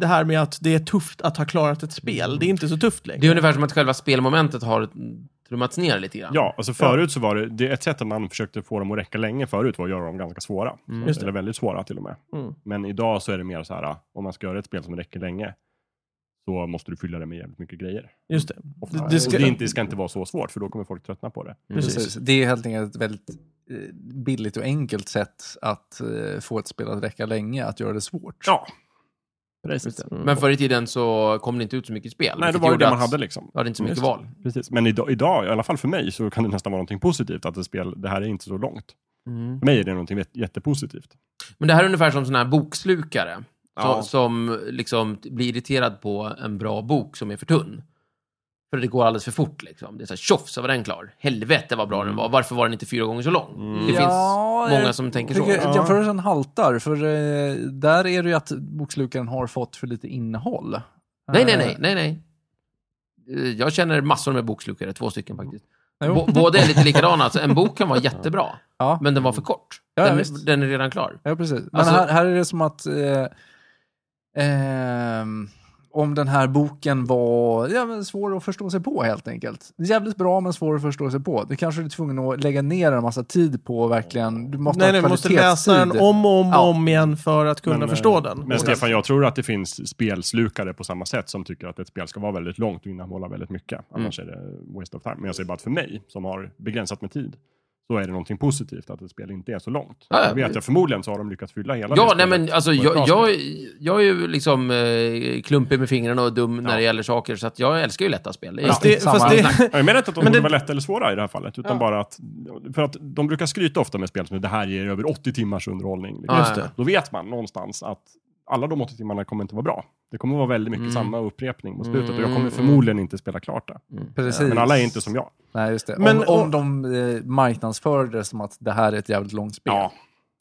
[SPEAKER 1] det här med att det är tufft att ha klarat ett spel, det är inte så tufft längre.
[SPEAKER 2] Det är ungefär som att själva spelmomentet har trummats ner lite grann.
[SPEAKER 4] Ja, alltså förut så var det, det ett sätt att man försökte få dem att räcka länge förut var att göra dem ganska svåra.
[SPEAKER 1] Just det.
[SPEAKER 4] Eller väldigt svåra till och med.
[SPEAKER 1] Mm.
[SPEAKER 4] Men idag så är det mer så här, om man ska göra ett spel som räcker länge så måste du fylla det med jävligt mycket grejer.
[SPEAKER 1] Just det.
[SPEAKER 4] Ofta.
[SPEAKER 1] Det-
[SPEAKER 4] Det,
[SPEAKER 1] det ska-
[SPEAKER 4] Och det, inte, det ska inte vara så svårt för då kommer folk tröttna på det.
[SPEAKER 1] Precis.
[SPEAKER 3] Precis. Det är helt enkelt ett väldigt eh, billigt och enkelt sätt att eh, få ett spel att räcka länge, att göra det svårt.
[SPEAKER 4] Ja,
[SPEAKER 2] Just det. Men förr i tiden så kom det inte ut så mycket spel.
[SPEAKER 4] Nej, det
[SPEAKER 2] vilket
[SPEAKER 4] var ju
[SPEAKER 2] gjorde
[SPEAKER 4] det man
[SPEAKER 2] att
[SPEAKER 4] hade liksom.
[SPEAKER 2] Du hade inte så mycket
[SPEAKER 4] Just det.
[SPEAKER 2] val.
[SPEAKER 4] Precis. Men idag, idag, i alla fall för mig, så kan det nästan vara någonting positivt att ett spel, det här är inte så långt.
[SPEAKER 2] Mm.
[SPEAKER 4] För mig är det någonting jät- jättepositivt.
[SPEAKER 2] Men det här är ungefär som sådana här bokslukare.
[SPEAKER 4] Ja.
[SPEAKER 2] Som, som liksom blir irriterad på en bra bok som är för tunn. För det går alldeles för fort liksom. Det är så här, tjoff så var den klar. Helvete vad bra den var. Varför var den inte fyra gånger så lång?
[SPEAKER 3] Mm.
[SPEAKER 2] Det
[SPEAKER 3] Ja,
[SPEAKER 2] finns många
[SPEAKER 3] jag
[SPEAKER 2] som tänker så.
[SPEAKER 3] Tycker
[SPEAKER 4] Ja.
[SPEAKER 3] jämförelsen haltar, för eh, där är det ju att bokslukaren har fått för lite innehåll.
[SPEAKER 2] Nej, nej,
[SPEAKER 3] Eh,
[SPEAKER 2] nej, nej, nej. Eh, Jag känner massor med bokslukare, två stycken faktiskt.
[SPEAKER 3] Jo.
[SPEAKER 2] Bå- Båda är lite likadana. Alltså, en bok kan vara jättebra,
[SPEAKER 3] Ja.
[SPEAKER 2] men den var för kort.
[SPEAKER 3] Ja, ja,
[SPEAKER 2] Den,
[SPEAKER 3] visst.
[SPEAKER 2] den är redan klar.
[SPEAKER 3] Ja, precis. Men
[SPEAKER 2] Alltså-
[SPEAKER 3] här, här är det som att eh, ehm, om den här boken var ja, men svår att förstå sig på helt enkelt. Jävligt bra men svår att förstå sig på. Du kanske är tvungen att lägga ner en massa tid på och verkligen. Du måste
[SPEAKER 1] Nej,
[SPEAKER 3] ha
[SPEAKER 1] nej, du måste
[SPEAKER 3] kvalitetstid.
[SPEAKER 1] läsa den om och om, och
[SPEAKER 3] Ja.
[SPEAKER 1] om igen för att kunna
[SPEAKER 4] Men, eh,
[SPEAKER 1] förstå den.
[SPEAKER 4] Men Stefan, jag tror att det finns spelslukare på samma sätt som tycker att ett spel ska vara väldigt långt och innehålla väldigt mycket.
[SPEAKER 2] Mm.
[SPEAKER 4] Annars är det waste of time. Men jag säger bara att för mig, som har begränsat med tid, så är det någonting positivt att ett spel inte är så långt.
[SPEAKER 2] Ja, ja.
[SPEAKER 4] jag vet jag, förmodligen så har de lyckats fylla hela det
[SPEAKER 2] Ja, nej
[SPEAKER 4] spelet
[SPEAKER 2] men alltså
[SPEAKER 4] på ett bra
[SPEAKER 2] jag,
[SPEAKER 4] sätt.
[SPEAKER 2] jag, jag är ju liksom eh, klumpig med fingrarna och dum när det gäller saker, så att jag älskar ju lätta spel. Det är-
[SPEAKER 1] Fast det,
[SPEAKER 3] samma
[SPEAKER 1] fast det,
[SPEAKER 3] snack.
[SPEAKER 4] Ja, Jag menar inte att
[SPEAKER 1] Men
[SPEAKER 4] de borde
[SPEAKER 1] det-
[SPEAKER 4] vara lätta eller svåra i det här fallet, utan bara att... För att de brukar skryta ofta med spel som det här ger över 80 timmars underhållning. Liksom.
[SPEAKER 2] Just det.
[SPEAKER 4] Då vet man någonstans att alla de 80 timmarna kommer inte vara bra. Det kommer vara väldigt mycket
[SPEAKER 2] Mm.
[SPEAKER 4] samma upprepning på slutet och jag
[SPEAKER 2] Mm.
[SPEAKER 4] kommer förmodligen inte spela klart det.
[SPEAKER 3] Precis.
[SPEAKER 4] Men alla är inte som jag.
[SPEAKER 3] Nej, just det.
[SPEAKER 1] Men-
[SPEAKER 3] om, om de eh, marknadsför det som att det här är ett jävligt långt spel.
[SPEAKER 4] Ja.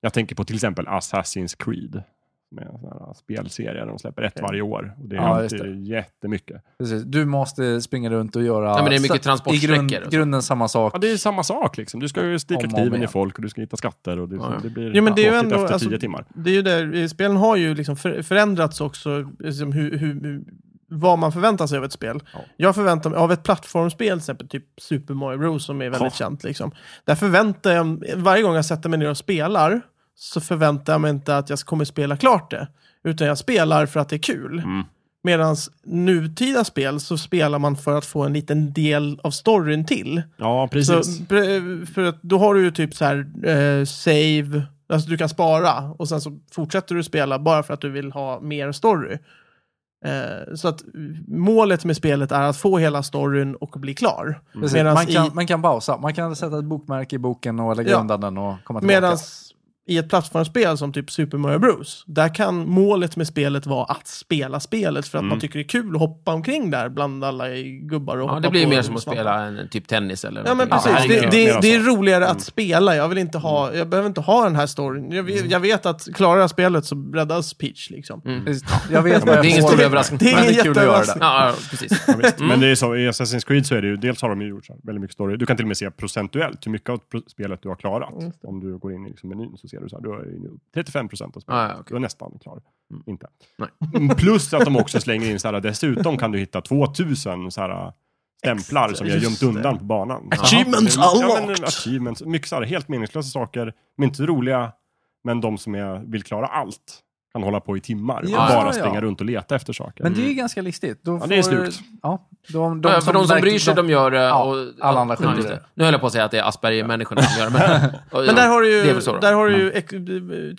[SPEAKER 4] Jag tänker på till exempel Assassin's Creed. Med en sån här spelserie där de släpper ett varje år. Och det är
[SPEAKER 3] Ja, just
[SPEAKER 4] alltid jättemycket.
[SPEAKER 3] Precis. Du måste springa runt och göra...
[SPEAKER 2] Ja, men det är mycket
[SPEAKER 3] sa- I grund,
[SPEAKER 2] transportsträckor. och så.
[SPEAKER 3] grunden samma sak.
[SPEAKER 4] Ja, det är samma sak liksom. Du ska ju sticka
[SPEAKER 3] Om och om
[SPEAKER 4] kniven i
[SPEAKER 3] igen.
[SPEAKER 4] folk och du ska hitta skatter och det,
[SPEAKER 2] Ja, ja.
[SPEAKER 4] det blir
[SPEAKER 1] Ja, men det är ju
[SPEAKER 4] tråkigt
[SPEAKER 1] ändå-
[SPEAKER 4] efter
[SPEAKER 1] alltså-
[SPEAKER 4] tio timmar.
[SPEAKER 1] Det är ju där, spelen har ju liksom för, förändrats också, liksom hur, hur, hur, vad man förväntar sig av ett spel.
[SPEAKER 4] Ja.
[SPEAKER 1] Jag förväntar mig, av ett plattformsspel, till exempel typ Super Mario Bros som är väldigt
[SPEAKER 4] Ja.
[SPEAKER 1] känt, liksom. där förväntar jag, varje gång jag sätter mig ner och spelar, så förväntar jag mig inte att jag kommer spela klart det, utan jag spelar för att det är kul.
[SPEAKER 4] Mm.
[SPEAKER 1] Medan nutida spel så spelar man för att få en liten del av storyn till.
[SPEAKER 4] Ja,
[SPEAKER 1] Så,
[SPEAKER 4] precis.
[SPEAKER 1] pre- för att då har du ju typ så här eh, save, alltså du kan spara och sen så fortsätter du spela bara för att du vill ha mer story. Eh, så att mm, målet med spelet är att få hela storyn och bli klar.
[SPEAKER 3] Precis.
[SPEAKER 1] Medans
[SPEAKER 3] Man, kan,
[SPEAKER 1] i-
[SPEAKER 3] man kan pausa. Man kan sätta ett bokmärke i boken och lägga
[SPEAKER 1] Ja.
[SPEAKER 3] undan den och komma tillbaka.
[SPEAKER 1] Medan i ett plattformsspel som typ Super Mario Bros, där kan målet med spelet vara att spela spelet
[SPEAKER 2] Mm.
[SPEAKER 1] för att man tycker det är kul att hoppa omkring där bland alla gubbar och
[SPEAKER 2] Ja, det
[SPEAKER 1] hoppa
[SPEAKER 2] blir ju
[SPEAKER 1] på
[SPEAKER 2] mer som att
[SPEAKER 1] svampar.
[SPEAKER 2] spela en, typ tennis eller
[SPEAKER 1] Ja men precis,
[SPEAKER 2] någonting. här är
[SPEAKER 1] det,
[SPEAKER 2] inget-
[SPEAKER 1] det,
[SPEAKER 4] mer
[SPEAKER 1] det är
[SPEAKER 4] så.
[SPEAKER 1] roligare att spela. Jag, vill inte ha, jag behöver inte ha den här storyn. Jag, vet- jag vet att klarar jag spelet så räddas Peach liksom.
[SPEAKER 3] Precis. Jag vet vad
[SPEAKER 2] det är
[SPEAKER 3] jag
[SPEAKER 2] ingen
[SPEAKER 3] får.
[SPEAKER 2] stor överraskning.
[SPEAKER 1] Det är
[SPEAKER 3] Men
[SPEAKER 1] ingen
[SPEAKER 3] det är kul att göra det.
[SPEAKER 1] jätteöverraskning.
[SPEAKER 2] Ja, ja, precis.
[SPEAKER 4] Ja, visst. Men det är så, i Assassin's Creed så är det ju, dels har de ju gjort så här, väldigt mycket story. Du kan till och med se procentuellt hur mycket av pro- spelet du har klarat. Om du går in i liksom menyn så ser du så här, du har ju nu 35 procent av spelet.
[SPEAKER 2] Ah, ja, okej.
[SPEAKER 4] Du är nästan klar. Inte.
[SPEAKER 2] Nej.
[SPEAKER 4] Mm, Plus att de också slänger in så här, dessutom kan du hitta 2000 så här stämplar som jag gömt
[SPEAKER 1] Just det.
[SPEAKER 4] undan på banan.
[SPEAKER 1] Achievements
[SPEAKER 4] ja, men,
[SPEAKER 1] unlocked.
[SPEAKER 4] achievements, mycket så här, helt meningslösa saker, men inte roliga. Men de som är, vill klara allt kan hålla på i timmar och
[SPEAKER 3] Ja,
[SPEAKER 4] bara
[SPEAKER 3] ja.
[SPEAKER 4] springa runt och leta efter saker.
[SPEAKER 3] Men det är ju ganska listigt. Då
[SPEAKER 4] Ja, det är
[SPEAKER 3] får-
[SPEAKER 4] snyggt.
[SPEAKER 3] Ja, de,
[SPEAKER 2] Ja, för de som bryr sig, de gör det.
[SPEAKER 3] Ja,
[SPEAKER 2] och,
[SPEAKER 3] alla andra skiter
[SPEAKER 2] ja, just
[SPEAKER 3] i det.
[SPEAKER 2] Nu höll jag på att säga att det är Asperger-människorna som gör det. Men, och,
[SPEAKER 1] Men där har du
[SPEAKER 2] det är
[SPEAKER 1] ju,
[SPEAKER 2] väl så då.
[SPEAKER 1] där har du ju ex-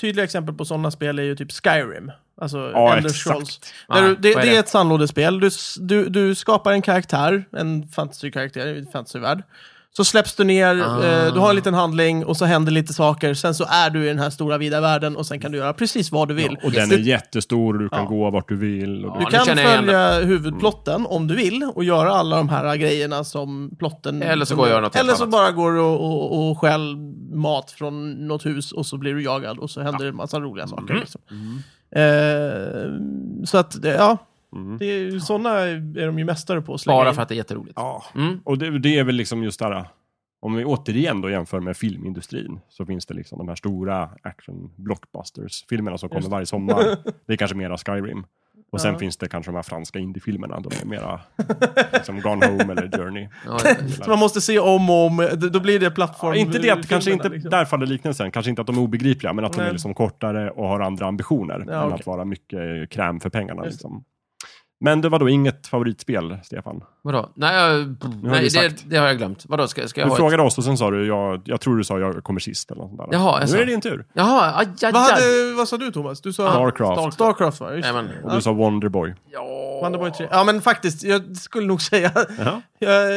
[SPEAKER 1] tydliga exempel på sådana spel är ju typ Skyrim. Alltså
[SPEAKER 4] Ja,
[SPEAKER 1] Elder
[SPEAKER 4] exakt.
[SPEAKER 1] Scrolls. Där du,
[SPEAKER 2] Nej,
[SPEAKER 1] det,
[SPEAKER 2] vad är
[SPEAKER 1] det
[SPEAKER 2] det?
[SPEAKER 1] är ett sandlådespel. Du, s- du, du skapar en karaktär, en fantasykaraktär i en fantasyvärld. Så släpps du ner,
[SPEAKER 2] Ah.
[SPEAKER 1] eh, du har en liten handling och så händer lite saker. Sen så är du i den här stora vida världen och sen kan du göra precis vad du vill.
[SPEAKER 4] Och den
[SPEAKER 1] Du-
[SPEAKER 4] är jättestor och du kan
[SPEAKER 1] Ja.
[SPEAKER 4] gå vart du vill. Och
[SPEAKER 2] Ja,
[SPEAKER 4] du...
[SPEAKER 1] Du
[SPEAKER 2] nu
[SPEAKER 1] kan
[SPEAKER 2] känner jag igen
[SPEAKER 1] följa huvudplotten om du vill och göra alla de här grejerna som plotten...
[SPEAKER 2] Eller så
[SPEAKER 1] som-
[SPEAKER 2] går jag och gör något helt
[SPEAKER 1] Eller så
[SPEAKER 2] annat.
[SPEAKER 1] bara går du och, och, och stjäl mat från något hus och så blir du jagad och så händer det en massa roliga
[SPEAKER 2] Mm.
[SPEAKER 1] saker. Liksom. Eh, så att, det- ja. Det är, ju- såna är de ju mästare på att slänga
[SPEAKER 2] Mm. Bara
[SPEAKER 1] in.
[SPEAKER 2] för att det är jätteroligt.
[SPEAKER 4] Ja.
[SPEAKER 2] Mm.
[SPEAKER 4] Och det, det är väl liksom just det här, om vi återigen då jämför med filmindustrin, så finns det liksom de här stora action blockbusters-filmerna som kommer varje sommar. Det är kanske mera Skyrim. Och sen
[SPEAKER 1] Ja.
[SPEAKER 4] finns det kanske de här franska indiefilmerna, de är mera liksom Gone Home eller Journey.
[SPEAKER 2] Ja, ja.
[SPEAKER 1] Så man måste se om och om, d- då blir det plattform...
[SPEAKER 4] Ja, inte det, att, kanske
[SPEAKER 1] filmerna,
[SPEAKER 4] inte,
[SPEAKER 1] liksom.
[SPEAKER 4] där faller liknelsen, kanske inte att de är obegripliga, men att de
[SPEAKER 1] Nej.
[SPEAKER 4] är liksom kortare och har andra ambitioner
[SPEAKER 1] Ja,
[SPEAKER 4] än
[SPEAKER 1] okej.
[SPEAKER 4] att vara mycket kräm för pengarna.
[SPEAKER 1] Just det.
[SPEAKER 4] Liksom. Men det var då inget favoritspel, Stefan?
[SPEAKER 2] Vadå? Nej, jag, nej
[SPEAKER 4] vi
[SPEAKER 2] det,
[SPEAKER 4] sagt.
[SPEAKER 2] det har jag glömt. Vadå, ska, ska jag
[SPEAKER 4] Du
[SPEAKER 2] ha ett...
[SPEAKER 4] frågade oss och sen sa du, jag, jag tror du sa jag kommer sist eller något sånt där.
[SPEAKER 2] Jaha, jag
[SPEAKER 4] nu
[SPEAKER 2] sa.
[SPEAKER 4] är det din tur.
[SPEAKER 2] Jaha, aj, aj,
[SPEAKER 1] Vad,
[SPEAKER 2] aj.
[SPEAKER 1] hade, vad sa du Thomas? Du sa...
[SPEAKER 4] Starcraft.
[SPEAKER 1] Star- Starcraft va? Just
[SPEAKER 2] Nej,
[SPEAKER 1] det.
[SPEAKER 2] men,
[SPEAKER 4] Och du sa Wonderboy.
[SPEAKER 2] ja.
[SPEAKER 1] Wonderboy 3. Ja men faktiskt, jag skulle nog säga...
[SPEAKER 4] Ja,
[SPEAKER 1] jag,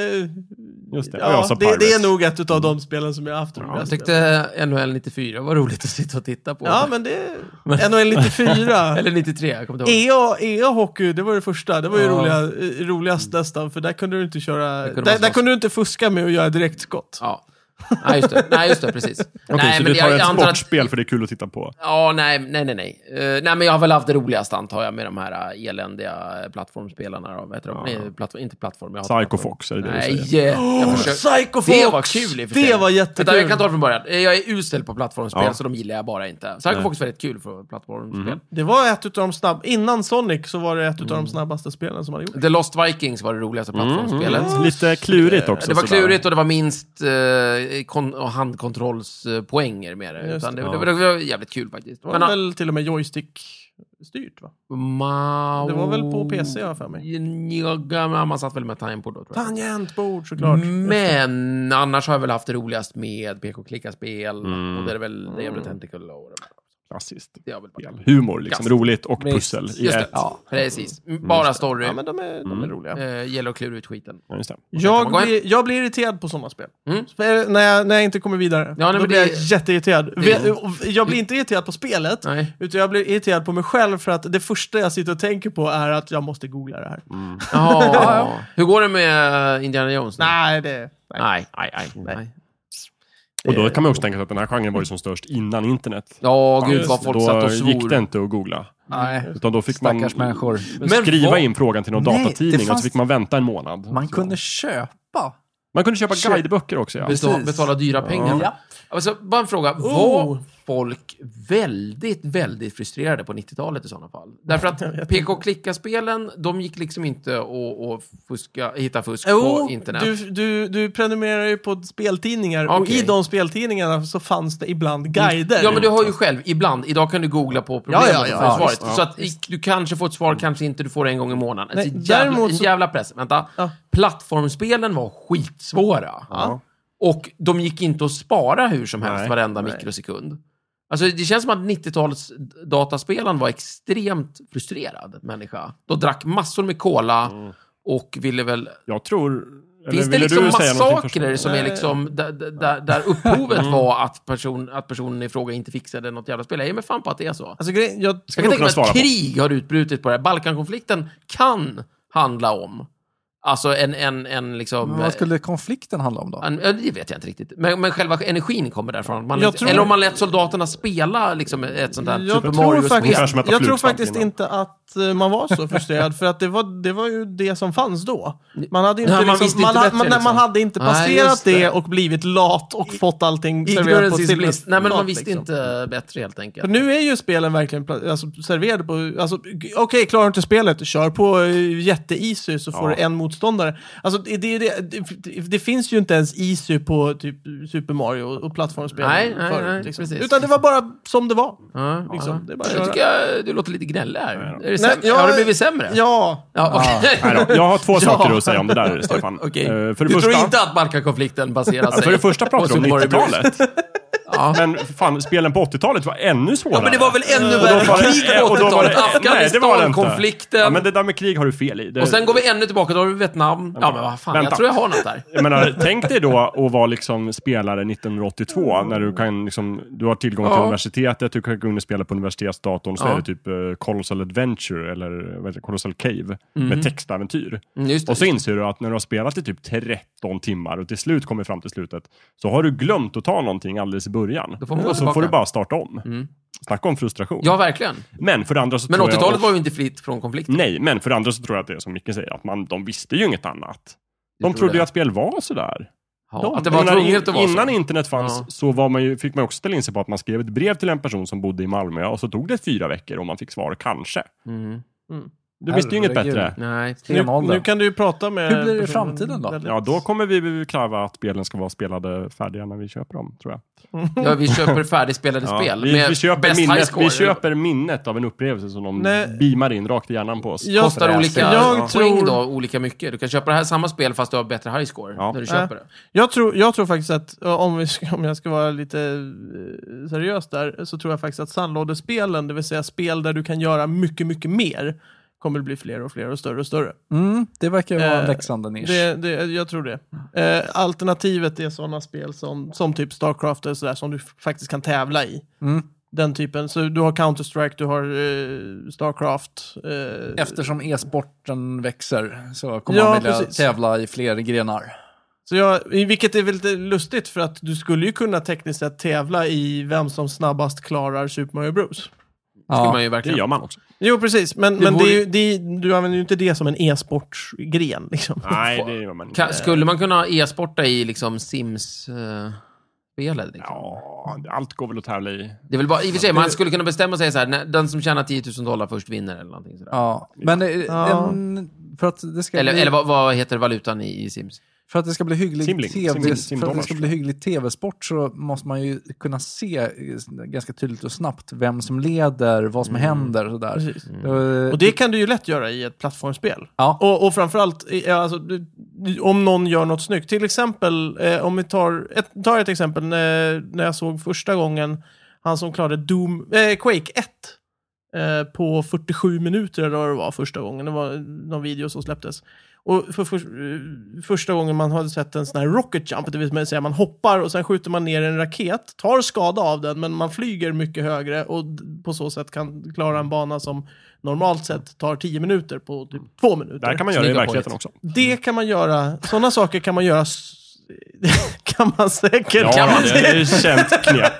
[SPEAKER 4] just det. Och jag
[SPEAKER 1] eh, Ja,
[SPEAKER 4] sa
[SPEAKER 1] det, det är
[SPEAKER 4] Pirates.
[SPEAKER 1] nog ett av de spelen som jag har haft roligast
[SPEAKER 2] Jag
[SPEAKER 1] med.
[SPEAKER 2] tyckte NHL 94 var roligt att sitta och titta på.
[SPEAKER 1] Ja, men det... NHL 94.
[SPEAKER 2] Eller 93, jag kommer inte ihåg.
[SPEAKER 1] EA, EA E Hockey, det var det första. Det var ju
[SPEAKER 2] Ja.
[SPEAKER 1] roliga, eh, roligast nästan, för där kunde du inte köra...
[SPEAKER 2] kunde man
[SPEAKER 1] där, där
[SPEAKER 2] slåss.
[SPEAKER 1] kunde du inte fuska med att göra direktskott.
[SPEAKER 2] Ja. Nej, just det. Nej, just det, precis.
[SPEAKER 4] Okej,
[SPEAKER 2] nej,
[SPEAKER 4] så du tar
[SPEAKER 2] jag
[SPEAKER 4] ett
[SPEAKER 2] antar att-
[SPEAKER 4] sportspel för det är kul att titta på.
[SPEAKER 2] Ja, nej, nej, nej. Nej. Eh, nej, men jag har väl haft det roligaste antar jag med de här eh, eländiga eh, plattformsspelarna. då. Vad heter de? Nej, platt, inte plattform. Jag hatar
[SPEAKER 4] Psycho
[SPEAKER 2] plattform.
[SPEAKER 4] Fox, är det det
[SPEAKER 2] Nej,
[SPEAKER 4] du säger?
[SPEAKER 2] jag försöker-
[SPEAKER 1] Psycho Fox!
[SPEAKER 2] Det var kul i och för sig.
[SPEAKER 1] Det var jättekul.
[SPEAKER 2] Vänta, jag kan ta det från början. Eh, Jag är usel på plattformsspel,
[SPEAKER 4] Ja. Mhm.
[SPEAKER 2] så de gillar jag bara inte. Psycho Fox var rätt kul för plattformsspel.
[SPEAKER 1] Det var ett av de snabba... Innan Sonic så var det ett av de snabbaste spelen som hade gjort.
[SPEAKER 2] The Lost Vikings var det roligaste
[SPEAKER 4] Mm,
[SPEAKER 2] plattformsspelet.
[SPEAKER 4] Lite klurigt också.
[SPEAKER 2] Det var
[SPEAKER 4] sådär.
[SPEAKER 2] klurigt och det var minst eh, kon- och handkontrollspoänger med det.
[SPEAKER 1] Just
[SPEAKER 2] Utan det,
[SPEAKER 4] det.
[SPEAKER 2] det, var- det var jävligt kul faktiskt.
[SPEAKER 1] Det var
[SPEAKER 2] Men, ah,
[SPEAKER 1] väl till och med joystick-styrt, va?
[SPEAKER 2] Mao...
[SPEAKER 1] Det var väl på PC, har jag för mig.
[SPEAKER 2] Ja, man satt väl med tangentbord då, tror jag.
[SPEAKER 1] Tangentbord, såklart.
[SPEAKER 2] Mm. Men
[SPEAKER 1] Mm.
[SPEAKER 2] annars har jag väl haft det roligast med PK-klicka-spel. Och det är väl Devil Tentacle och de
[SPEAKER 4] klassiskt
[SPEAKER 2] Det har väl varit.
[SPEAKER 4] spel. Humor, liksom.
[SPEAKER 2] Klassiskt.
[SPEAKER 4] roligt och
[SPEAKER 3] Visst,
[SPEAKER 4] pussel i
[SPEAKER 2] just
[SPEAKER 4] ett.
[SPEAKER 2] det.
[SPEAKER 1] Ja. Mm.
[SPEAKER 2] Precis. Bara story.
[SPEAKER 1] Ja, men de är, de är roliga.
[SPEAKER 2] Eh, gäller att klura ut skiten.
[SPEAKER 4] Ja, just det.
[SPEAKER 1] Jag,
[SPEAKER 2] kan man gå
[SPEAKER 1] blir, jag blir irriterad på sådana spel.
[SPEAKER 2] Mm.
[SPEAKER 1] Så, eh, När, jag, när jag inte kommer vidare.
[SPEAKER 2] Ja, nej,
[SPEAKER 1] då
[SPEAKER 2] men
[SPEAKER 1] blir
[SPEAKER 2] det-
[SPEAKER 1] jag jätteirriterad.
[SPEAKER 2] det-
[SPEAKER 1] Och Jag blir inte irriterad på spelet,
[SPEAKER 2] Nej.
[SPEAKER 1] utan jag blir irriterad på mig själv för att det första jag sitter och tänker på är att jag måste googla det här.
[SPEAKER 2] Mm. Ja, Hur går det med eh, Indiana Jones? nu?
[SPEAKER 1] Nej, det... Nej.
[SPEAKER 2] Nej, nej, nej. nej.
[SPEAKER 4] Och då kan man också tänka sig att den här genren var ju som störst innan internet.
[SPEAKER 2] Ja, gud
[SPEAKER 4] Just,
[SPEAKER 2] vad folk
[SPEAKER 4] då
[SPEAKER 2] satt och
[SPEAKER 4] gick det
[SPEAKER 2] svor.
[SPEAKER 4] inte att googla.
[SPEAKER 2] Mm.
[SPEAKER 3] Nej,
[SPEAKER 4] Utan då fick man
[SPEAKER 3] stackars människor.
[SPEAKER 2] Men
[SPEAKER 4] skriva
[SPEAKER 2] vad-
[SPEAKER 4] in frågan till någon
[SPEAKER 3] Nej,
[SPEAKER 4] datatidning
[SPEAKER 3] det
[SPEAKER 4] och
[SPEAKER 3] fanns-
[SPEAKER 4] så fick man vänta en månad.
[SPEAKER 3] Man
[SPEAKER 4] Så.
[SPEAKER 3] kunde köpa.
[SPEAKER 4] man kunde köpa
[SPEAKER 3] Kö-
[SPEAKER 4] guideböcker också. Ja.
[SPEAKER 2] Betala,
[SPEAKER 3] Precis.
[SPEAKER 2] betala dyra pengar.
[SPEAKER 3] Ja.
[SPEAKER 2] Alltså, bara en fråga.
[SPEAKER 1] Oh.
[SPEAKER 2] Var folk väldigt, väldigt frustrerade på 90-talet i sådana fall? Därför att pk och klicka-spelen, de gick liksom inte att att fuska, hitta fusk
[SPEAKER 1] Jo,
[SPEAKER 2] på internet.
[SPEAKER 1] du, du, du prenumererar ju på speltidningar och
[SPEAKER 2] Okej. Mm.
[SPEAKER 1] i de speltidningarna så fanns det ibland guider.
[SPEAKER 2] Ja, men du har ju själv, ibland, idag kan du googla på problemet
[SPEAKER 1] Ja, ja, ja,
[SPEAKER 2] och få
[SPEAKER 3] ja,
[SPEAKER 2] svaret. så att du kanske får ett svar, kanske inte, du får det en gång i månaden.
[SPEAKER 1] Nej,
[SPEAKER 2] Alltså, jävla,
[SPEAKER 1] däremot
[SPEAKER 2] en
[SPEAKER 1] så-
[SPEAKER 2] jävla press. Vänta.
[SPEAKER 1] Ja.
[SPEAKER 2] Plattformsspelen var skitsvåra. Och de gick inte att spara hur som helst
[SPEAKER 4] Nej.
[SPEAKER 2] varenda mikrosekund. Alltså, det känns som att 90-talets dataspelaren var extremt frustrerad människa. De drack massor med cola
[SPEAKER 1] Mm.
[SPEAKER 2] och ville väl...
[SPEAKER 4] Jag tror... eller
[SPEAKER 2] Finns det
[SPEAKER 4] ville
[SPEAKER 2] liksom
[SPEAKER 4] du säga någonting
[SPEAKER 2] massakrer
[SPEAKER 4] först?
[SPEAKER 2] som är liksom där, där- där, där upphovet
[SPEAKER 1] Mm.
[SPEAKER 2] var att, person, att personen i fråga inte fixade något jävla spel? Jag är med fan på att det är så.
[SPEAKER 1] Alltså, grejen- jag,
[SPEAKER 2] Jag kan tänka
[SPEAKER 4] nog kunna
[SPEAKER 2] mig att
[SPEAKER 4] svara på.
[SPEAKER 2] krig har utbrutit på det här. Balkankonflikten kan handla om, alltså en, en, en liksom... eh,
[SPEAKER 3] Men vad skulle konflikten handla om då?
[SPEAKER 2] en, ja, det vet jag inte riktigt. Men, men själva energin kommer därifrån. Man, liksom,
[SPEAKER 1] Jag tror-
[SPEAKER 2] Eller om man lät soldaterna spela liksom, ett sånt här
[SPEAKER 1] jag
[SPEAKER 2] Super
[SPEAKER 1] tror
[SPEAKER 2] Mario-spel.
[SPEAKER 4] Ungefär
[SPEAKER 1] faktiskt,
[SPEAKER 4] som att äta
[SPEAKER 1] jag tror
[SPEAKER 4] flugsvamp
[SPEAKER 1] faktiskt
[SPEAKER 4] innan.
[SPEAKER 1] inte att eh, man var så frustrerad, för att det var, det var ju det som fanns då. Man hade inte,
[SPEAKER 2] Nej, man visste
[SPEAKER 1] liksom, man
[SPEAKER 2] inte
[SPEAKER 1] ha-
[SPEAKER 2] bättre,
[SPEAKER 1] man, nej,
[SPEAKER 2] liksom.
[SPEAKER 1] man hade inte
[SPEAKER 2] Nej, just
[SPEAKER 1] passerat
[SPEAKER 2] det.
[SPEAKER 1] det. och blivit lat och fått allting serverat på
[SPEAKER 2] Ignorance
[SPEAKER 1] ett
[SPEAKER 2] is bliss.
[SPEAKER 1] silverfat.
[SPEAKER 2] Nej, men man visste
[SPEAKER 1] liksom.
[SPEAKER 2] inte bättre helt enkelt.
[SPEAKER 1] För nu är ju spelen verkligen pla- alltså, serverade på... Alltså, g- Okej, klarar du inte spelet, kör på eh, jätte-ISU så får
[SPEAKER 4] Ja.
[SPEAKER 1] du en motståndare. Alltså, det, det, det, det, det finns ju inte ens ISU på typ Super Mario och plattformsspel.
[SPEAKER 2] Nej, nej,
[SPEAKER 1] förut,
[SPEAKER 2] nej,
[SPEAKER 1] liksom.
[SPEAKER 2] precis.
[SPEAKER 1] Utan det var bara som det var.
[SPEAKER 2] Ja, ja.
[SPEAKER 1] liksom, det är bara att
[SPEAKER 2] jag
[SPEAKER 1] köra.
[SPEAKER 2] tycker jag, du låter lite gnällig här. Är det
[SPEAKER 1] Nej,
[SPEAKER 2] sämre?
[SPEAKER 1] jag-
[SPEAKER 2] Har det blivit sämre?
[SPEAKER 1] Ja.
[SPEAKER 2] Ja, okej.
[SPEAKER 4] Nej då, jag har två saker att säga om det där, Stefan.
[SPEAKER 2] Okej.
[SPEAKER 4] Eh, För det
[SPEAKER 2] du tror
[SPEAKER 4] första,
[SPEAKER 2] inte att Balkankonflikten baserar sig
[SPEAKER 4] för det första
[SPEAKER 2] på
[SPEAKER 4] pratar du om
[SPEAKER 2] Super Mario Bros.
[SPEAKER 4] 90-talet.
[SPEAKER 2] Ja.
[SPEAKER 4] Men fan, spelen på 80-talet var ännu svårare.
[SPEAKER 2] Ja, men det var väl ännu
[SPEAKER 4] Och då
[SPEAKER 2] värre
[SPEAKER 4] var det-
[SPEAKER 2] krig
[SPEAKER 4] eh,
[SPEAKER 2] på
[SPEAKER 4] och då var det-
[SPEAKER 2] 80-talet.
[SPEAKER 4] nej, det var det inte.
[SPEAKER 2] Afghanistan-konflikten.
[SPEAKER 4] Ja, men det där med krig har du fel i. Det,
[SPEAKER 2] Och sen går vi ännu tillbaka, då har vi Vietnam. Ja, men vad fan,
[SPEAKER 4] Vänta.
[SPEAKER 2] jag tror jag har något där.
[SPEAKER 4] Jag menar, tänk dig då att vara liksom spelare 1982, när du, kan liksom, du har tillgång till
[SPEAKER 2] Mm. Ja.
[SPEAKER 4] universitetet, du kan gå in och spela på universitetsdatorn, så
[SPEAKER 2] Ja.
[SPEAKER 4] är det typ eh, Colossal Adventure, eller vad heter det, Colossal Cave, med textäventyr.
[SPEAKER 2] Mm, just det.
[SPEAKER 4] Och så inser du att när du har spelat i typ 13 timmar och till slut kommer fram till slutet, så har du glömt att ta någonting alldeles i början.
[SPEAKER 2] Då får man gå
[SPEAKER 4] och så
[SPEAKER 2] tillbaka. Mm.
[SPEAKER 4] får du bara starta om. Snacka om frustration.
[SPEAKER 2] Ja, verkligen.
[SPEAKER 4] Men för det andra så
[SPEAKER 2] Men
[SPEAKER 4] tror jag...
[SPEAKER 2] 80-talet var ju inte fritt från konflikter.
[SPEAKER 4] Nej, men för det andra så tror jag att det är som Micke säger, att man, de visste ju inget annat. De
[SPEAKER 2] tror
[SPEAKER 4] trodde ju
[SPEAKER 2] det.
[SPEAKER 4] att spel var sådär.
[SPEAKER 2] Ja, att det
[SPEAKER 4] Jag
[SPEAKER 2] var
[SPEAKER 4] menar,
[SPEAKER 2] tvunget att vara
[SPEAKER 4] Innan
[SPEAKER 2] så.
[SPEAKER 4] internet fanns
[SPEAKER 2] Ja.
[SPEAKER 4] så var man ju, fick man också ställa in sig på att man skrev ett brev till en person som bodde i Malmö och så tog det fyra veckor och man fick svar kanske.
[SPEAKER 2] Mm.
[SPEAKER 4] Du visste ju inget
[SPEAKER 3] Herregud.
[SPEAKER 4] bättre.
[SPEAKER 2] Nej.
[SPEAKER 1] Nu, nu
[SPEAKER 3] Stenåldern.
[SPEAKER 1] kan du ju prata med...
[SPEAKER 3] Hur blir det i
[SPEAKER 1] personen
[SPEAKER 3] framtiden då?
[SPEAKER 1] väldigt-
[SPEAKER 4] Ja, då kommer vi kräva att spelen ska vara spelade färdiga när vi köper dem, tror jag.
[SPEAKER 2] Ja, vi köper färdigspelade
[SPEAKER 4] Ja,
[SPEAKER 2] spel
[SPEAKER 4] vi,
[SPEAKER 2] med
[SPEAKER 4] vi, köper
[SPEAKER 2] bäst high
[SPEAKER 4] minnet,
[SPEAKER 2] score.
[SPEAKER 4] vi köper minnet av en upplevelse som de
[SPEAKER 1] Nej.
[SPEAKER 4] beamar in rakt i hjärnan på oss.
[SPEAKER 1] Jag-
[SPEAKER 2] Kostar olika
[SPEAKER 1] Jag
[SPEAKER 2] poäng
[SPEAKER 1] tror-
[SPEAKER 2] då, olika mycket. Du kan köpa det här samma spel fast du har bättre high score
[SPEAKER 4] Ja.
[SPEAKER 2] när du
[SPEAKER 1] Äh.
[SPEAKER 2] köper det.
[SPEAKER 1] Jag tror, jag tror faktiskt att, ja, om, vi ska, om jag ska vara lite eh, seriös där, så tror jag faktiskt att sandlådespelen, det vill säga spel där du kan göra mycket, mycket mer, kommer bli fler och fler och större och större.
[SPEAKER 3] Mm, det verkar ju vara en
[SPEAKER 1] Eh,
[SPEAKER 3] växande nisch.
[SPEAKER 1] Det, det, jag tror det. Eh, alternativet är sådana spel som, som typ Starcraft eller sådär, som du f- faktiskt kan tävla i.
[SPEAKER 3] Mm.
[SPEAKER 1] Den typen. Så du har Counter-Strike, du har eh, Starcraft. Eh,
[SPEAKER 3] Eftersom e-sporten växer så kommer
[SPEAKER 1] Ja,
[SPEAKER 3] man vilja
[SPEAKER 1] precis.
[SPEAKER 3] tävla i fler grenar.
[SPEAKER 1] Så jag, i- vilket är väl lite lustigt för att du skulle ju kunna tekniskt sett tävla i vem som snabbast klarar Super Mario Bros.
[SPEAKER 2] Skulle man
[SPEAKER 3] Ja.
[SPEAKER 2] ju
[SPEAKER 4] Det
[SPEAKER 2] verkligen.
[SPEAKER 4] gör man också.
[SPEAKER 1] Jo, precis. Men,
[SPEAKER 2] Det
[SPEAKER 1] men
[SPEAKER 2] vore-
[SPEAKER 1] det är ju, det är, du använder ju inte det som en e-sportsgren. Liksom.
[SPEAKER 4] Nej, det gör man inte.
[SPEAKER 1] Eh.
[SPEAKER 2] Ka- skulle man kunna e-sporta i liksom Sims-spelet? liksom?
[SPEAKER 4] Ja, allt går väl att tävla i.
[SPEAKER 2] Det är väl bara, i och för sig, man skulle kunna bestämma sig så här, när, den som tjänar 10 000 dollar först vinner eller någonting sådär.
[SPEAKER 3] Ja. Men eh,
[SPEAKER 1] Ja.
[SPEAKER 3] En, för att det ska
[SPEAKER 2] Eller,
[SPEAKER 3] bli...
[SPEAKER 2] eller vad, vad heter valutan i, i Sims?
[SPEAKER 3] För att det ska bli hygglig
[SPEAKER 4] Simling.
[SPEAKER 3] TV,
[SPEAKER 4] Simling.
[SPEAKER 3] för att det
[SPEAKER 4] Simdollars.
[SPEAKER 3] ska bli hygglig tv-sport så måste man ju kunna se eh, ganska tydligt och snabbt vem som leder, vad
[SPEAKER 2] Mm.
[SPEAKER 3] som händer och sådär.
[SPEAKER 1] Precis.
[SPEAKER 3] Eh,
[SPEAKER 1] Och det kan du ju lätt göra i ett plattformsspel.
[SPEAKER 3] Ja.
[SPEAKER 1] Och, och framförallt i- ja, alltså, du- du- om någon gör något snyggt. Till exempel, eh, om vi tar ett, tar ett exempel eh, när jag såg första gången Han som klarade Doom, eh, Quake 1 eh, på 47 minuter eller vad det var första gången. Det var någon video som släpptes. Och för, för, eh, första gången man hade sett en sån här rocket jump, det vill säga man hoppar och sen skjuter man ner en raket, tar skada av den men man flyger mycket högre och d- på så sätt kan klara en bana som normalt sett tar 10 minuter på typ 2 minuter.
[SPEAKER 4] Där kan man göra det i
[SPEAKER 2] Snygga
[SPEAKER 4] verkligheten
[SPEAKER 2] poäng.
[SPEAKER 4] också.
[SPEAKER 1] Det kan man göra, sådana saker kan man göra s- kan man säkert.
[SPEAKER 4] Ja,
[SPEAKER 2] man
[SPEAKER 4] det är ett känt knep.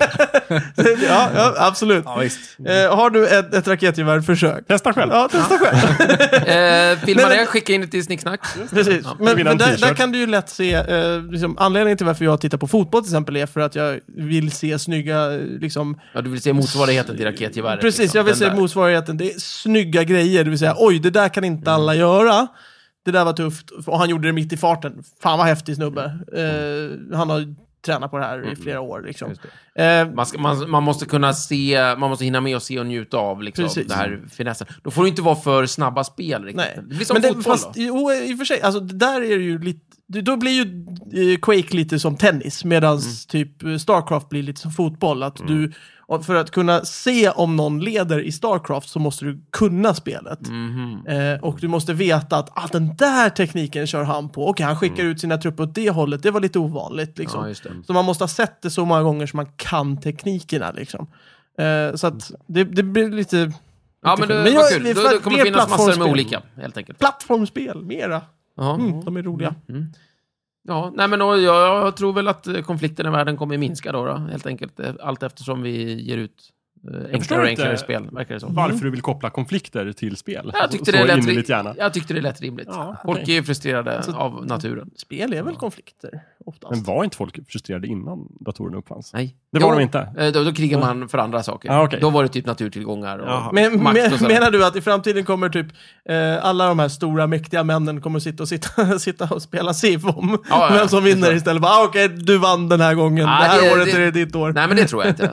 [SPEAKER 1] ja, ja, absolut.
[SPEAKER 3] Ja, visst.
[SPEAKER 1] Eh, har du ett, ett raketgevär, försök.
[SPEAKER 4] Testa själv.
[SPEAKER 1] Ja, testa själv.
[SPEAKER 2] Eh,
[SPEAKER 1] Nej,
[SPEAKER 2] filma
[SPEAKER 1] men-
[SPEAKER 2] det, skicka in det till Snicksnack.
[SPEAKER 1] Precis.
[SPEAKER 2] Ja.
[SPEAKER 1] Men,
[SPEAKER 4] Vill
[SPEAKER 1] men
[SPEAKER 4] han
[SPEAKER 1] där,
[SPEAKER 4] t-shirt?
[SPEAKER 1] där kan du ju lätt se, eh, liksom, anledningen till varför jag tittar på fotboll till exempel är för att jag vill se snygga, eh, liksom,
[SPEAKER 2] Ja, du vill se motsvarigheten till raketgeväret.
[SPEAKER 1] precis,
[SPEAKER 2] liksom.
[SPEAKER 1] jag vill
[SPEAKER 2] Den
[SPEAKER 1] se
[SPEAKER 2] där.
[SPEAKER 1] motsvarigheten, det är snygga grejer, det vill säga oj, det där kan inte alla göra. Det där var tufft, och han gjorde det mitt i farten. Fan vad häftig snubbe. Eh, han har ju tränat på det här i flera år liksom.
[SPEAKER 2] Mm. Just det.
[SPEAKER 1] Eh,
[SPEAKER 2] Man, ska, man, man måste kunna se, man måste hinna med och se och njuta av liksom,
[SPEAKER 1] Precis.
[SPEAKER 2] det här finessen. Då får det inte vara för snabba spel riktigt.
[SPEAKER 1] Nej.
[SPEAKER 2] Det blir som
[SPEAKER 1] men
[SPEAKER 2] fotboll
[SPEAKER 1] fast,
[SPEAKER 2] då.
[SPEAKER 1] jo, i och för sig, alltså, det där är det ju lite... det- Då blir ju eh, Quake lite som tennis, medan
[SPEAKER 2] Mm.
[SPEAKER 1] typ eh, Starcraft blir lite som fotboll. Att du, och för att kunna se om någon leder i Starcraft så måste du kunna spelet.
[SPEAKER 2] Mhm.
[SPEAKER 1] Eh, och du måste veta att ah, den där tekniken kör han på. Okej, han skickar ut sina trupper åt det hållet. Det var lite ovanligt. Liksom.
[SPEAKER 2] Mm. Ja, just det.
[SPEAKER 1] Så man måste ha sett det så många gånger som man kan teknikerna. Liksom. Eh, så att
[SPEAKER 2] Mm.
[SPEAKER 1] det, det blir lite...
[SPEAKER 2] Ja, men det,
[SPEAKER 1] Men
[SPEAKER 2] men
[SPEAKER 1] jag-
[SPEAKER 2] kul.
[SPEAKER 1] det är
[SPEAKER 2] Då,
[SPEAKER 1] för
[SPEAKER 2] då
[SPEAKER 1] att
[SPEAKER 2] kommer
[SPEAKER 1] det är
[SPEAKER 2] det finnas massor med
[SPEAKER 1] plattformsspel.
[SPEAKER 2] olika, helt enkelt.
[SPEAKER 1] Plattformsspel, mera.
[SPEAKER 2] Ja.
[SPEAKER 1] Mm, de är roliga.
[SPEAKER 2] Ja, nej men och jag, jag tror väl att eh, konflikten i världen kommer minska då, då helt enkelt. eh, Allt eftersom vi ger ut eh, enklare
[SPEAKER 4] förstår
[SPEAKER 2] och
[SPEAKER 4] inte
[SPEAKER 2] enklare spel, verkar det som.
[SPEAKER 4] Varför du vill koppla konflikter till spel.
[SPEAKER 2] Mm. Jag tyckte,
[SPEAKER 4] så
[SPEAKER 2] det lät,
[SPEAKER 4] innerligt
[SPEAKER 2] ri-
[SPEAKER 4] gärna.
[SPEAKER 2] jag tyckte det lät rimligt.
[SPEAKER 4] Ja,
[SPEAKER 2] Folk är ju frustrerade
[SPEAKER 1] Alltså-
[SPEAKER 2] av naturen.
[SPEAKER 1] Spel är väl konflikter oftast.
[SPEAKER 4] Men var inte folk frustrerade innan datorerna uppfanns?
[SPEAKER 2] Nej.
[SPEAKER 4] Det var
[SPEAKER 2] Jo,
[SPEAKER 4] de inte.
[SPEAKER 2] eh, Då, då krigar man för andra saker.
[SPEAKER 4] Ja, okej.
[SPEAKER 2] Då var det typ naturtillgångar och
[SPEAKER 4] Jaha.
[SPEAKER 1] Men,
[SPEAKER 2] makt och
[SPEAKER 1] men,
[SPEAKER 2] sådär.
[SPEAKER 1] menar du att i framtiden kommer typ eh, alla de här stora mäktiga männen kommer sitta och, sitta, sitta och spela SIV om
[SPEAKER 2] Ja, ja,
[SPEAKER 1] vem som
[SPEAKER 2] det
[SPEAKER 1] vinner
[SPEAKER 2] tror jag.
[SPEAKER 1] istället? Bara, Ah, Okej, du vann den här gången.
[SPEAKER 2] Ja,
[SPEAKER 1] det här
[SPEAKER 2] det-
[SPEAKER 1] året
[SPEAKER 2] det-
[SPEAKER 1] är det ditt år.
[SPEAKER 2] Nej, men det tror jag inte.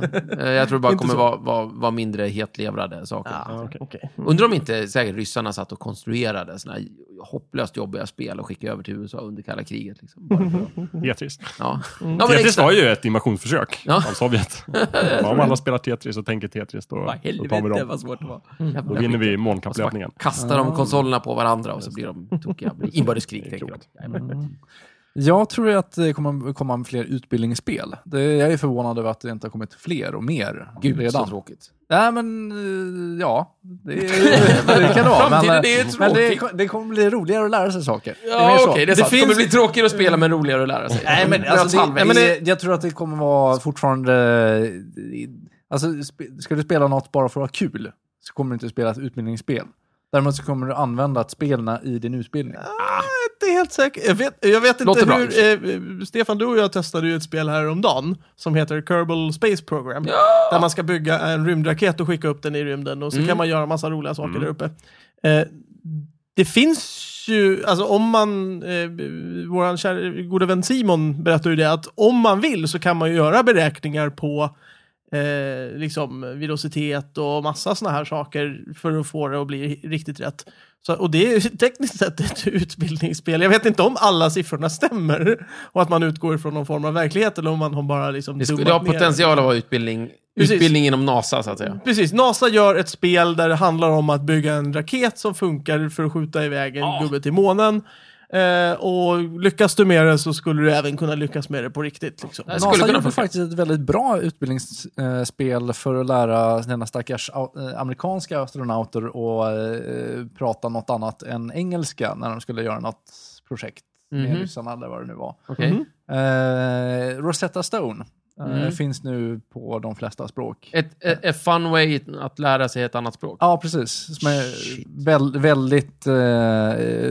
[SPEAKER 2] Eh, Jag tror det bara
[SPEAKER 1] Inte
[SPEAKER 2] kommer
[SPEAKER 1] så.
[SPEAKER 2] vara vara vara mindre hetlevrade saker. Mm.
[SPEAKER 1] Ja,
[SPEAKER 4] okej.
[SPEAKER 1] okej.
[SPEAKER 2] Undrar om inte säkert ryssarna satt och konstruerade såna här hopplöst jobbiga spel och skickade över till USA under kalla kriget. Liksom, bara för att-
[SPEAKER 4] Tetris.
[SPEAKER 2] ja. ja, men
[SPEAKER 4] Tetris
[SPEAKER 2] exakt.
[SPEAKER 4] var ju ett invasionsförsök
[SPEAKER 2] Ja.
[SPEAKER 4] av Sovjet. Bara om alla spelar Tetris och tänker Tetris, då,
[SPEAKER 2] Vad
[SPEAKER 4] då tar vi
[SPEAKER 2] helvete
[SPEAKER 4] dem.
[SPEAKER 2] vad svårt det var.
[SPEAKER 4] Då
[SPEAKER 2] Jävla
[SPEAKER 4] vinner
[SPEAKER 2] skit.
[SPEAKER 4] vi
[SPEAKER 2] Och så bara
[SPEAKER 4] månkappledningen.
[SPEAKER 2] kastar de konsolerna på varandra och så blir de tokiga. Det blir Inbördeskrig,
[SPEAKER 4] Det är
[SPEAKER 2] tänker jag.
[SPEAKER 4] klokt.
[SPEAKER 2] Jajamän.
[SPEAKER 3] Jag tror ju att det kommer komma fler utbildningsspel. Det, jag är förvånad över att det inte har kommit fler och mer
[SPEAKER 2] Gud, så
[SPEAKER 3] redan.
[SPEAKER 2] tråkigt.
[SPEAKER 3] Nej, men eh, ja, det, det kan det vara. Men,
[SPEAKER 2] Framtiden är
[SPEAKER 3] eh, men det,
[SPEAKER 2] tråkig.
[SPEAKER 3] det kommer bli roligare att lära sig saker. Det är
[SPEAKER 2] Ja,
[SPEAKER 3] mer så.
[SPEAKER 2] okej, det
[SPEAKER 1] Det
[SPEAKER 2] är sant. Det
[SPEAKER 1] finns-
[SPEAKER 2] kommer bli tråkigare att spela, men roligare att lära sig.
[SPEAKER 3] Nej, men,
[SPEAKER 2] Röt
[SPEAKER 3] alltså, det,
[SPEAKER 2] halvvägs.
[SPEAKER 3] nej, men
[SPEAKER 1] det-
[SPEAKER 3] jag tror att det kommer vara fortfarande... eh, Alltså, sp- ska du spela något bara för att ha kul så kommer du inte spela ett utbildningsspel. Däremot så kommer du använda ett spelna i din utbildning.
[SPEAKER 1] Ah, inte helt säker. Jag vet, jag vet inte
[SPEAKER 2] Låter bra. liksom.
[SPEAKER 1] hur... Eh, Stefan, du och jag testade ju ett spel häromdagen som heter Kerbal Space Program. Där man ska bygga en rymdraket och skicka upp den i rymden och så
[SPEAKER 2] Mm.
[SPEAKER 1] kan man göra massa roliga saker
[SPEAKER 4] Mm.
[SPEAKER 1] där uppe. Eh, det finns ju, alltså om man, eh, vår kära goda vän Simon berättar ju det att om man vill så kan man ju göra beräkningar på eh, liksom virositet och massa sådana här saker för att få det att bli riktigt rätt. Så, och det är ju tekniskt sett ett utbildningsspel. Jag vet inte om alla siffrorna stämmer och att man utgår ifrån någon form av verklighet eller om man har bara liksom
[SPEAKER 2] Det skulle
[SPEAKER 1] dummat
[SPEAKER 2] ha
[SPEAKER 1] ner det.
[SPEAKER 2] potential att vara utbildning,
[SPEAKER 1] Precis.
[SPEAKER 2] utbildning inom NASA, så att säga.
[SPEAKER 1] Precis, NASA gör ett spel där det handlar om att bygga en raket som funkar för att skjuta iväg en gubbe till månen. Eh, och lyckas du med det så skulle du även kunna lyckas med det på riktigt. Liksom.
[SPEAKER 2] Det skulle
[SPEAKER 3] NASA
[SPEAKER 2] kunna
[SPEAKER 3] gjorde
[SPEAKER 2] funka.
[SPEAKER 3] faktiskt ett väldigt bra utbildningsspel för att lära denna stackars au- eh, amerikanska astronauter att eh, prata något annat än engelska när de skulle göra något projekt med
[SPEAKER 2] Mhm.
[SPEAKER 3] ryssarna eller vad det nu var.
[SPEAKER 2] Okej.
[SPEAKER 1] Mhm.
[SPEAKER 3] Eh, Rosetta Stone eh,
[SPEAKER 2] Mm.
[SPEAKER 3] finns nu på de flesta språk.
[SPEAKER 2] Ett, ett, ett fun way att lära sig ett annat språk.
[SPEAKER 3] Ja, precis. Som är väl, väldigt... Eh,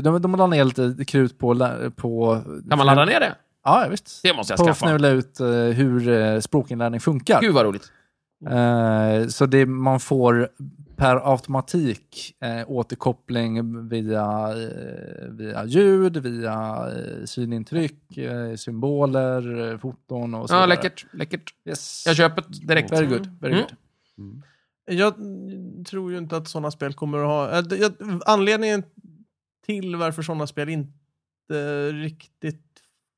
[SPEAKER 3] de, de la ner lite krut på... lä- på
[SPEAKER 2] Kan man ladda ner det?
[SPEAKER 3] Ja, ja, visst.
[SPEAKER 2] Det måste jag
[SPEAKER 3] På att
[SPEAKER 2] skaffa.
[SPEAKER 3] fnula ut eh, hur eh, språkinlärning funkar.
[SPEAKER 2] Gud vad roligt.
[SPEAKER 3] Eh, så det, man får per automatik eh, återkoppling via, eh, via ljud, via eh, synintryck, eh, symboler, eh, foton och så
[SPEAKER 2] Ja,
[SPEAKER 3] vidare.
[SPEAKER 2] läckert. läckert.
[SPEAKER 3] Yes.
[SPEAKER 2] Jag köper det direkt.
[SPEAKER 3] Very good. Very
[SPEAKER 2] Mm.
[SPEAKER 3] good.
[SPEAKER 1] Jag tror ju inte att sådana spel kommer att ha... eh, det- jag- Anledningen till varför sådana spel inte riktigt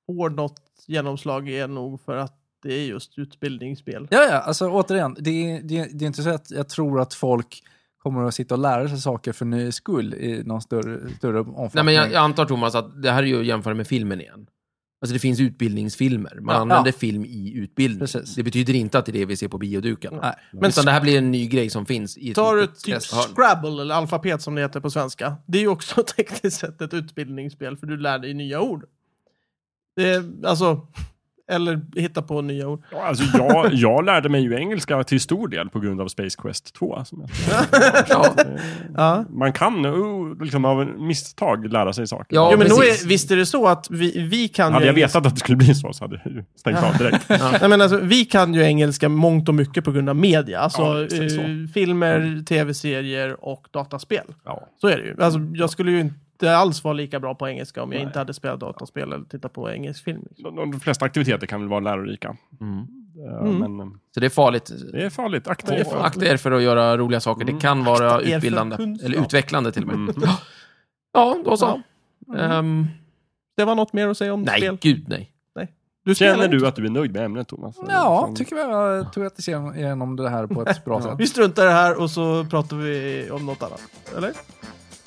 [SPEAKER 1] får något genomslag är nog för att det det är just utbildningsspel.
[SPEAKER 3] Ja, ja, alltså återigen, det är, det, är- det är inte så att jag tror att folk kommer att sitta och lära sig saker för ny skull i någon större, större omfattning.
[SPEAKER 2] Nej, men jag, jag antar, Thomas, att det här är ju att jämföra med filmen igen. Alltså det finns utbildningsfilmer. Man
[SPEAKER 3] Ja.
[SPEAKER 2] använder
[SPEAKER 3] Ja.
[SPEAKER 2] film i utbildning.
[SPEAKER 3] Precis.
[SPEAKER 2] Det betyder inte att det är det vi ser på bioduken.
[SPEAKER 3] Nej.
[SPEAKER 2] Men Utan det här blir en ny grej som finns i ett
[SPEAKER 1] Tar du
[SPEAKER 2] litet
[SPEAKER 1] typ
[SPEAKER 2] festhörn.
[SPEAKER 1] Scrabble eller alfabet som det heter på svenska. Det är ju också tekniskt sett ett utbildningsspel för du lär dig nya ord. Det är, alltså, eller hitta på nya ord.
[SPEAKER 4] Ja, alltså jag, jag lärde mig ju engelska till stor del på grund av Space Quest 2. Som jag,
[SPEAKER 2] Ja.
[SPEAKER 1] Ja.
[SPEAKER 4] man kan oh, liksom, av misstag lära sig saker.
[SPEAKER 2] Ja,
[SPEAKER 1] jo, men nog
[SPEAKER 2] precis.
[SPEAKER 1] är, visst är det så att vi, vi kan
[SPEAKER 4] Hade
[SPEAKER 1] ju
[SPEAKER 4] jag vetat att det skulle bli så så hade jag ju stängt av direkt.
[SPEAKER 1] Nej, men alltså, vi kan ju engelska mångt och mycket på grund av media. Alltså,
[SPEAKER 4] Ja, exakt så.
[SPEAKER 1] eh, filmer, tv-serier och dataspel.
[SPEAKER 4] Ja.
[SPEAKER 1] Så är det ju. Alltså, jag skulle ju inte alls vara lika bra på engelska om jag
[SPEAKER 4] Nej.
[SPEAKER 1] inte hade spelat dataspel eller tittat på engelsk film. liksom.
[SPEAKER 4] De, de flesta aktiviteter kan väl vara lärorika. Eh,
[SPEAKER 1] Mm.
[SPEAKER 4] Men eh,
[SPEAKER 2] Så det är farligt.
[SPEAKER 4] det är farligt. Akta
[SPEAKER 1] Det är
[SPEAKER 4] er.
[SPEAKER 1] farligt.
[SPEAKER 2] Akta er för att göra roliga saker. Det kan vara
[SPEAKER 1] er för
[SPEAKER 2] utbildande.
[SPEAKER 1] kunskap.
[SPEAKER 2] Eller utvecklande till och med.
[SPEAKER 4] Mm.
[SPEAKER 2] Ja, då så. Ehm,
[SPEAKER 1] Det var något mer att säga om
[SPEAKER 2] nej,
[SPEAKER 1] spel.
[SPEAKER 2] gud nej.
[SPEAKER 1] Du
[SPEAKER 4] Känner
[SPEAKER 1] inte.
[SPEAKER 4] du att du är nöjd med ämnet Thomas? liksom-
[SPEAKER 3] Ja,
[SPEAKER 4] Som-
[SPEAKER 3] tycker vi jag tog att igenom det här på ett bra sätt.
[SPEAKER 1] Vi struntar i det här och så pratar vi om något annat. Eller?